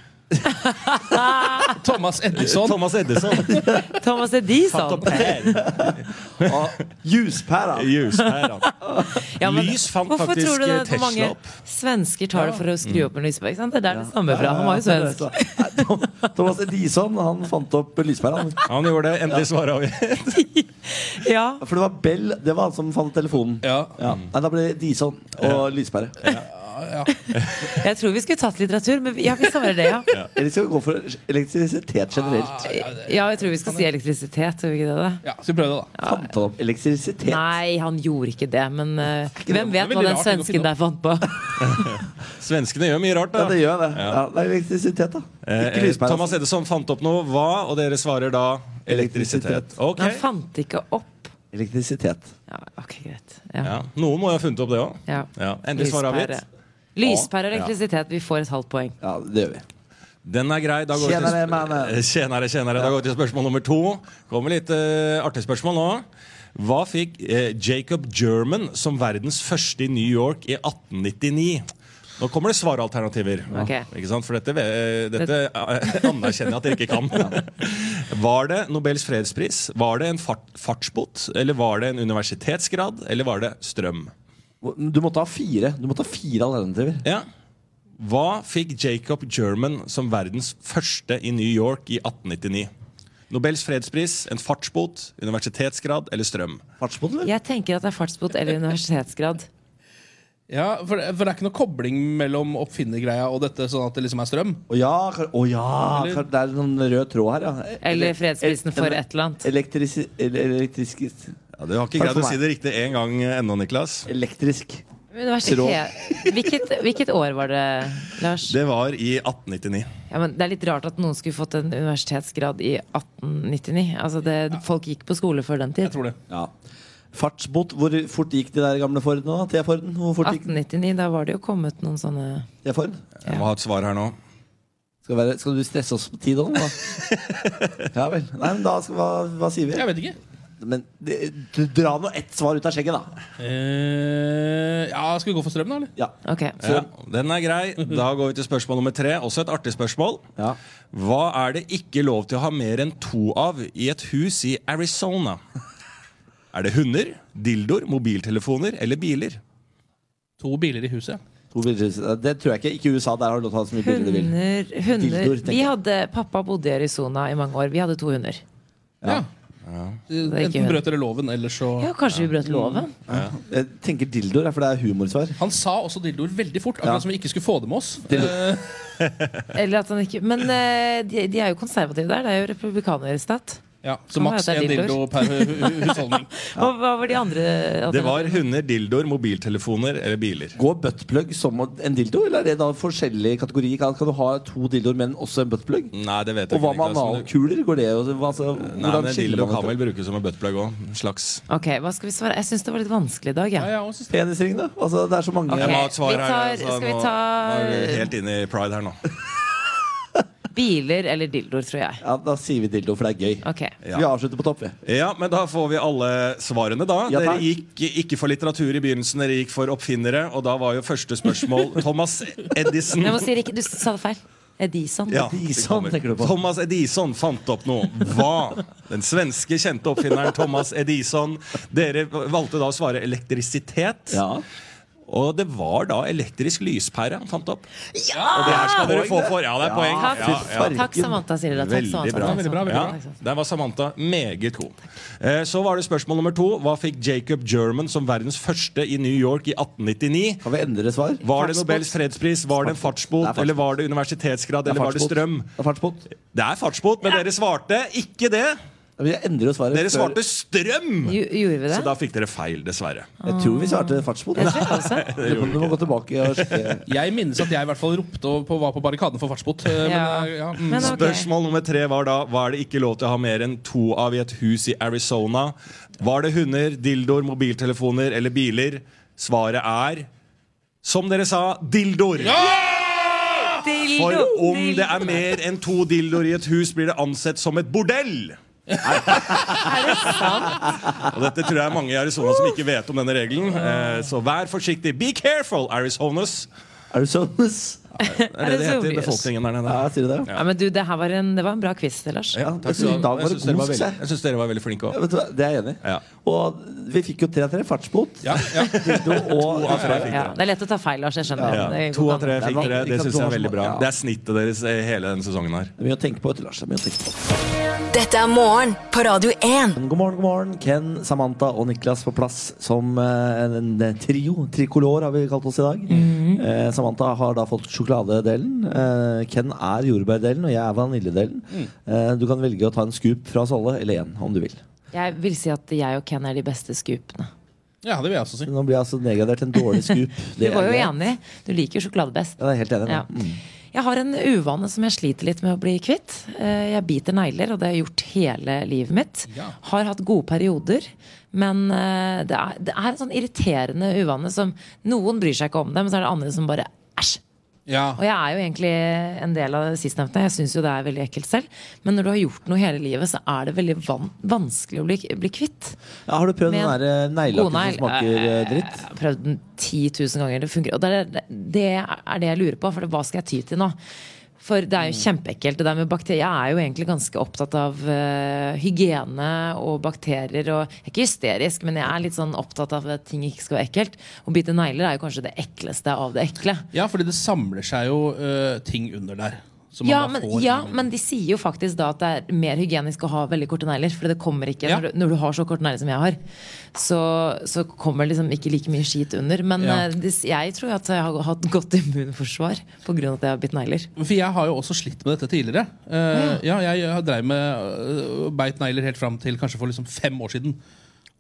[SPEAKER 5] Thomas Edison.
[SPEAKER 8] Thomas Edison.
[SPEAKER 4] Thomas E. Edison.
[SPEAKER 8] Fant opp her.
[SPEAKER 7] Ah, Juspæra.
[SPEAKER 8] Lyspæra.
[SPEAKER 4] Ja, men
[SPEAKER 8] Lys fant
[SPEAKER 4] hvorfor
[SPEAKER 8] faktisk,
[SPEAKER 4] tror du det
[SPEAKER 8] eh,
[SPEAKER 4] at hvor
[SPEAKER 8] Tesla
[SPEAKER 4] mange
[SPEAKER 8] opp?
[SPEAKER 4] Svensker tar det for å skru opp en lyspære. ikke sant? Det er der det stammer fra. Han var jo svensk.
[SPEAKER 7] Thomas Edison han fant opp lyspæra. han.
[SPEAKER 8] Han gjorde det. Endelig svarer vi.
[SPEAKER 4] Ja.
[SPEAKER 7] For det var Bell det var han som fant telefonen.
[SPEAKER 5] Ja.
[SPEAKER 7] Nei, da ble det Edison og lyspære.
[SPEAKER 4] Jeg tror vi skulle tatt litteratur, men ja, vi svarer det, ja.
[SPEAKER 7] Eller skal vi gå for elektrisitet generelt?
[SPEAKER 4] Ja, jeg tror vi skal si elektrisitet. Tror vi ikke det? da?
[SPEAKER 5] Ja, skal vi prøve det, da.
[SPEAKER 7] Fant han opp elektrisitet?
[SPEAKER 4] Nei, han gjorde ikke det, men eh, hvem
[SPEAKER 5] det er
[SPEAKER 4] vet
[SPEAKER 5] veldig rart, det
[SPEAKER 4] hva den
[SPEAKER 5] går fint
[SPEAKER 4] svensken der fant på?
[SPEAKER 8] Svenskene gjør mye rart,
[SPEAKER 7] Ja,
[SPEAKER 8] da.
[SPEAKER 7] det gjør det. Ja, det er elektrisitet, da.
[SPEAKER 8] Eh,
[SPEAKER 7] Ikke altså.
[SPEAKER 8] eh,
[SPEAKER 7] lyspæra.
[SPEAKER 8] Thomas Edison fant opp noe. Hva? Og dere svarer da elektrisitet. Ok.
[SPEAKER 4] Han fant ikke opp.
[SPEAKER 7] Elektrisitet.
[SPEAKER 4] Ja, ok, greit. Ja.
[SPEAKER 8] Ja. Noen må jo ha funnet opp det òg.
[SPEAKER 4] Ja.
[SPEAKER 8] Ja. Endelig svar avgitt.
[SPEAKER 4] Lyspære og elektrisitet. Vi får et halvt poeng.
[SPEAKER 7] Ja, det gjør vi.
[SPEAKER 8] Den er grei. Da går vi
[SPEAKER 7] Tjenere,
[SPEAKER 8] til,
[SPEAKER 7] mannen.
[SPEAKER 8] sp- Eh, tjenere, tjenere. Da går vi til spørsmål nummer to. Kommer litt eh, artig spørsmål nå. Hva fikk eh, Jacob German som verdens første i New York i 1899? Nå kommer det svaralternativer.
[SPEAKER 4] Ok.
[SPEAKER 8] Ikke sant? For dette, eh, dette eh, anerkjenner jeg at dere ikke kan. Var det Nobels fredspris? Var det en fart, fartsbot? Eller var det en universitetsgrad? Eller var det strøm?
[SPEAKER 7] Du måtte ha fire Du måtte ha fire alternativer.
[SPEAKER 8] Ja. Hva fikk Jacob German som verdens første i New York i 1899? Nobels fredspris, en fartsbot, universitetsgrad eller strøm?
[SPEAKER 7] Fartsbåt, eller?
[SPEAKER 4] Jeg tenker at det er fartsbot eller universitetsgrad.
[SPEAKER 5] Ja, for, det- for det er ikke noe kobling mellom oppfinnergreia og dette, sånn at det liksom er strøm?
[SPEAKER 7] Å ja, kar- å ja kar- det er noen rød tråd her, ja.
[SPEAKER 4] Eller fredsprisen for et eller annet.
[SPEAKER 7] Elektrisi... eller Elektrisk
[SPEAKER 8] Ja, du har
[SPEAKER 7] Takk
[SPEAKER 8] ikke greid
[SPEAKER 7] for
[SPEAKER 8] å si det riktig én gang eh, ennå, Niklas.
[SPEAKER 7] Elektrisk.
[SPEAKER 4] Universitet. Hvilket, hvilket år var det, Lars?
[SPEAKER 8] Det var i 1899.
[SPEAKER 4] Ja, men det er litt rart at noen skulle fått en universitetsgrad i 1899. Altså det, Folk gikk på skole før den
[SPEAKER 5] Jeg
[SPEAKER 4] tid.
[SPEAKER 5] tror det.
[SPEAKER 7] Ja. Fartsbot. Hvor fort gikk de der gamle Fordene? da? T-Forden? Hvor
[SPEAKER 4] Ah.
[SPEAKER 7] fort gikk
[SPEAKER 4] 1899, da var det jo kommet noen sånne
[SPEAKER 7] T-Ford?
[SPEAKER 8] Jeg må ha et svar her nå.
[SPEAKER 7] Skal, være, skal du stresse oss på tid òg, da? ja vel. Nei, men da skal, hva, hva sier vi?
[SPEAKER 5] Jeg vet ikke.
[SPEAKER 7] Men det, du, dra nå ett svar ut av skjegget, da.
[SPEAKER 5] Eh, ja, skal vi gå for strøm, da? eller?
[SPEAKER 7] Ja.
[SPEAKER 4] Ok.
[SPEAKER 8] Ja, den er grei. Da går vi til spørsmål nummer tre. Også et artig spørsmål.
[SPEAKER 7] ja.
[SPEAKER 8] Hva er det ikke lov til å ha mer enn to av i et hus i Arizona? Er det hunder, dildoer, mobiltelefoner eller biler?
[SPEAKER 5] To biler i huset.
[SPEAKER 7] To bilder. Det tror jeg ikke. Ikke i USA. Der har du lov til å ha så mye bilder du vil.
[SPEAKER 4] Hunder, hunder.
[SPEAKER 7] Dildoer, tenker
[SPEAKER 4] Vi
[SPEAKER 7] jeg.
[SPEAKER 4] hadde, Pappa bodde i Arizona i mange år. Vi hadde to hunder.
[SPEAKER 5] Ja.
[SPEAKER 4] er ikke
[SPEAKER 5] Enten
[SPEAKER 4] hun.
[SPEAKER 5] brøt dere loven, eller så
[SPEAKER 4] Ja, Kanskje vi brøt loven?
[SPEAKER 8] Mm.
[SPEAKER 7] Jeg tenker dildoer, for det er humorsvar.
[SPEAKER 5] Han sa også dildoer veldig fort, akkurat
[SPEAKER 7] Ja.
[SPEAKER 5] som vi ikke skulle få det med oss.
[SPEAKER 7] Dildoer.
[SPEAKER 5] Eh,
[SPEAKER 4] Eller at han ikke Men eh, de, de er jo konservative der. Det er jo republikanerstat.
[SPEAKER 5] ja, Så
[SPEAKER 4] Kan
[SPEAKER 5] maks
[SPEAKER 4] være
[SPEAKER 5] én
[SPEAKER 4] at det Sånn er
[SPEAKER 5] dildo
[SPEAKER 4] dildoer.
[SPEAKER 5] per hu- hu- husholdning.
[SPEAKER 4] Hva, hva var de andre Altså,
[SPEAKER 8] Det
[SPEAKER 4] alternativene?
[SPEAKER 8] var hunder, dildoer, mobiltelefoner eller biler.
[SPEAKER 7] Går buttplug som en dildo, eller er det da forskjellige kategorier? Kan, kan du ha to dildoer, men også en buttplug?
[SPEAKER 8] Nei, det vet jeg
[SPEAKER 7] Og hva
[SPEAKER 8] ikke.
[SPEAKER 7] med
[SPEAKER 8] Niklas, men du-
[SPEAKER 7] analkuler? Går det jo hva- altså,
[SPEAKER 8] Nei,
[SPEAKER 7] Hvordan
[SPEAKER 8] men en
[SPEAKER 7] skiller
[SPEAKER 8] dildo
[SPEAKER 7] man
[SPEAKER 8] kan vel
[SPEAKER 7] det?
[SPEAKER 8] brukes som en buttplug òg. Slags.
[SPEAKER 4] Ok, hva skal vi svare? Jeg syns det var litt vanskelig i dag.
[SPEAKER 5] Ja,
[SPEAKER 4] Ja.
[SPEAKER 5] ja, og så-
[SPEAKER 7] Penisring, da? Altså, det er så mange
[SPEAKER 4] Ok.
[SPEAKER 8] Jeg må ha et svar
[SPEAKER 4] vi
[SPEAKER 8] her.
[SPEAKER 4] tar-
[SPEAKER 8] altså,
[SPEAKER 4] skal vi
[SPEAKER 8] nå-
[SPEAKER 4] ta-
[SPEAKER 8] nå er vi helt inne i pride her nå.
[SPEAKER 4] Biler eller dildoer, tror jeg.
[SPEAKER 7] ja, Da sier vi dildo, for det er gøy.
[SPEAKER 4] Ok.
[SPEAKER 8] Ja.
[SPEAKER 7] Vi avslutter på topp, vi.
[SPEAKER 8] Ja, men da får vi alle svarene, da.
[SPEAKER 7] Ja,
[SPEAKER 8] dere
[SPEAKER 7] takk.
[SPEAKER 8] gikk ikke for litteratur i begynnelsen, dere gikk for oppfinnere. Og da var jo første spørsmål Thomas Edison.
[SPEAKER 4] Men Jeg må si Rikke, du sa det feil. Edison.
[SPEAKER 8] Ja,
[SPEAKER 7] Edison,
[SPEAKER 8] det kommer.
[SPEAKER 7] tenker du på.
[SPEAKER 8] Thomas Edison fant opp noe. Hva? Den svenske kjente oppfinneren Thomas Edison. Dere valgte da å svare elektrisitet.
[SPEAKER 7] Ja.
[SPEAKER 8] Og det var da elektrisk lyspære han fant opp. Og det her skal dere få for. Ja, det er poeng.
[SPEAKER 4] Takk.
[SPEAKER 8] Ja, ja.
[SPEAKER 4] Takk, Samantha, sier dere. Takk,
[SPEAKER 8] Veldig
[SPEAKER 4] Samantha. Takk,
[SPEAKER 8] bra. Veldig bra,
[SPEAKER 4] Samantha. Takk,
[SPEAKER 8] veldig bra.
[SPEAKER 4] Samantha.
[SPEAKER 8] Der var Samantha meget god. Eh, Så var det spørsmål nummer to. Hva fikk Jacob German som verdens første i New York i 1899?
[SPEAKER 7] Kan vi endre svar?
[SPEAKER 8] Var det Nobels fredspris, var det en
[SPEAKER 7] Det er
[SPEAKER 8] fartsbot,
[SPEAKER 7] fartsbot.
[SPEAKER 8] eller var det universitetsgrad, eller var det strøm?
[SPEAKER 7] Det er fartsbot.
[SPEAKER 8] Det er fartsbot, men dere svarte ikke det.
[SPEAKER 7] Ja, men Jeg endrer jo svaret.
[SPEAKER 8] Dere
[SPEAKER 7] før-
[SPEAKER 8] svarte strøm!
[SPEAKER 4] Jo, gjorde vi det?
[SPEAKER 8] Så da fikk dere feil, dessverre.
[SPEAKER 7] Jeg tror vi svarte fartsbot.
[SPEAKER 4] Jeg tror også.
[SPEAKER 7] Du må- du må gå tilbake og sjekke.
[SPEAKER 5] Jeg minnes at jeg i hvert fall ropte og på, var på barrikaden for fartsbot. eh,
[SPEAKER 4] Ja.
[SPEAKER 5] Men, eh, ja, mm.
[SPEAKER 4] Men ok.
[SPEAKER 8] Spørsmål nummer tre var da Hva er det ikke lov til å ha mer enn to av i et hus i Arizona. Var det hunder, dildoer, mobiltelefoner eller biler? Svaret er, som dere sa, dildoer!
[SPEAKER 4] Dildo,
[SPEAKER 8] For om
[SPEAKER 4] dildo.
[SPEAKER 8] det er mer enn to dildoer i et hus, blir det ansett som et bordell! Og dette tror jeg er mange i Arizona som ikke vet om denne regelen. Eh, Så vær forsiktig. Be careful, Arizonas!
[SPEAKER 7] Er du sånn?
[SPEAKER 8] Det er det det heter i
[SPEAKER 4] Arizonas.
[SPEAKER 8] befolkningen der nede.
[SPEAKER 7] Ja, sier du det?
[SPEAKER 4] Ja, men du, det her var en, det var en bra quiz, Lars.
[SPEAKER 8] Ja,
[SPEAKER 7] takk skal du ha.
[SPEAKER 8] Jeg
[SPEAKER 7] Jeg synes dere var veldig-
[SPEAKER 8] syns dere, var veldig- jeg synes dere var veldig flinke
[SPEAKER 7] Ja,
[SPEAKER 8] òg.
[SPEAKER 7] vet du hva, Det er jeg enig i.
[SPEAKER 8] Ja.
[SPEAKER 7] Og vi fikk jo tre av tre fartsbot.
[SPEAKER 5] ja, ja.
[SPEAKER 7] Dildo og
[SPEAKER 4] Ja, det er lett å ta feil, Lars. Jeg skjønner.
[SPEAKER 8] Ja.
[SPEAKER 4] Det går
[SPEAKER 8] To
[SPEAKER 4] ikke
[SPEAKER 8] av tre
[SPEAKER 4] an.
[SPEAKER 8] fikk dere. Det syns jeg er veldig bra.
[SPEAKER 7] Ja.
[SPEAKER 8] Det er snittet deres eh, hele denne sesongen her.
[SPEAKER 7] Det er mye å tenke på, vet du, Lars. Det er mye å tenke på.
[SPEAKER 6] Dette er morgen på Radio 1.
[SPEAKER 7] God morgen, god morgen. Ken, Samantha og Niklas på plass som eh, en, en trio. Tricolor har vi kalt oss i dag. eh, Samantha har da fått sjokoladedelen. Eh, Ken er jordbærdelen, og jeg er vaniljedelen.
[SPEAKER 8] Mm.
[SPEAKER 7] Eh, du kan velge å ta en scoop fra oss alle, eller én, om du vil.
[SPEAKER 4] Jeg vil si at jeg og Ken er de beste scoopene.
[SPEAKER 5] ja, det vil jeg også si.
[SPEAKER 7] Nå blir jeg altså nedgradert til en dårlig scoop.
[SPEAKER 4] Du
[SPEAKER 7] Det
[SPEAKER 4] var
[SPEAKER 7] er
[SPEAKER 4] jo
[SPEAKER 7] greit.
[SPEAKER 4] enig. Du liker jo sjokolade best.
[SPEAKER 7] Ja, det er helt enig.
[SPEAKER 4] Ja.
[SPEAKER 7] da. Mm.
[SPEAKER 4] Jeg har en uvane som jeg sliter litt med å bli kvitt. Eh, Jeg biter negler, og det har jeg gjort hele livet mitt.
[SPEAKER 5] Ja.
[SPEAKER 4] Har hatt gode perioder, men eh, det er, det er en sånn irriterende uvane som noen bryr seg ikke om det, men så er det andre som bare Æsj!
[SPEAKER 5] Ja.
[SPEAKER 4] Og jeg er jo egentlig en del av det sistnevnte. Jeg syns jo det er veldig ekkelt selv. Men når du har gjort noe hele livet, så er det veldig van vanskelig å bli, bli kvitt.
[SPEAKER 7] Ja, har du prøvd den
[SPEAKER 4] Men-
[SPEAKER 7] der eh, neglelakken som
[SPEAKER 4] Godnegl,
[SPEAKER 7] smaker eh, dritt?
[SPEAKER 4] Jeg har prøvd den 10 000 ganger. Det funker. Og det er det, er det jeg lurer på. For hva skal jeg ty til nå? For det er jo kjempeekkelt. Det der med bakterier Jeg er jo egentlig ganske opptatt av eh, hygiene og bakterier. Og, jeg er ikke hysterisk, men jeg er litt sånn opptatt av at ting ikke skal være ekkelt. Å bite negler er jo kanskje det ekleste av det ekle.
[SPEAKER 5] ja, fordi det samler seg jo eh, ting under der. som man
[SPEAKER 4] Ja
[SPEAKER 5] da
[SPEAKER 4] men,
[SPEAKER 5] får-
[SPEAKER 4] ja, men de sier jo faktisk da at det er mer hygienisk å ha veldig korte negler. For det kommer ikke
[SPEAKER 5] Ja.
[SPEAKER 4] når, du, når du har så korte negler som jeg har, så, så kommer liksom ikke like mye skit under. Men
[SPEAKER 5] Ja.
[SPEAKER 4] eh, det, jeg tror at jeg har hatt godt immunforsvar pga. at jeg har bitt negler.
[SPEAKER 5] For jeg har jo også slitt med dette tidligere. Eh, ja. jeg, jeg dreiv med uh, beit negler helt fram til kanskje for liksom fem år siden.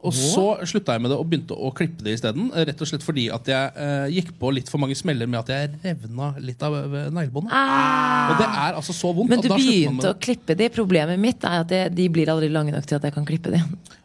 [SPEAKER 5] Og så slutta jeg med det og begynte å klippe det isteden. eh, Rett og slett fordi at jeg eh, gikk på litt for mange smeller med at jeg revna litt av eh, neglebåndet. Og det er altså så vondt.
[SPEAKER 4] Ah. Men
[SPEAKER 5] at
[SPEAKER 4] du
[SPEAKER 5] da slutter man med
[SPEAKER 4] begynte å
[SPEAKER 5] det.
[SPEAKER 4] klippe de. Problemet mitt er at de, de blir aldri lange nok til at jeg kan klippe de.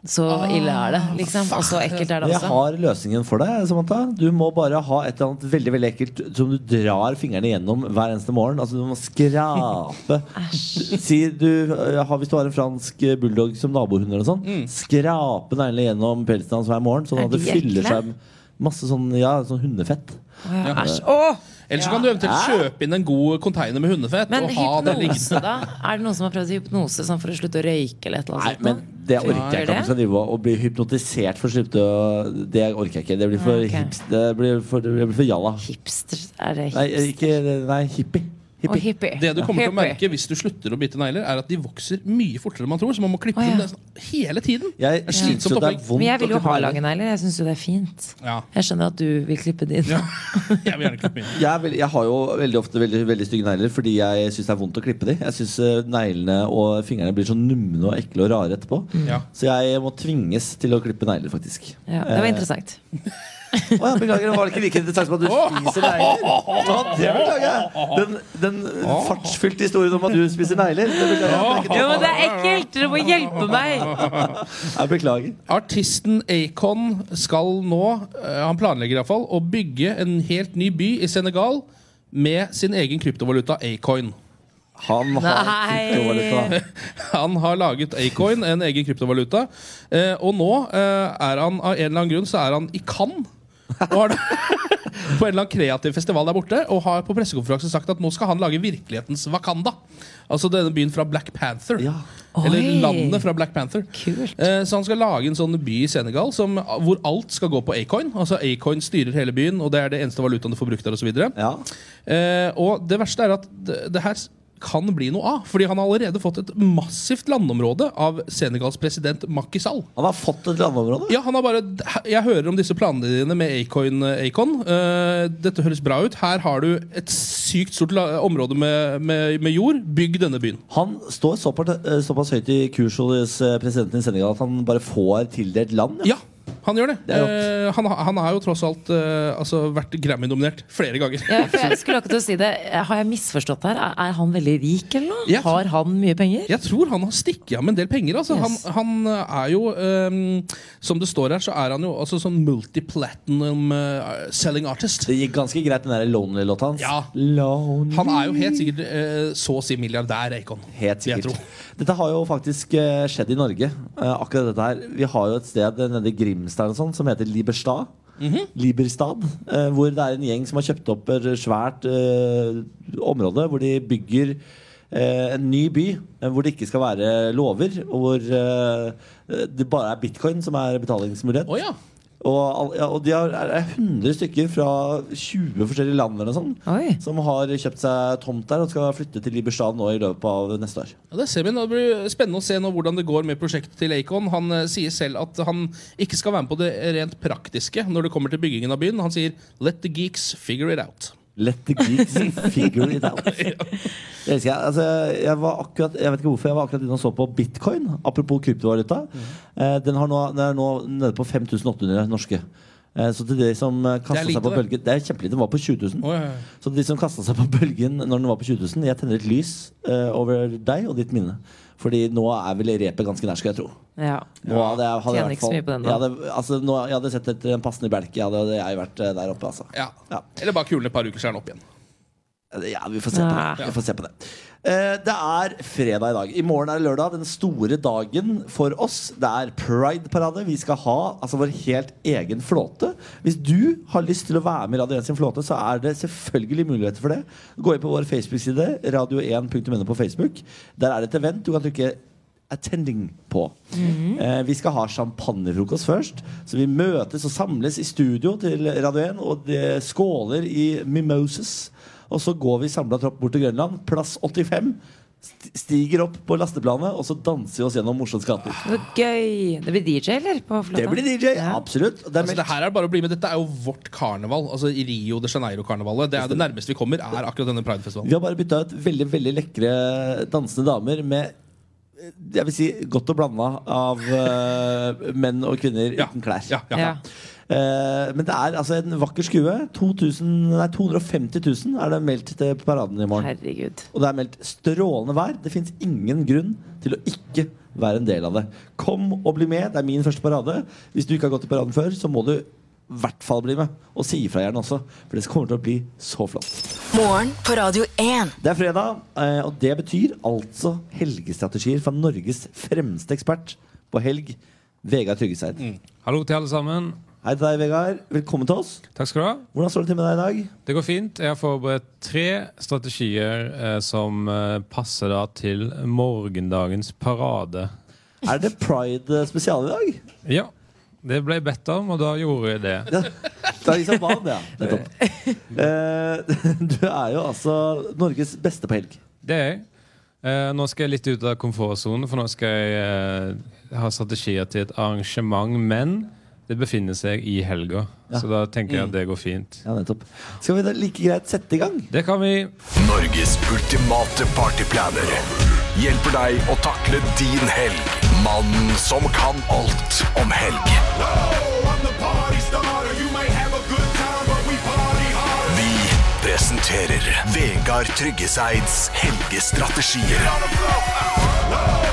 [SPEAKER 4] Så
[SPEAKER 5] Ah,
[SPEAKER 4] ille er det. liksom Og så ekkelt er det
[SPEAKER 7] Jeg
[SPEAKER 4] også.
[SPEAKER 7] har løsningen for deg, Samantha. Du må bare ha et eller annet veldig veldig ekkelt som du drar fingrene gjennom hver eneste morgen. Altså Du må skrape. si du, eh, har- Hvis du har en fransk eh, bulldog som nabohund, eller noe sånt, skrape neglene gjennom pelsen hans hver morgen, sånn
[SPEAKER 4] Mm. Er
[SPEAKER 7] at det
[SPEAKER 4] de
[SPEAKER 7] fyller
[SPEAKER 4] ekle?
[SPEAKER 7] seg med masse sånn, ja, sånn hundefett.
[SPEAKER 4] Åh, Æsj. Åh!
[SPEAKER 5] Eller så kan du eventuelt kjøpe inn en god container med hundefett.
[SPEAKER 4] Men
[SPEAKER 5] og ha det liggende.
[SPEAKER 4] hypnose, da? Er det noen som har prøvd hypnose sånn for å slutte å røyke? eller et eller
[SPEAKER 7] Nei,
[SPEAKER 4] annet sånt?
[SPEAKER 7] men det orker
[SPEAKER 4] Gjør
[SPEAKER 7] jeg
[SPEAKER 4] det?
[SPEAKER 7] ikke. at du skal drive og- Å bli hypnotisert for å slippe å Det orker jeg ikke. Det blir for,
[SPEAKER 4] Ja, ok.
[SPEAKER 7] hips, det blir for, det blir for jalla.
[SPEAKER 4] Hipster? Er det
[SPEAKER 7] Nei,
[SPEAKER 4] hipster?
[SPEAKER 7] ikke, nei hippie.
[SPEAKER 4] Og
[SPEAKER 7] hippie.
[SPEAKER 4] hippie.
[SPEAKER 5] Det du kommer til å
[SPEAKER 4] Hippie.
[SPEAKER 5] merke hvis du slutter å bite negler, er at de vokser mye fortere enn man tror. Så man må klippe
[SPEAKER 4] Å, ja.
[SPEAKER 5] dem nesten hele tiden.
[SPEAKER 7] Jeg
[SPEAKER 5] Det er
[SPEAKER 7] synes
[SPEAKER 5] slitsomt
[SPEAKER 7] jo det er
[SPEAKER 5] opplegg.
[SPEAKER 7] vondt
[SPEAKER 4] Men jeg vil
[SPEAKER 7] å
[SPEAKER 4] jo ha
[SPEAKER 7] klippe negler.
[SPEAKER 4] lange negler. Jeg syns jo det er fint.
[SPEAKER 5] Ja.
[SPEAKER 4] Jeg skjønner at du vil klippe din.
[SPEAKER 5] Ja. Jeg vil gjerne klippe inn.
[SPEAKER 7] jeg, er veld, jeg har jo veldig ofte veldig, veldig stygge negler fordi jeg syns det er vondt å klippe de. Jeg syns neglene og fingrene blir så numne og ekle og rare etterpå.
[SPEAKER 5] Ja.
[SPEAKER 7] Så jeg må tvinges til å klippe negler, faktisk.
[SPEAKER 4] Ja, det var interessant.
[SPEAKER 7] Å ja, beklager, det var ikke like interessant som at du spiser negler. Ja, det beklager jeg. Den, den fartsfylte historien om at du spiser negler, det beklager jeg.
[SPEAKER 4] Jo, men det er ekkelt! Dere må hjelpe meg!
[SPEAKER 7] jeg beklager.
[SPEAKER 5] Artisten Acon skal nå, eh, han planlegger i hvert fall, å bygge en helt ny by i Senegal med sin egen kryptovaluta Acoin.
[SPEAKER 7] Han har
[SPEAKER 4] Nei.
[SPEAKER 7] kryptovaluta.
[SPEAKER 5] Han har laget Acoin, en egen kryptovaluta, eh, og nå eh, er han av en eller annen grunn så er han i Cannes. Og har på en eller annen kreativ festival der borte og har på pressekonferansen sagt at nå skal han lage virkelighetens Wakanda. Altså denne byen fra Black Panther.
[SPEAKER 7] Ja.
[SPEAKER 5] Eller
[SPEAKER 4] Oi.
[SPEAKER 5] landet fra Black Panther.
[SPEAKER 4] Kult.
[SPEAKER 5] Eh, Så han skal lage en sånn by i Senegal som, hvor alt skal gå på Acoin. Altså Acoin styrer hele byen, og det er det eneste valutaen du får brukt der. Og, så videre.
[SPEAKER 7] Ja.
[SPEAKER 5] eh, og det verste er at det, det her kan bli noe av. Fordi han har allerede fått et massivt landområde av Senegals president Macky Sall.
[SPEAKER 7] Han har fått et landområde.
[SPEAKER 5] Ja, han har bare Jeg hører om disse planene dine med Acon. Acon. Eh, dette høres bra ut. Her har du et sykt stort la område med, med, med jord. Bygg denne byen.
[SPEAKER 7] Han står såpass, eh, såpass høyt i kurs hos eh, presidenten i Senegal at han bare får tildelt land.
[SPEAKER 5] Ja, han gjør det.
[SPEAKER 7] Det er rått.
[SPEAKER 5] Eh, han, har- han har jo tross alt eh, altså, vært Grammy-nominert flere ganger.
[SPEAKER 4] Ja, for jeg skulle akkurat til å si det. Har jeg misforstått her? Er- Er han veldig rik, eller noe?
[SPEAKER 5] Ja.
[SPEAKER 4] Har han mye penger?
[SPEAKER 5] Jeg tror han har stikket av med en del penger. Altså.
[SPEAKER 4] Yes.
[SPEAKER 5] Han, han er jo, ehm, som det står her, så er han jo altså, sånn multi-platinum eh, selling artist.
[SPEAKER 7] Det gikk ganske greit, den der Lonely-låta hans.
[SPEAKER 5] Ja.
[SPEAKER 7] Lonely.
[SPEAKER 5] Han er jo helt sikkert eh, så å si milliardær, Acon.
[SPEAKER 7] Helt
[SPEAKER 5] vil jeg
[SPEAKER 7] sikkert.
[SPEAKER 5] tro.
[SPEAKER 7] Dette har jo faktisk eh, skjedd i Norge. eh, akkurat dette her Vi har jo et sted eh, nede i Grimstad eller sånn, som heter Liberstad.
[SPEAKER 5] Mhm.
[SPEAKER 7] Liberstad eh, hvor det er en gjeng som har kjøpt opp et svært eh, område hvor de bygger eh, en ny by eh, hvor det ikke skal være lover, og hvor eh, det bare er bitcoin som er betalingsmulighet.
[SPEAKER 5] Å ja.
[SPEAKER 7] Og, all- ja, og de har, er er 100 stykker fra 20 forskjellige land eller noe sånt,
[SPEAKER 4] Oi.
[SPEAKER 7] som har kjøpt seg tomt der og skal flytte til Liberstad nå i løpet av neste år.
[SPEAKER 5] Ja, det ser vi. nå. Det blir spennende å se nå hvordan det går med prosjektet til Acon. Han eh, sier selv at han ikke skal være med på det rent praktiske når det kommer til byggingen av byen. Han sier 'let the geeks figure it out'.
[SPEAKER 7] Let the geeks figure it out. Det elsker jeg. Altså, jeg, var akkurat, jeg vet ikke hvorfor jeg var akkurat inne og så på bitcoin. Apropos kryptovaluta.
[SPEAKER 5] Mm.
[SPEAKER 7] Eh, den, har nå, den er nå nede på 5800 norske. Eh, så til de som eh,
[SPEAKER 5] Det er
[SPEAKER 7] kastet
[SPEAKER 5] lite,
[SPEAKER 7] seg på
[SPEAKER 5] det.
[SPEAKER 7] bølgen Det er kjempelite. Den var på 20 000.
[SPEAKER 5] Å, ja, ja.
[SPEAKER 7] Så de som kasta seg på bølgen når den var på 20 000, jeg tenner et lys eh, over deg og ditt minne. Fordi nå er vel repet ganske nær, skal jeg tro.
[SPEAKER 4] Ja.
[SPEAKER 7] Nå hadde jeg, hadde jeg,
[SPEAKER 4] Tjener
[SPEAKER 7] i
[SPEAKER 4] ikke
[SPEAKER 7] hvert
[SPEAKER 4] så
[SPEAKER 7] fall-
[SPEAKER 4] mye på den,
[SPEAKER 7] jeg,
[SPEAKER 4] da.
[SPEAKER 7] hadde, altså, nå, jeg hadde sett etter en passende belke. Jeg hadde, hadde jeg vært eh, der oppe, altså.
[SPEAKER 5] Ja.
[SPEAKER 7] Ja.
[SPEAKER 5] Eller bare kulen et par uker, så er han opp igjen.
[SPEAKER 7] Ja, vi får se på det. Vi får se på det. Eh, det er fredag i dag. I morgen er det lørdag. Den store dagen for oss. Det er Pride-parade. Vi skal ha altså, vår helt egen flåte. Hvis du har lyst til å være med i Radio 1 sin flåte, så er det selvfølgelig muligheter for det. Gå inn på vår Facebook-side, radio1.no på Facebook. Der er det et event. Du kan trykke attending på.
[SPEAKER 5] Mhm.
[SPEAKER 7] eh, vi skal ha champagnefrokost først. Så vi møtes og samles i studio til Radio 1 og det skåler i Mimoses. Og så går vi samla tropp bort til Grønland, plass 85. st- Stiger opp på lasteplanet, og så danser vi oss gjennom Oslos gater.
[SPEAKER 5] Ah,
[SPEAKER 4] Så gøy! Det blir DJ, eller? På flåtta?
[SPEAKER 7] Det blir DJ!
[SPEAKER 4] Ja.
[SPEAKER 7] Absolutt. Og Det er
[SPEAKER 5] Altså, det
[SPEAKER 7] meldt
[SPEAKER 5] her er bare å bli med. Dette er jo vårt karneval. Altså Rio de Janeiro-karnevalet. Det er det nærmeste vi kommer, er akkurat denne
[SPEAKER 7] Vi
[SPEAKER 5] Pride-festivalen.
[SPEAKER 7] har bare bytta ut veldig veldig lekre dansende damer med eh, jeg vil si godt og blanda av eh, menn og kvinner
[SPEAKER 5] Ja.
[SPEAKER 7] uten klær.
[SPEAKER 5] Ja, ja.
[SPEAKER 4] Ja.
[SPEAKER 7] Eh, men det er altså en vakker skue. 2000, nei, 250 000 er det meldt til paraden i morgen.
[SPEAKER 4] Herregud.
[SPEAKER 7] Og det er meldt strålende vær. Det fins ingen grunn til å ikke være en del av det. Kom og bli med. Det er min første parade. Hvis du ikke har gått i paraden før, så må du i hvert fall bli med. Og si ifra gjerne også, for det kommer til å bli så flott.
[SPEAKER 6] Morgen på Radio 1.
[SPEAKER 7] Det er fredag, eh, og det betyr altså helgestrategier fra Norges fremste ekspert på helg, Vegard Tryggeseid.
[SPEAKER 8] Hallo til alle sammen.
[SPEAKER 7] Hei til deg, Vegard. Velkommen til oss.
[SPEAKER 8] Takk skal du ha.
[SPEAKER 7] Hvordan står det til med deg i dag?
[SPEAKER 8] Det går fint. Jeg har forberedt tre strategier eh, som eh, passer da til morgendagens parade.
[SPEAKER 7] Er det pride eh, spesial i dag?
[SPEAKER 8] Ja, det ble bedt om, og da gjorde jeg det.
[SPEAKER 7] Da er liksom van, ja. Nettopp. Eh, du er jo altså Norges beste på helg.
[SPEAKER 8] Det er jeg. Eh, nå skal jeg litt ut av komfortsonen, for nå skal jeg eh, ha strategier til et arrangement. Men det befinner seg i helga, så da tenker jeg at det går fint.
[SPEAKER 7] Ja, nettopp. Skal vi da like greit sette i gang?
[SPEAKER 8] Det kan vi.
[SPEAKER 9] Norges ultimate partyplaner hjelper deg å takle din helg. Mannen som kan alt om helg. Vi presenterer Vegard Tryggeseids helgestrategier.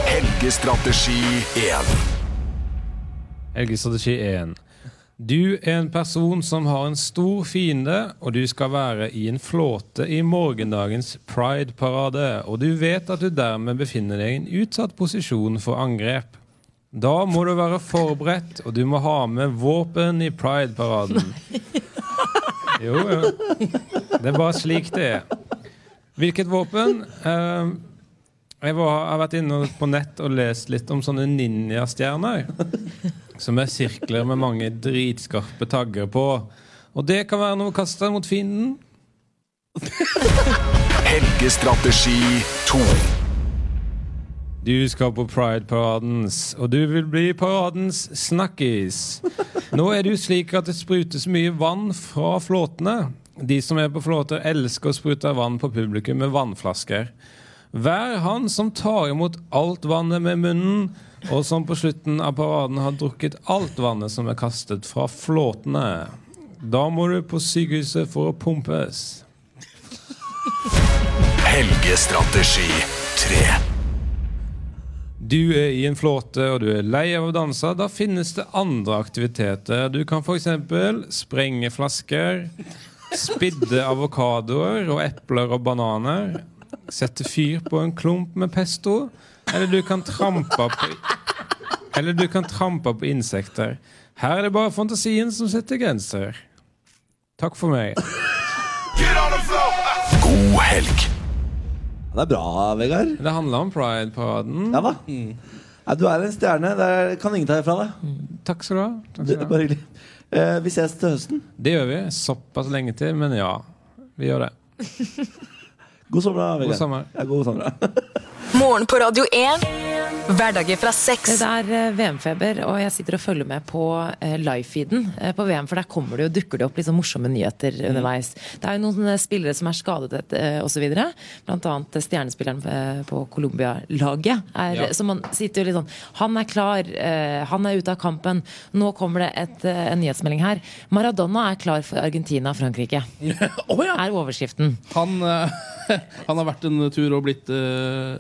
[SPEAKER 9] Helgestrategi 1.
[SPEAKER 8] Helgestrategi 1. Du er en person som har en stor fiende, og du skal være i en flåte i morgendagens Pride-parade, og du vet at du dermed befinner deg i en utsatt posisjon for angrep. Da må du være forberedt, og du må ha med våpen i Pride-paraden. Jo, jo. Det er bare slik det er. Hvilket våpen? Eh, jeg var, har vært inne på nett og lest litt om sånne ninjastjerner. Som er sirkler med mange dritskarpe tagger på. Og det kan være noe å kaste mot fienden.
[SPEAKER 9] Helgestrategi 2.
[SPEAKER 8] Du skal på Pride-paradens, og du vil bli paradens snakkis. Nå er det jo slik at det sprutes mye vann fra flåtene. De som er på flåter, elsker å sprute vann på publikum med vannflasker. Vær han som tar imot alt vannet med munnen, og som på slutten av paraden har drukket alt vannet som er kastet fra flåtene. Da må du på sykehuset for å pumpes.
[SPEAKER 9] Helgestrategi 3.
[SPEAKER 8] Du er i en flåte og du er lei av å danse. Da finnes det andre aktiviteter. Du kan f.eks. sprenge flasker, spidde avokadoer og epler og bananer, sette fyr på en klump med pesto, eller du kan trampe på Eller du kan trampe på insekter. Her er det bare fantasien som setter grenser. Takk for meg.
[SPEAKER 9] God helg.
[SPEAKER 7] Ja, det er bra, Vegard.
[SPEAKER 8] Det handler om Pride-paraden.
[SPEAKER 7] Ja da. Ja, du er en stjerne. Det er- kan ingen ta ifra deg.
[SPEAKER 8] Takk skal du ha. Takk
[SPEAKER 7] Det er
[SPEAKER 8] skal du ha.
[SPEAKER 7] Bare hyggelig. Eh, vi ses til høsten.
[SPEAKER 8] Det gjør vi. Såpass lenge til, men ja. Vi gjør det.
[SPEAKER 7] God sommer, da, Vegard.
[SPEAKER 8] God sommer.
[SPEAKER 7] Ja, god sommer.
[SPEAKER 6] Morgen på Radio 1. Hverdager fra seks.
[SPEAKER 4] Det er eh, VM-feber, og jeg sitter og følger med på eh, live-feeden eh, på VM. For der kommer det jo, dukker det opp litt sånn morsomme nyheter
[SPEAKER 5] Mm.
[SPEAKER 4] underveis. Det er jo noen eh, spillere som er skadet eh, og så videre. Blant annet eh, stjernespilleren eh, på Colombia-laget. er-
[SPEAKER 5] Ja.
[SPEAKER 4] Så man sitter jo litt sånn Han er klar, eh, han er ute av kampen. Nå kommer det et, eh, en nyhetsmelding her. Maradona er klar for Argentina og Frankrike,
[SPEAKER 5] Å, ja.
[SPEAKER 4] er overskriften.
[SPEAKER 5] Han, eh, han har vært en tur og blitt eh,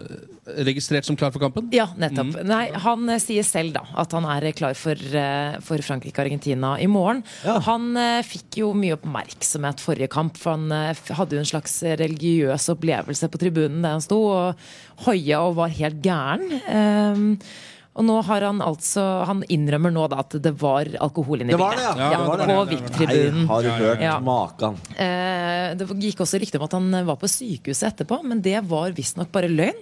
[SPEAKER 5] registrert som klar for kampen?
[SPEAKER 4] Ja, nettopp.
[SPEAKER 7] Mm.
[SPEAKER 4] Nei, han eh, sier selv da at han er eh, klar for, eh, for Frankrike og Argentina i morgen. Han eh, fikk jo mye oppmerksomhet forrige kamp, for han eh, f- hadde jo en slags religiøs opplevelse på tribunen der han sto og hoia og var helt gæren. Ehm, og nå har han altså Han innrømmer nå da at det var alkohol inne i
[SPEAKER 7] Det var det, ja.
[SPEAKER 4] bildet.
[SPEAKER 7] Ja, det var det.
[SPEAKER 4] på
[SPEAKER 7] Nei,
[SPEAKER 4] VIP-tribunen.
[SPEAKER 7] har du hørt
[SPEAKER 4] Ja.
[SPEAKER 7] maken?
[SPEAKER 4] Eh, Det gikk også rykter om at han var på sykehuset etterpå, men det var visstnok bare løgn.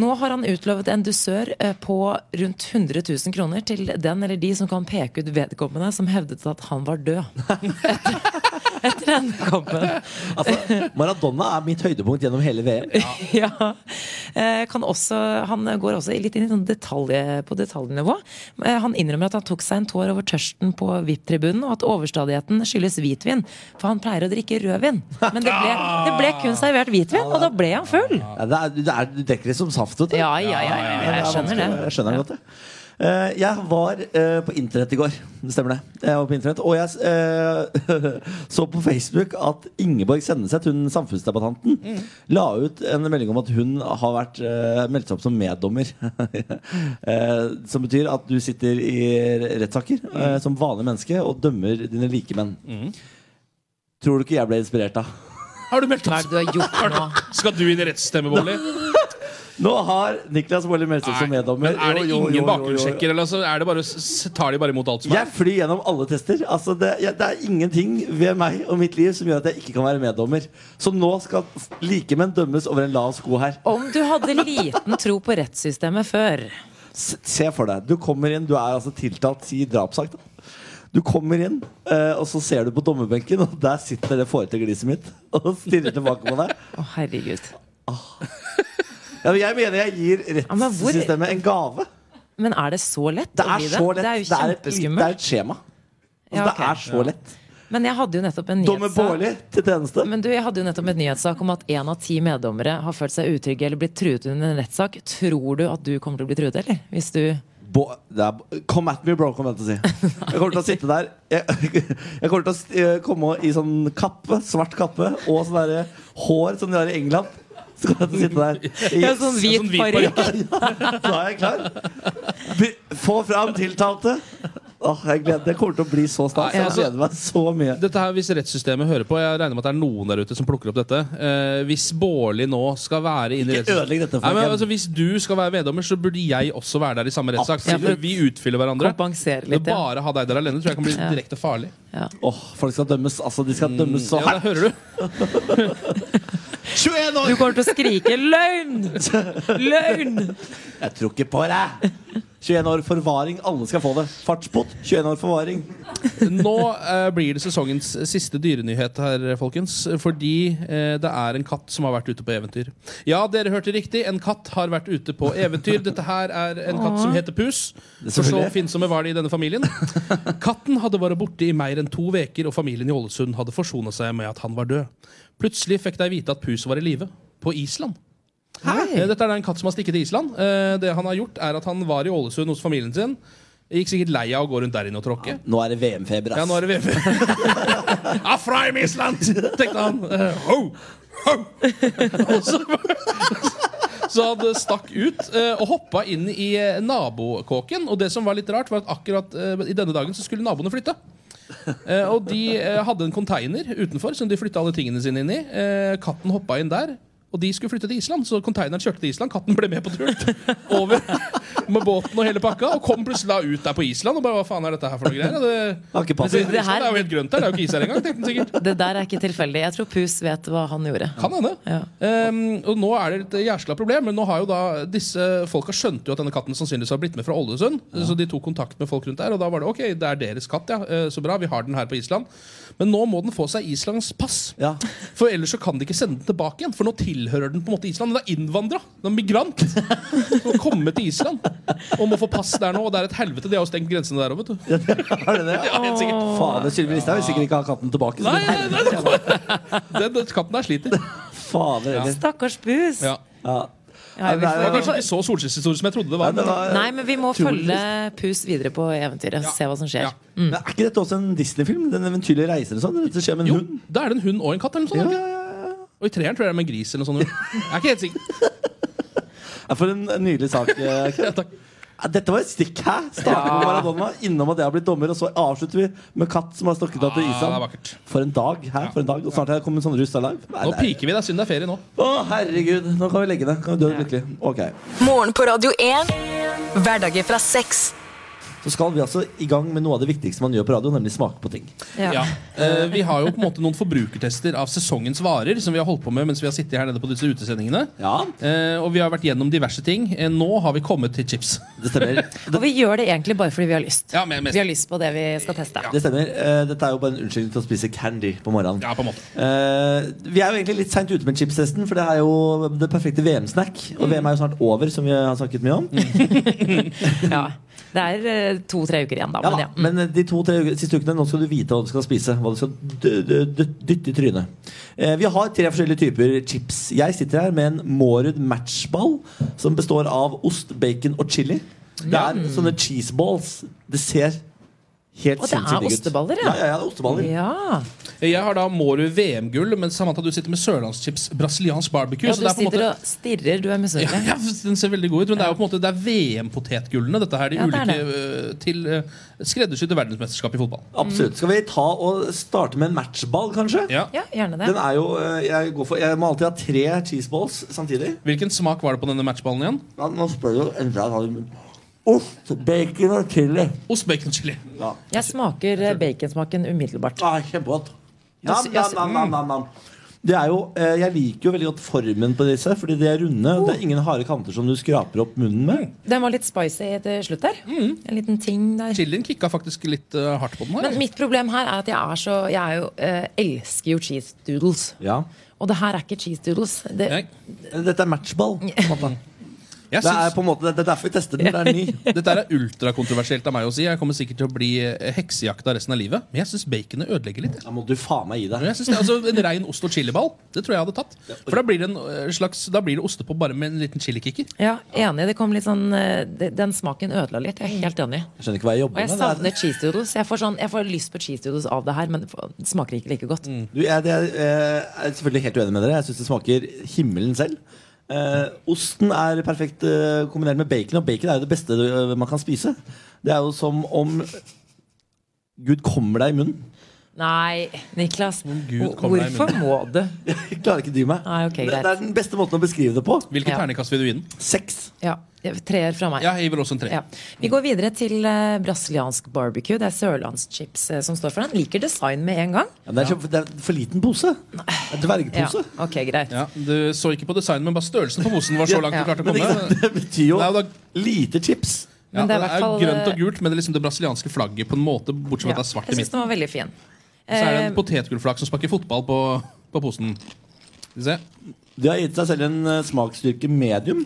[SPEAKER 4] Nå har han utlovet en dusør eh, på rundt 100 000 kroner til den eller de som kan peke ut vedkommende som hevdet at han var død. Etter, etter denne kampen.
[SPEAKER 7] Altså, Maradona er mitt høydepunkt gjennom hele VM.
[SPEAKER 4] Ja. Eh, Kan også, han går også litt inn i sånn detalj, på detaljnivå. Eh, Han innrømmer at han tok seg en tår over tørsten på VIP-tribunen, og at overstadigheten skyldes hvitvin. For han pleier å drikke rødvin. Men det ble, det ble kun servert hvitvin, og da ble han full.
[SPEAKER 7] Ja, det er, det er, du dekker det som saft. vet du.
[SPEAKER 4] Ja, ja, ja, ja, ja, jeg
[SPEAKER 7] Det er
[SPEAKER 4] skjønner
[SPEAKER 7] vanskelig,
[SPEAKER 4] det.
[SPEAKER 7] Jeg skjønner det godt, jeg. Eh, jeg var eh, på internett i går. Det stemmer det. Jeg var på internett Og jeg eh, så på Facebook at Ingeborg Senneset, hun samfunnsdebattanten,
[SPEAKER 5] Mm.
[SPEAKER 7] la ut en melding om at hun har vært eh, meldt seg opp som meddommer. Eh, som betyr at du sitter i rettssaker
[SPEAKER 5] Mm.
[SPEAKER 7] eh, som vanlig menneske og dømmer dine likemenn. Tror du ikke jeg ble inspirert av?
[SPEAKER 5] Har du meldt
[SPEAKER 4] Hva er det du har gjort nå?
[SPEAKER 5] Skal du inn i rettsstemmebolig?
[SPEAKER 7] Nå har Niklas Baarli meldt seg opp som meddommer.
[SPEAKER 5] Men er det
[SPEAKER 7] Jo, jo, jo, jo,
[SPEAKER 5] ingen
[SPEAKER 7] jo.
[SPEAKER 5] bakgrunnssjekker? Eller altså, er det bare, s- tar de bare imot alt som
[SPEAKER 7] Jeg
[SPEAKER 5] er?
[SPEAKER 7] flyr gjennom alle tester. Altså det, jeg, det er ingenting ved meg og mitt liv som gjør at jeg ikke kan være meddommer. Så nå skal f- likemenn dømmes over en lav sko her.
[SPEAKER 4] Om du hadde liten tro på rettssystemet før.
[SPEAKER 7] S se for deg. Du kommer inn, du er altså tiltalt, si drapssak, da. Du kommer inn, eh, og så ser du på dommerbenken, og der sitter det fårete gliset mitt og stirrer tilbake på deg.
[SPEAKER 4] Å, herregud.
[SPEAKER 7] Ja, men jeg mener jeg gir
[SPEAKER 4] men hvor-
[SPEAKER 7] rettssystemet en gave.
[SPEAKER 4] Men er det så lett?
[SPEAKER 7] Det
[SPEAKER 4] å
[SPEAKER 7] er
[SPEAKER 4] bli
[SPEAKER 7] så lett.
[SPEAKER 4] Det er jo
[SPEAKER 7] Det er et, det er
[SPEAKER 4] kjempeskummelt.
[SPEAKER 7] et skjema. Altså,
[SPEAKER 4] Ja, ok.
[SPEAKER 7] Det er så lett.
[SPEAKER 4] Men jeg hadde jo nettopp en
[SPEAKER 7] Dommer
[SPEAKER 4] nyhetssak.
[SPEAKER 7] Baarli til tjeneste.
[SPEAKER 4] Men du, Jeg hadde jo nettopp en nyhetssak om at én av ti meddommere har følt seg utrygge eller blitt truet under en rettssak. Tror du at du kommer til å bli truet, eller? Hvis du
[SPEAKER 7] Bo det er, come at me, bro, kommer jeg til å si. Jeg kommer til å sitte der Jeg, jeg kommer til å s- eh, komme i sånn kappe, svart kappe, og sånn derre hår som de har i England. Så kommer jeg til å sitte der. I,
[SPEAKER 4] Ja, sånn hvit
[SPEAKER 5] sånn hvit
[SPEAKER 4] parykk.
[SPEAKER 7] så er jeg klar. Be få fram tiltalte. Åh, jeg gleder Det kommer til å bli så stas. Jeg
[SPEAKER 5] altså-
[SPEAKER 7] gleder meg så mye.
[SPEAKER 5] Dette her, Hvis rettssystemet hører på, jeg regner med at det er noen der ute som plukker opp dette eh, Hvis Bårli nå skal være inne i
[SPEAKER 7] Ikke ødelegg dette for
[SPEAKER 5] Nei, men,
[SPEAKER 7] meg.
[SPEAKER 5] altså, Hvis du skal være meddommer, så burde jeg også være der i samme rettssak.
[SPEAKER 4] Absolutt.
[SPEAKER 5] Fordi Vi utfyller hverandre.
[SPEAKER 4] kompenserer
[SPEAKER 5] Men
[SPEAKER 4] litt? Ja.
[SPEAKER 5] bare ha deg der alene tror jeg kan bli direkte farlig.
[SPEAKER 7] Åh, folk skal dømmes. Altså, de skal dømmes så
[SPEAKER 5] Ja, da
[SPEAKER 7] hardt.
[SPEAKER 5] hører du.
[SPEAKER 7] 21
[SPEAKER 4] Du
[SPEAKER 7] år!
[SPEAKER 4] kommer til å skrike 'løgn'! Løgn!
[SPEAKER 7] Jeg tror ikke på deg. 21 år forvaring. Alle skal få det. Fartsbot. 21 år forvaring.
[SPEAKER 5] Nå eh, blir det sesongens siste dyrenyhet her, folkens. Fordi eh, det er en katt som har vært ute på eventyr. Ja, dere hørte riktig. En katt har vært ute på eventyr. Dette her er en katt som heter Pus. For så
[SPEAKER 7] selvfølgelig.
[SPEAKER 5] oppfinnsomme var de i denne familien. Katten hadde vært borte i mer enn to uker, og familien i Ålesund hadde forsona seg med at han var død. Plutselig fikk de vite at Pus var i live. På Island. Eh, Dette er da en katt som har stikket til Island. Eh, Det han har gjort, er at han var i Ålesund hos familien sin. Gikk sikkert lei av å gå rundt der inne og tråkke.
[SPEAKER 7] Nå er det VM-feber, ass.
[SPEAKER 5] Ja, nå er det VM. Afraim Ah, Island! tenkte han. Eh, ho, ho. Og så, så han stakk ut eh, og hoppa inn i eh, nabokåken. Og det som var litt rart, var at akkurat eh, i denne dagen så skulle naboene flytte. Eh, og de eh, hadde en container utenfor som de flytta alle tingene sine inn i. Eh, katten hoppa inn der. Og de skulle flytte til Island, så containeren kjørte til Island. Katten ble med på turen. Over med båten og hele pakka. Og kom plutselig da ut der på Island og bare hva faen er dette her for noe greier? Og det,
[SPEAKER 7] Har ikke passet.
[SPEAKER 5] det,
[SPEAKER 4] Det her-
[SPEAKER 5] er jo helt grønt her. Det er jo ikke is her engang. tenkte han sikkert.
[SPEAKER 4] Det der er ikke tilfeldig. Jeg tror Pus vet hva han gjorde.
[SPEAKER 5] Kan hende.
[SPEAKER 4] Ja.
[SPEAKER 5] Ehm, og nå er det et jæsla problem. Men nå har jo da disse folka skjønte jo at denne katten sannsynligvis har blitt med fra Ålesund. Så de tok kontakt med folk rundt der, og da var det ok, det er deres katt, ja. Eh, Så bra, vi har den her på Island. Men nå må den få seg Islands pass.
[SPEAKER 7] Ja.
[SPEAKER 5] For ellers så kan de ikke sende den tilbake igjen. For nå tilhører den på en måte Island. Den er innvandra. Den er migrant. Den har kommet til Island og må få pass der nå. Og det er et helvete. De har jo stengt grensene der òg, vet du.
[SPEAKER 7] Er det det?
[SPEAKER 5] Ja, helt sikkert.
[SPEAKER 7] Fader, Sylvi Listhaug vil sikkert ikke ha katten tilbake. så
[SPEAKER 5] Nei, nei, nei, Den, den katten der sliter.
[SPEAKER 7] Fader heller.
[SPEAKER 4] Stakkars Pus!
[SPEAKER 5] Ja.
[SPEAKER 7] Ja.
[SPEAKER 4] Ja, vi
[SPEAKER 7] det
[SPEAKER 5] Det
[SPEAKER 7] er jo-
[SPEAKER 5] var kanskje ikke så solskinnshistorie som jeg trodde det
[SPEAKER 7] Nei,
[SPEAKER 5] var.
[SPEAKER 7] det
[SPEAKER 5] Men
[SPEAKER 7] var-
[SPEAKER 4] Nei, men vi må
[SPEAKER 7] Utrolig
[SPEAKER 4] følge Pus videre på eventyret og se hva som skjer.
[SPEAKER 5] Ja.
[SPEAKER 7] Men er ikke dette også en Disney-film? Den eventyrlige reisen? eller sånn? Dette skjer med en
[SPEAKER 5] jo,
[SPEAKER 7] hund?
[SPEAKER 5] da er det en hund og en katt. eller noe sånt, er det ikke? Og i treeren tror jeg det er med en gris eller noe sånt. Jeg er ikke helt sikker.
[SPEAKER 7] Ja, For en nydelig sak. eh, Knut. Ja, Dette var et stikk, hæ? Starter med Maradona, innom at jeg har blitt dommer, og så avslutter vi med katt som har stukket av til
[SPEAKER 5] Ah, det er
[SPEAKER 7] Island.
[SPEAKER 5] vakkert.
[SPEAKER 7] For en dag. Hæ? For en dag. Og snart er det kommet sånn russ alive. Nei,
[SPEAKER 5] Nå
[SPEAKER 7] det er-
[SPEAKER 5] piker vi. Det er synd det er ferie nå.
[SPEAKER 7] Å, herregud. Nå kan vi legge det. Kan vi dø lykkelig. Ok.
[SPEAKER 6] Morgen på Radio 1. Hverdager fra seks.
[SPEAKER 7] Så skal vi altså i gang med noe av det viktigste man gjør på radio, nemlig smake på ting.
[SPEAKER 5] Ja. Eh, vi har jo på en måte noen forbrukertester av sesongens varer som vi har holdt på med mens vi har sittet her nede på disse utesendingene. Eh, og vi har vært gjennom diverse ting. Eh, nå har vi kommet til chips.
[SPEAKER 7] Det stemmer.
[SPEAKER 4] Og vi gjør det egentlig bare fordi vi har lyst.
[SPEAKER 5] Ja, men- men-
[SPEAKER 4] Vi har lyst på det vi skal teste.
[SPEAKER 7] Det stemmer. Eh, Dette er jo bare en unnskyldning til å spise candy på morgenen.
[SPEAKER 5] Ja, på en måte.
[SPEAKER 7] Eh, vi er jo egentlig litt seint ute med chipstesten, for det er jo det perfekte VM-snack.
[SPEAKER 4] Mm.
[SPEAKER 7] Og VM er jo snart over, som vi har snakket mye om.
[SPEAKER 4] Ja. Det er eh, to-tre uker igjen, da.
[SPEAKER 7] Ja,
[SPEAKER 4] Men
[SPEAKER 7] da.
[SPEAKER 4] ja.
[SPEAKER 7] Men eh, de to-tre uke- siste ukene, nå skal du vite hva du skal spise. Hva du skal dø- dø- dø- dytte i trynet. Eh, Vi har tre forskjellige typer chips. Jeg sitter her med en Mårud matchball, som består av ost, bacon og chili. Det er sånne cheese balls. Det ser helt
[SPEAKER 4] Og det er
[SPEAKER 7] sinnssykt digg ut.
[SPEAKER 4] osteballer, ja.
[SPEAKER 7] ja. Ja, ja, det er osteballer.
[SPEAKER 4] ja.
[SPEAKER 5] Eh, Jeg har da Mårud VM-gull, men Samantha, du sitter med sørlandschips brasiliansk barbecue.
[SPEAKER 4] ja
[SPEAKER 5] så
[SPEAKER 4] du
[SPEAKER 5] det er på en
[SPEAKER 4] sitter
[SPEAKER 5] måte
[SPEAKER 4] og stirrer, du er
[SPEAKER 5] ja,
[SPEAKER 4] misunnelig.
[SPEAKER 5] ja, Den ser veldig god ut, men det er jo på en måte Det er VM-potetgullene, dette her. De
[SPEAKER 4] Ja, det er
[SPEAKER 5] ulike eh, til uh, skreddersydde verdensmesterskap i fotball.
[SPEAKER 7] Absolutt. Skal vi ta og starte med en matchball, kanskje?
[SPEAKER 5] Ja.
[SPEAKER 4] Ja, gjerne det.
[SPEAKER 7] Den er jo, eh, jeg, går for, jeg må alltid ha tre cheeseballs samtidig.
[SPEAKER 5] Hvilken smak var det på denne matchballen igjen?
[SPEAKER 7] Ja, nå spør du endra Ost, bacon og chili.
[SPEAKER 5] Ost, bacon, chili.
[SPEAKER 4] Jeg smaker eh, baconsmaken umiddelbart.
[SPEAKER 7] Ah, kjempegodt. mm. Nam,
[SPEAKER 4] Jeg
[SPEAKER 7] nam,
[SPEAKER 4] sy-
[SPEAKER 7] nam, nam, nam, nam. Det er jo, eh, jeg liker jo veldig godt formen på disse, fordi de er runde. Det er ingen harde kanter som du skraper opp munnen med.
[SPEAKER 4] Den var litt spicy til slutt der. En liten ting der.
[SPEAKER 5] Chilien kicka faktisk litt eh, hardt på den her.
[SPEAKER 4] Men mitt problem her er at jeg er så Jeg er jo, eh, elsker jo cheese doodles.
[SPEAKER 7] Ja.
[SPEAKER 4] Og det her er ikke cheese doodles. Det,
[SPEAKER 5] Nei,
[SPEAKER 7] Eh, Dette er matchball. på en måte.
[SPEAKER 5] jeg
[SPEAKER 7] Det er
[SPEAKER 5] syns-
[SPEAKER 7] på en måte, det er derfor vi tester den. Det er ny.
[SPEAKER 5] Dette er ultrakontroversielt av meg å si. Jeg kommer sikkert til å bli eh, heksejakta resten av livet. Men jeg syns baconet ødelegger litt. jeg.
[SPEAKER 7] Da må du faen meg gi deg.
[SPEAKER 5] Men Jeg synes det, altså En rein ost- og chiliball det tror jeg jeg hadde tatt. For Da blir det en eh, slags Da blir det ostepop bare med en liten chilikicker.
[SPEAKER 4] ja, enig. Det kom litt sånn eh, det- Den smaken ødela litt. Jeg er helt enig.
[SPEAKER 7] Jeg skjønner ikke hva jeg
[SPEAKER 4] Og
[SPEAKER 7] jobber
[SPEAKER 4] jeg
[SPEAKER 7] med.
[SPEAKER 4] savner
[SPEAKER 7] Det er,
[SPEAKER 4] cheese doodles. Jeg får, sånn, jeg får lyst på cheese doodles av det her, men det får- det smaker ikke like godt.
[SPEAKER 7] du, jeg, det er, eh, er selvfølgelig helt uenig med dere. Jeg syns det smaker himmelen selv. Eh, osten er perfekt eh, kombinert med bacon, og bacon er jo det beste eh, man kan spise. Det er jo som om Gud kommer deg i munnen.
[SPEAKER 4] Nei, Niklas.
[SPEAKER 5] Gud,
[SPEAKER 4] hvor-
[SPEAKER 5] kom deg i
[SPEAKER 4] Hvorfor må du?
[SPEAKER 7] Jeg klarer ikke å dy meg.
[SPEAKER 4] Nei, ok,
[SPEAKER 7] det,
[SPEAKER 4] greit.
[SPEAKER 7] det er den beste måten å beskrive det på.
[SPEAKER 5] Hvilken
[SPEAKER 4] Ja.
[SPEAKER 5] ternekast vil du gi den?
[SPEAKER 7] Sex.
[SPEAKER 4] Ja, Treer fra meg.
[SPEAKER 5] Ja, jeg gir vel også en tre.
[SPEAKER 4] Ja. Vi går videre til eh, brasiliansk barbecue. Det er sørlandschips eh, som står for den. Liker design med en gang.
[SPEAKER 7] Ja, men det, er så, det er for liten pose. Det er Dvergpose.
[SPEAKER 4] Ja, ok, greit.
[SPEAKER 5] Ja, du så ikke på designet, men bare størrelsen på posen var så langt du
[SPEAKER 4] Ja.
[SPEAKER 5] klarte å
[SPEAKER 7] Men ikke sant?
[SPEAKER 5] komme.
[SPEAKER 7] det betyr jo
[SPEAKER 5] Nei, da-
[SPEAKER 7] lite chips.
[SPEAKER 5] Ja,
[SPEAKER 4] Men
[SPEAKER 5] det
[SPEAKER 4] det er i
[SPEAKER 5] er
[SPEAKER 4] hvert fall,
[SPEAKER 5] grønt og
[SPEAKER 4] eh,
[SPEAKER 5] gult, men det er liksom det brasilianske flagget på en måte, bortsett fra at det er svart i
[SPEAKER 4] Jeg syns
[SPEAKER 5] midten.
[SPEAKER 4] den var veldig fin.
[SPEAKER 5] Så er det
[SPEAKER 4] Eh,
[SPEAKER 5] en potetgullflak som sparker fotball på, på posen. Skal vi se.
[SPEAKER 7] De har gitt seg selv en eh, smaksstyrke medium.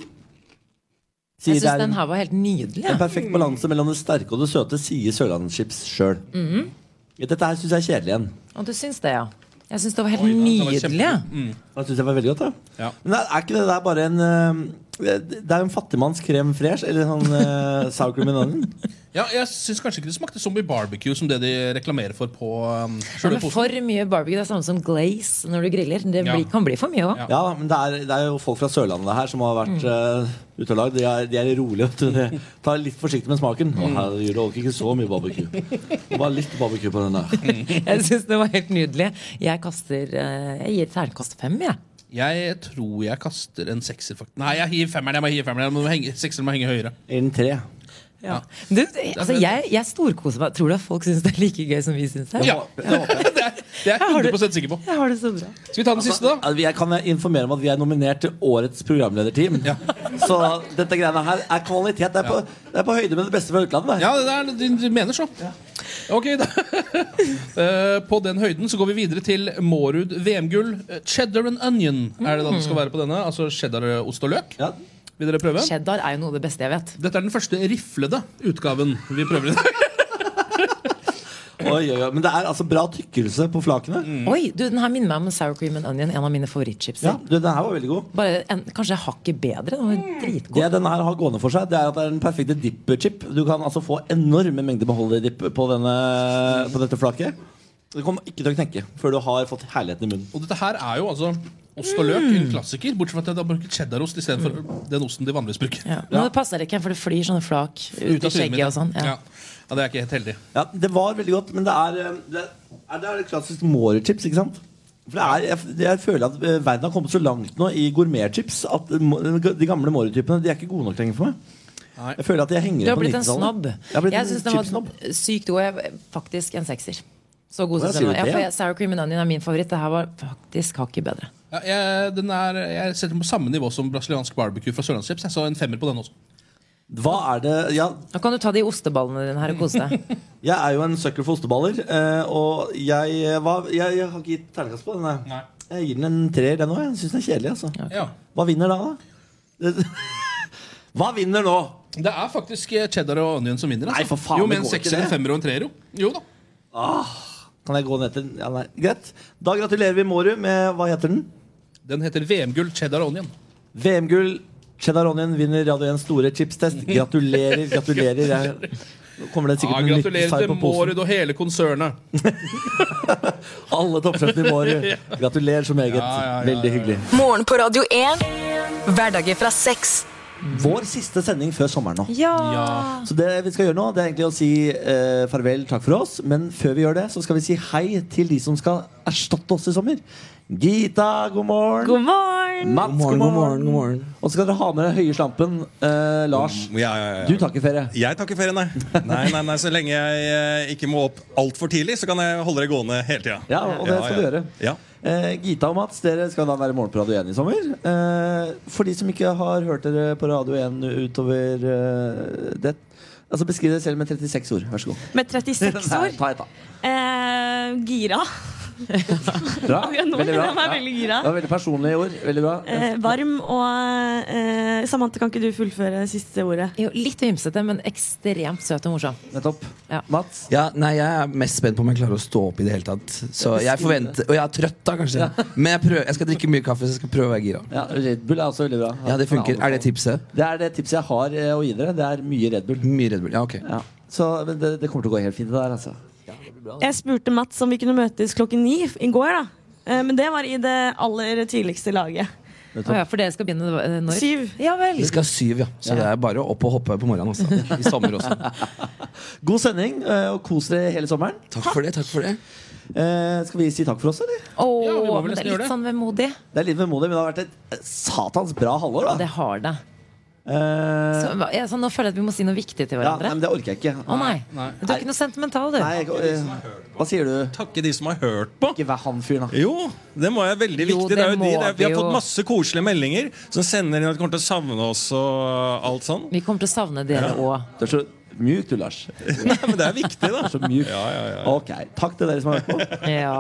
[SPEAKER 7] Sier
[SPEAKER 4] jeg
[SPEAKER 7] det
[SPEAKER 4] syns
[SPEAKER 7] er
[SPEAKER 4] den
[SPEAKER 7] en,
[SPEAKER 4] her var helt nydelig.
[SPEAKER 7] en
[SPEAKER 4] Ja.
[SPEAKER 7] perfekt balanse mellom det sterke og det søte, sier Sørlandschips sjøl. Dette her syns jeg er kjedelig igjen.
[SPEAKER 4] Og du syns det, ja. Jeg syns det var helt
[SPEAKER 5] den var
[SPEAKER 4] nydelig. ja.
[SPEAKER 7] Det syns jeg var veldig godt. da
[SPEAKER 5] Ja.
[SPEAKER 7] Men er, er ikke det der bare en eh, Det er jo en fattigmanns krem fresh, eller sånn uh, sour cream and onion.
[SPEAKER 5] Ja, jeg syns kanskje ikke det smakte så mye barbecue som det de reklamerer for på um,
[SPEAKER 4] Men
[SPEAKER 5] sjølve posen.
[SPEAKER 4] for mye barbecue. Det er samme som glaze når du griller. Det
[SPEAKER 5] Ja.
[SPEAKER 4] blir, kan bli for mye òg.
[SPEAKER 5] Ja.
[SPEAKER 7] Ja, men det er, det er jo folk fra Sørlandet her som har vært eh, ute og lagd. De er, de er rolige. vet du. De tar litt forsiktig med smaken. Å, herregud, det orker ikke så mye barbecue. Det var litt barbecue på den der.
[SPEAKER 4] Jeg syns det var helt nydelig. Jeg kaster eh, Jeg gir terningkast fem, jeg.
[SPEAKER 5] Jeg tror jeg kaster en sekser. fakt- Nei, jeg gir femmeren. Jeg må gi femmeren. Jeg må henge, sekseren må henge høyere.
[SPEAKER 7] Innen tre.
[SPEAKER 4] Ja. Du, altså, jeg, jeg storkoser meg. Tror du at folk syns det er like gøy som vi syns det? er?
[SPEAKER 5] Ja, det er det er jeg 100 sikker på.
[SPEAKER 4] Jeg har det så bra.
[SPEAKER 5] Skal vi ta den siste, da?
[SPEAKER 7] Ja, Altså, Jeg kan informere om at vi er nominert til årets programlederteam.
[SPEAKER 5] Ja.
[SPEAKER 7] Så dette greiene her er kvalitet. Det er på, det er på høyde med det beste fra utlandet.
[SPEAKER 5] Ja, det er, du, du mener så. Ok, da. Eh, På den høyden så går vi videre til Mårud VM-gull. Eh, Cheddar and onion er det da det skal være på denne. Altså cheddarost og løk.
[SPEAKER 7] Ja.
[SPEAKER 5] Vil dere prøve?
[SPEAKER 4] Cheddar er jo noe av det beste jeg vet.
[SPEAKER 5] Dette er den første riflede utgaven vi prøver i dag.
[SPEAKER 7] Oi, oi, oi. Men det er altså bra tykkelse på flakene.
[SPEAKER 5] Mm.
[SPEAKER 4] Oi, du, Den her minner meg om sour cream and onion, en av mine favorittchips.
[SPEAKER 7] Ja, du, Den her var veldig god.
[SPEAKER 4] Bare en, Kanskje hakket bedre. Den var
[SPEAKER 7] Det
[SPEAKER 4] dritgod.
[SPEAKER 7] den her har gående for seg, det er at det er den perfekte dip-chip. Du kan altså få enorme mengder beholderdipp på, denne- på dette flaket. Det kommer ikke til å knekke før du har fått herligheten i munnen.
[SPEAKER 5] Og dette her er jo altså ost og løk,
[SPEAKER 4] Mm.
[SPEAKER 5] en klassiker. Bortsett fra at jeg da bruker cheddarost istedenfor den osten de vanligvis bruker.
[SPEAKER 4] Ja. Men det passer ikke, for det flyr sånne flak ut i skjegget og sånn. Ja.
[SPEAKER 5] Ja, det er ikke helt heldig.
[SPEAKER 7] Ja, det var veldig godt, men det er eh, Det er, det er et klassisk Mårer-chips, ikke sant? For det er, jeg, jeg føler at eh, verden har kommet så langt nå i gourmetchips at eh, må- de gamle Mårer-typene De er ikke gode nok lenger for meg. Jeg føler at jeg
[SPEAKER 4] Du
[SPEAKER 7] henger
[SPEAKER 4] har
[SPEAKER 7] på
[SPEAKER 4] blitt en
[SPEAKER 7] 90-tallet.
[SPEAKER 4] snobb.
[SPEAKER 7] Jeg har blitt
[SPEAKER 4] Jeg
[SPEAKER 7] en
[SPEAKER 4] syns den
[SPEAKER 7] chipsnobb.
[SPEAKER 4] var sykt god. Jeg, faktisk en sekser. Så god
[SPEAKER 7] Hva
[SPEAKER 4] syns
[SPEAKER 7] sier
[SPEAKER 4] jeg den var. Ja,
[SPEAKER 7] du til det,
[SPEAKER 4] for
[SPEAKER 7] ja?
[SPEAKER 4] jeg- Sour cream and onion er min favoritt. Det her var faktisk hakket bedre.
[SPEAKER 5] Ja, jeg, den er, jeg setter den på samme nivå som brasiliansk barbecue fra Sørlandschips. Jeg så en femmer på den også.
[SPEAKER 7] Hva er det ja,
[SPEAKER 4] Nå kan du ta de osteballene dine her og kose deg.
[SPEAKER 7] Jeg er jo en sucker for osteballer, eh, og jeg, eh, var, jeg, jeg har ikke gitt terningkast på den. jeg. Jeg gir den en treer, den òg. Jeg syns den er kjedelig. altså
[SPEAKER 5] Ja.
[SPEAKER 7] Hva vinner da, da? Hva vinner nå?
[SPEAKER 5] Det er faktisk eh, cheddar og onion som vinner. Altså.
[SPEAKER 7] Nei, for faen,
[SPEAKER 5] jo, med
[SPEAKER 7] det
[SPEAKER 5] en
[SPEAKER 7] går ikke
[SPEAKER 5] sekser,
[SPEAKER 7] det.
[SPEAKER 5] en femmer og en treer, jo. Jo da.
[SPEAKER 7] Kan jeg gå ned til ja, nei. Greit. Da gratulerer vi Mårud med Hva heter den?
[SPEAKER 5] Den heter VM-gull cheddar og onion.
[SPEAKER 7] VM-gull. Cheddar Onion vinner Radio 1 store chipstest. Gratulerer, gratulerer. Jeg, nå kommer det
[SPEAKER 5] Ja,
[SPEAKER 7] sikkert en nytt
[SPEAKER 5] gratulerer
[SPEAKER 7] seier
[SPEAKER 5] til
[SPEAKER 7] på posen.
[SPEAKER 5] Mårud og hele konsernet.
[SPEAKER 7] Alle toppsjefene i Mårud. Gratulerer så meget. Veldig hyggelig.
[SPEAKER 6] Morgen på Radio 1. Hverdager fra seks.
[SPEAKER 7] Vår siste sending før sommeren nå.
[SPEAKER 4] Ja! Ah.
[SPEAKER 7] Så det vi skal gjøre nå, det er egentlig å si eh, farvel, takk for oss. Men før vi gjør det, så skal vi si hei til de som skal erstatte oss i sommer. Gita, god morgen.
[SPEAKER 4] God morgen!
[SPEAKER 7] Mats, god morgen. Og så skal dere ha med dere høye slampen. eh, Lars,
[SPEAKER 8] Mm, Ja, ja, ja.
[SPEAKER 7] du tar ikke ferie.
[SPEAKER 8] Jeg tar ikke ferie, nei. Nei, nei, nei. Så lenge jeg eh, ikke må opp altfor tidlig, så kan jeg holde det gående hele tida.
[SPEAKER 7] Ja, og det skal du gjøre.
[SPEAKER 8] Ja.
[SPEAKER 7] Eh, Gita og Mats, dere skal da være morgen på Radio 1 i sommer. Eh, for de som ikke har hørt dere på Radio 1 utover eh, det Altså Beskriv dere selv med 36 ord. Vær så god.
[SPEAKER 10] Med 36
[SPEAKER 7] Ta
[SPEAKER 10] år.
[SPEAKER 7] et, da.
[SPEAKER 10] Eh, gira.
[SPEAKER 7] Bra.
[SPEAKER 10] Akkurat nå kjenner
[SPEAKER 7] Veldig
[SPEAKER 10] jeg
[SPEAKER 7] bra.
[SPEAKER 10] meg veldig gira.
[SPEAKER 7] Det var veldig personlige ord. Veldig bra.
[SPEAKER 10] Eh, varm og eh, Samantha, kan ikke du fullføre siste ordet?
[SPEAKER 4] Jo, litt vimsete, men ekstremt søt og morsom.
[SPEAKER 7] Nettopp.
[SPEAKER 4] Ja.
[SPEAKER 7] Mats?
[SPEAKER 11] Ja, nei, Jeg er mest spent på om jeg klarer å stå opp i det hele tatt. Så jeg forventer, Og jeg er trøtt, da, kanskje. Men jeg, prøver, jeg skal drikke mye kaffe, så jeg skal prøve å være gira.
[SPEAKER 7] Ja, Red Bull er også veldig bra.
[SPEAKER 11] Ja, det funker. Er det tipset?
[SPEAKER 7] Det er det tipset jeg har eh, å gi dere. Det er mye Red Bull.
[SPEAKER 11] Mye Red Bull. Ja, ok.
[SPEAKER 7] Ja. Så men det, det kommer til å gå helt fint, det der, altså.
[SPEAKER 10] Jeg spurte Mats om vi kunne møtes klokken ni i går, da. Eh, men det var i det aller tidligste laget.
[SPEAKER 4] Å ja, for dere skal begynne eh, når?
[SPEAKER 10] Syv.
[SPEAKER 4] Ja vel.
[SPEAKER 11] Vi skal ha syv, ja. Så det er bare å opp og hoppe på morgenen også. I sommer også.
[SPEAKER 7] God sending, eh, og kos dere hele sommeren.
[SPEAKER 11] Takk for det. takk for det
[SPEAKER 7] Eh, Skal vi si takk for oss, eller?
[SPEAKER 4] Åh,
[SPEAKER 5] Ja, vi må vel
[SPEAKER 4] men det
[SPEAKER 5] nesten
[SPEAKER 4] er
[SPEAKER 5] gjøre det.
[SPEAKER 4] litt sånn vemodig.
[SPEAKER 7] Det er litt vemodig, men det har vært et eh, satans bra halvår.
[SPEAKER 4] Ja,
[SPEAKER 7] da
[SPEAKER 4] det har det.
[SPEAKER 7] Eh,
[SPEAKER 4] Så, hva- ja, så nå føler jeg at vi må si noe viktig til
[SPEAKER 7] ja, nei,
[SPEAKER 4] hverandre.
[SPEAKER 7] men det orker jeg ikke.
[SPEAKER 4] Å nei. Du er ikke noe sentimental, du.
[SPEAKER 7] Nei, jeg, eh, hva sier du?
[SPEAKER 8] Takke de som har hørt på.
[SPEAKER 7] Ikke vær han fyren, da.
[SPEAKER 8] Jo, det må jeg veldig
[SPEAKER 4] Jo,
[SPEAKER 8] viktig.
[SPEAKER 4] det
[SPEAKER 8] det er jo
[SPEAKER 4] må
[SPEAKER 8] de, det er, vi
[SPEAKER 4] vi
[SPEAKER 8] har
[SPEAKER 4] jo.
[SPEAKER 8] fått masse koselige meldinger som sender inn at de kommer til å savne oss og alt sånn.
[SPEAKER 4] Vi kommer til å savne dere òg.
[SPEAKER 7] Du er så mjuk, du, Lars.
[SPEAKER 8] Nei, men det er viktig, da.
[SPEAKER 7] Så mjuk.
[SPEAKER 8] Ja, ja, ja.
[SPEAKER 7] Ok, Takk til dere som har hørt på.
[SPEAKER 4] Ja.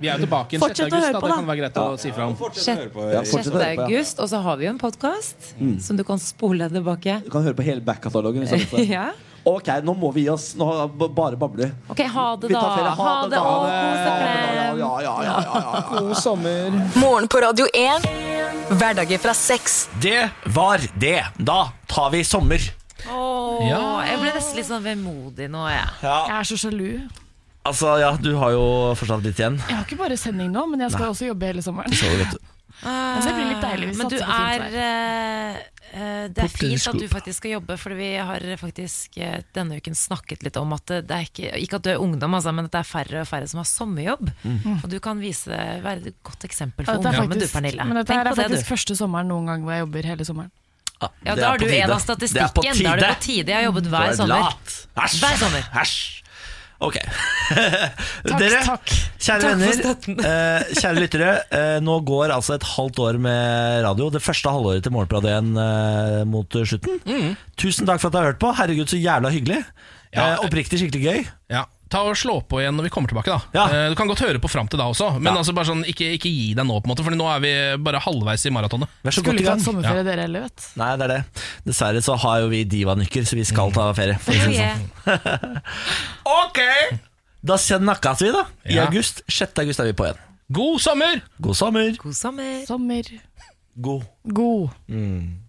[SPEAKER 5] Vi er jo tilbake igjen 6.
[SPEAKER 10] Fortsett å høre
[SPEAKER 5] august. Da.
[SPEAKER 10] på,
[SPEAKER 5] Det
[SPEAKER 10] da.
[SPEAKER 5] kan være greit å si fra om.
[SPEAKER 8] Fortsett å høre på.
[SPEAKER 7] Ja, fortsett
[SPEAKER 4] 6.
[SPEAKER 7] å høre på. Ja. Mm.
[SPEAKER 4] august, og så har vi jo en podkast som du kan spole tilbake.
[SPEAKER 7] Du kan høre på hele back-katalogen. hvis du har lyst til det.
[SPEAKER 4] Ja.
[SPEAKER 7] Ok, nå må vi gi oss. Nå har jeg b- bare babler.
[SPEAKER 4] Ok, ha det,
[SPEAKER 7] Vi
[SPEAKER 4] da.
[SPEAKER 7] tar ferie. Ha det, da.
[SPEAKER 4] og
[SPEAKER 7] Ha
[SPEAKER 4] kos
[SPEAKER 7] det,
[SPEAKER 4] dere.
[SPEAKER 7] da. Ja, ja, ja, ja, ja.
[SPEAKER 5] God sommer.
[SPEAKER 6] Morgen på Radio 1. Hverdager fra seks.
[SPEAKER 1] Det var det. Da tar vi sommer.
[SPEAKER 4] Åh,
[SPEAKER 5] Ja.
[SPEAKER 4] Jeg ble nesten litt sånn vemodig nå, jeg.
[SPEAKER 2] Jeg er så sjalu.
[SPEAKER 1] Altså, ja, du har jo fortsatt litt igjen.
[SPEAKER 2] Jeg har ikke bare sending nå, men jeg skal også jobbe hele sommeren.
[SPEAKER 1] Så vet du.
[SPEAKER 2] Altså, det blir litt deilig hvis
[SPEAKER 4] Men du
[SPEAKER 2] satser på
[SPEAKER 4] er
[SPEAKER 2] fint vær.
[SPEAKER 4] eh, eh, Det er fint at du faktisk skal jobbe, for vi har faktisk eh, denne uken snakket litt om at det det er ikke Ikke at du er ungdom, altså, men at det er færre og færre som har sommerjobb.
[SPEAKER 1] Mm.
[SPEAKER 4] Og du kan vise, være et godt eksempel
[SPEAKER 2] Ja,
[SPEAKER 4] for
[SPEAKER 2] dette er
[SPEAKER 4] ungdommen, du,
[SPEAKER 2] faktisk-
[SPEAKER 4] Pernille.
[SPEAKER 2] Men dette her
[SPEAKER 4] Tenk
[SPEAKER 2] er
[SPEAKER 4] på det,
[SPEAKER 2] faktisk
[SPEAKER 4] du.
[SPEAKER 2] første sommeren noen gang hvor jeg jobber hele sommeren.
[SPEAKER 4] Ja,
[SPEAKER 1] Ah, Det
[SPEAKER 4] da
[SPEAKER 1] er på
[SPEAKER 4] har du en
[SPEAKER 1] tide.
[SPEAKER 4] av
[SPEAKER 1] Det er på
[SPEAKER 4] statistikken. Da er det på tide. Jeg har jobbet
[SPEAKER 1] Du
[SPEAKER 4] hver
[SPEAKER 1] er
[SPEAKER 4] sommer.
[SPEAKER 1] lat. Æsj.
[SPEAKER 4] Hver sommer.
[SPEAKER 1] Æsj. Ok.
[SPEAKER 2] Takk,
[SPEAKER 1] Dere,
[SPEAKER 2] takk.
[SPEAKER 1] kjære
[SPEAKER 4] Takk for
[SPEAKER 1] venner,
[SPEAKER 4] støtten.
[SPEAKER 1] eh, kjære lyttere. Eh, nå går altså et halvt år med radio. Det første halvåret til Morgenprat 1 eh, mot slutten.
[SPEAKER 4] Mm.
[SPEAKER 1] Tusen takk for at dere har hørt på. Herregud, så jævla hyggelig.
[SPEAKER 3] Ja.
[SPEAKER 1] Eh, oppriktig skikkelig gøy.
[SPEAKER 3] Ja, Ta og Slå på igjen når vi kommer tilbake. da
[SPEAKER 1] Ja.
[SPEAKER 3] Eh, Du kan godt høre på fram til da også, men altså bare sånn, ikke, ikke gi deg nå, på en måte Fordi nå er vi bare halvveis i maratonet.
[SPEAKER 1] Vær så godt
[SPEAKER 2] Skulle
[SPEAKER 1] i
[SPEAKER 2] ikke
[SPEAKER 1] gang.
[SPEAKER 2] hatt sommerferie dere heller, vet
[SPEAKER 1] Nei, det er det. Dessverre så har jo vi divanykker, så vi
[SPEAKER 4] Mm.
[SPEAKER 1] skal ta ferie. For å si det sånn.
[SPEAKER 4] Yeah.
[SPEAKER 1] Ok! Da snakkes vi, da. I
[SPEAKER 3] Ja.
[SPEAKER 1] august. 6. august er vi på igjen.
[SPEAKER 3] God sommer!
[SPEAKER 1] God sommer.
[SPEAKER 4] God sommer.
[SPEAKER 2] Sommer.
[SPEAKER 1] God
[SPEAKER 2] God.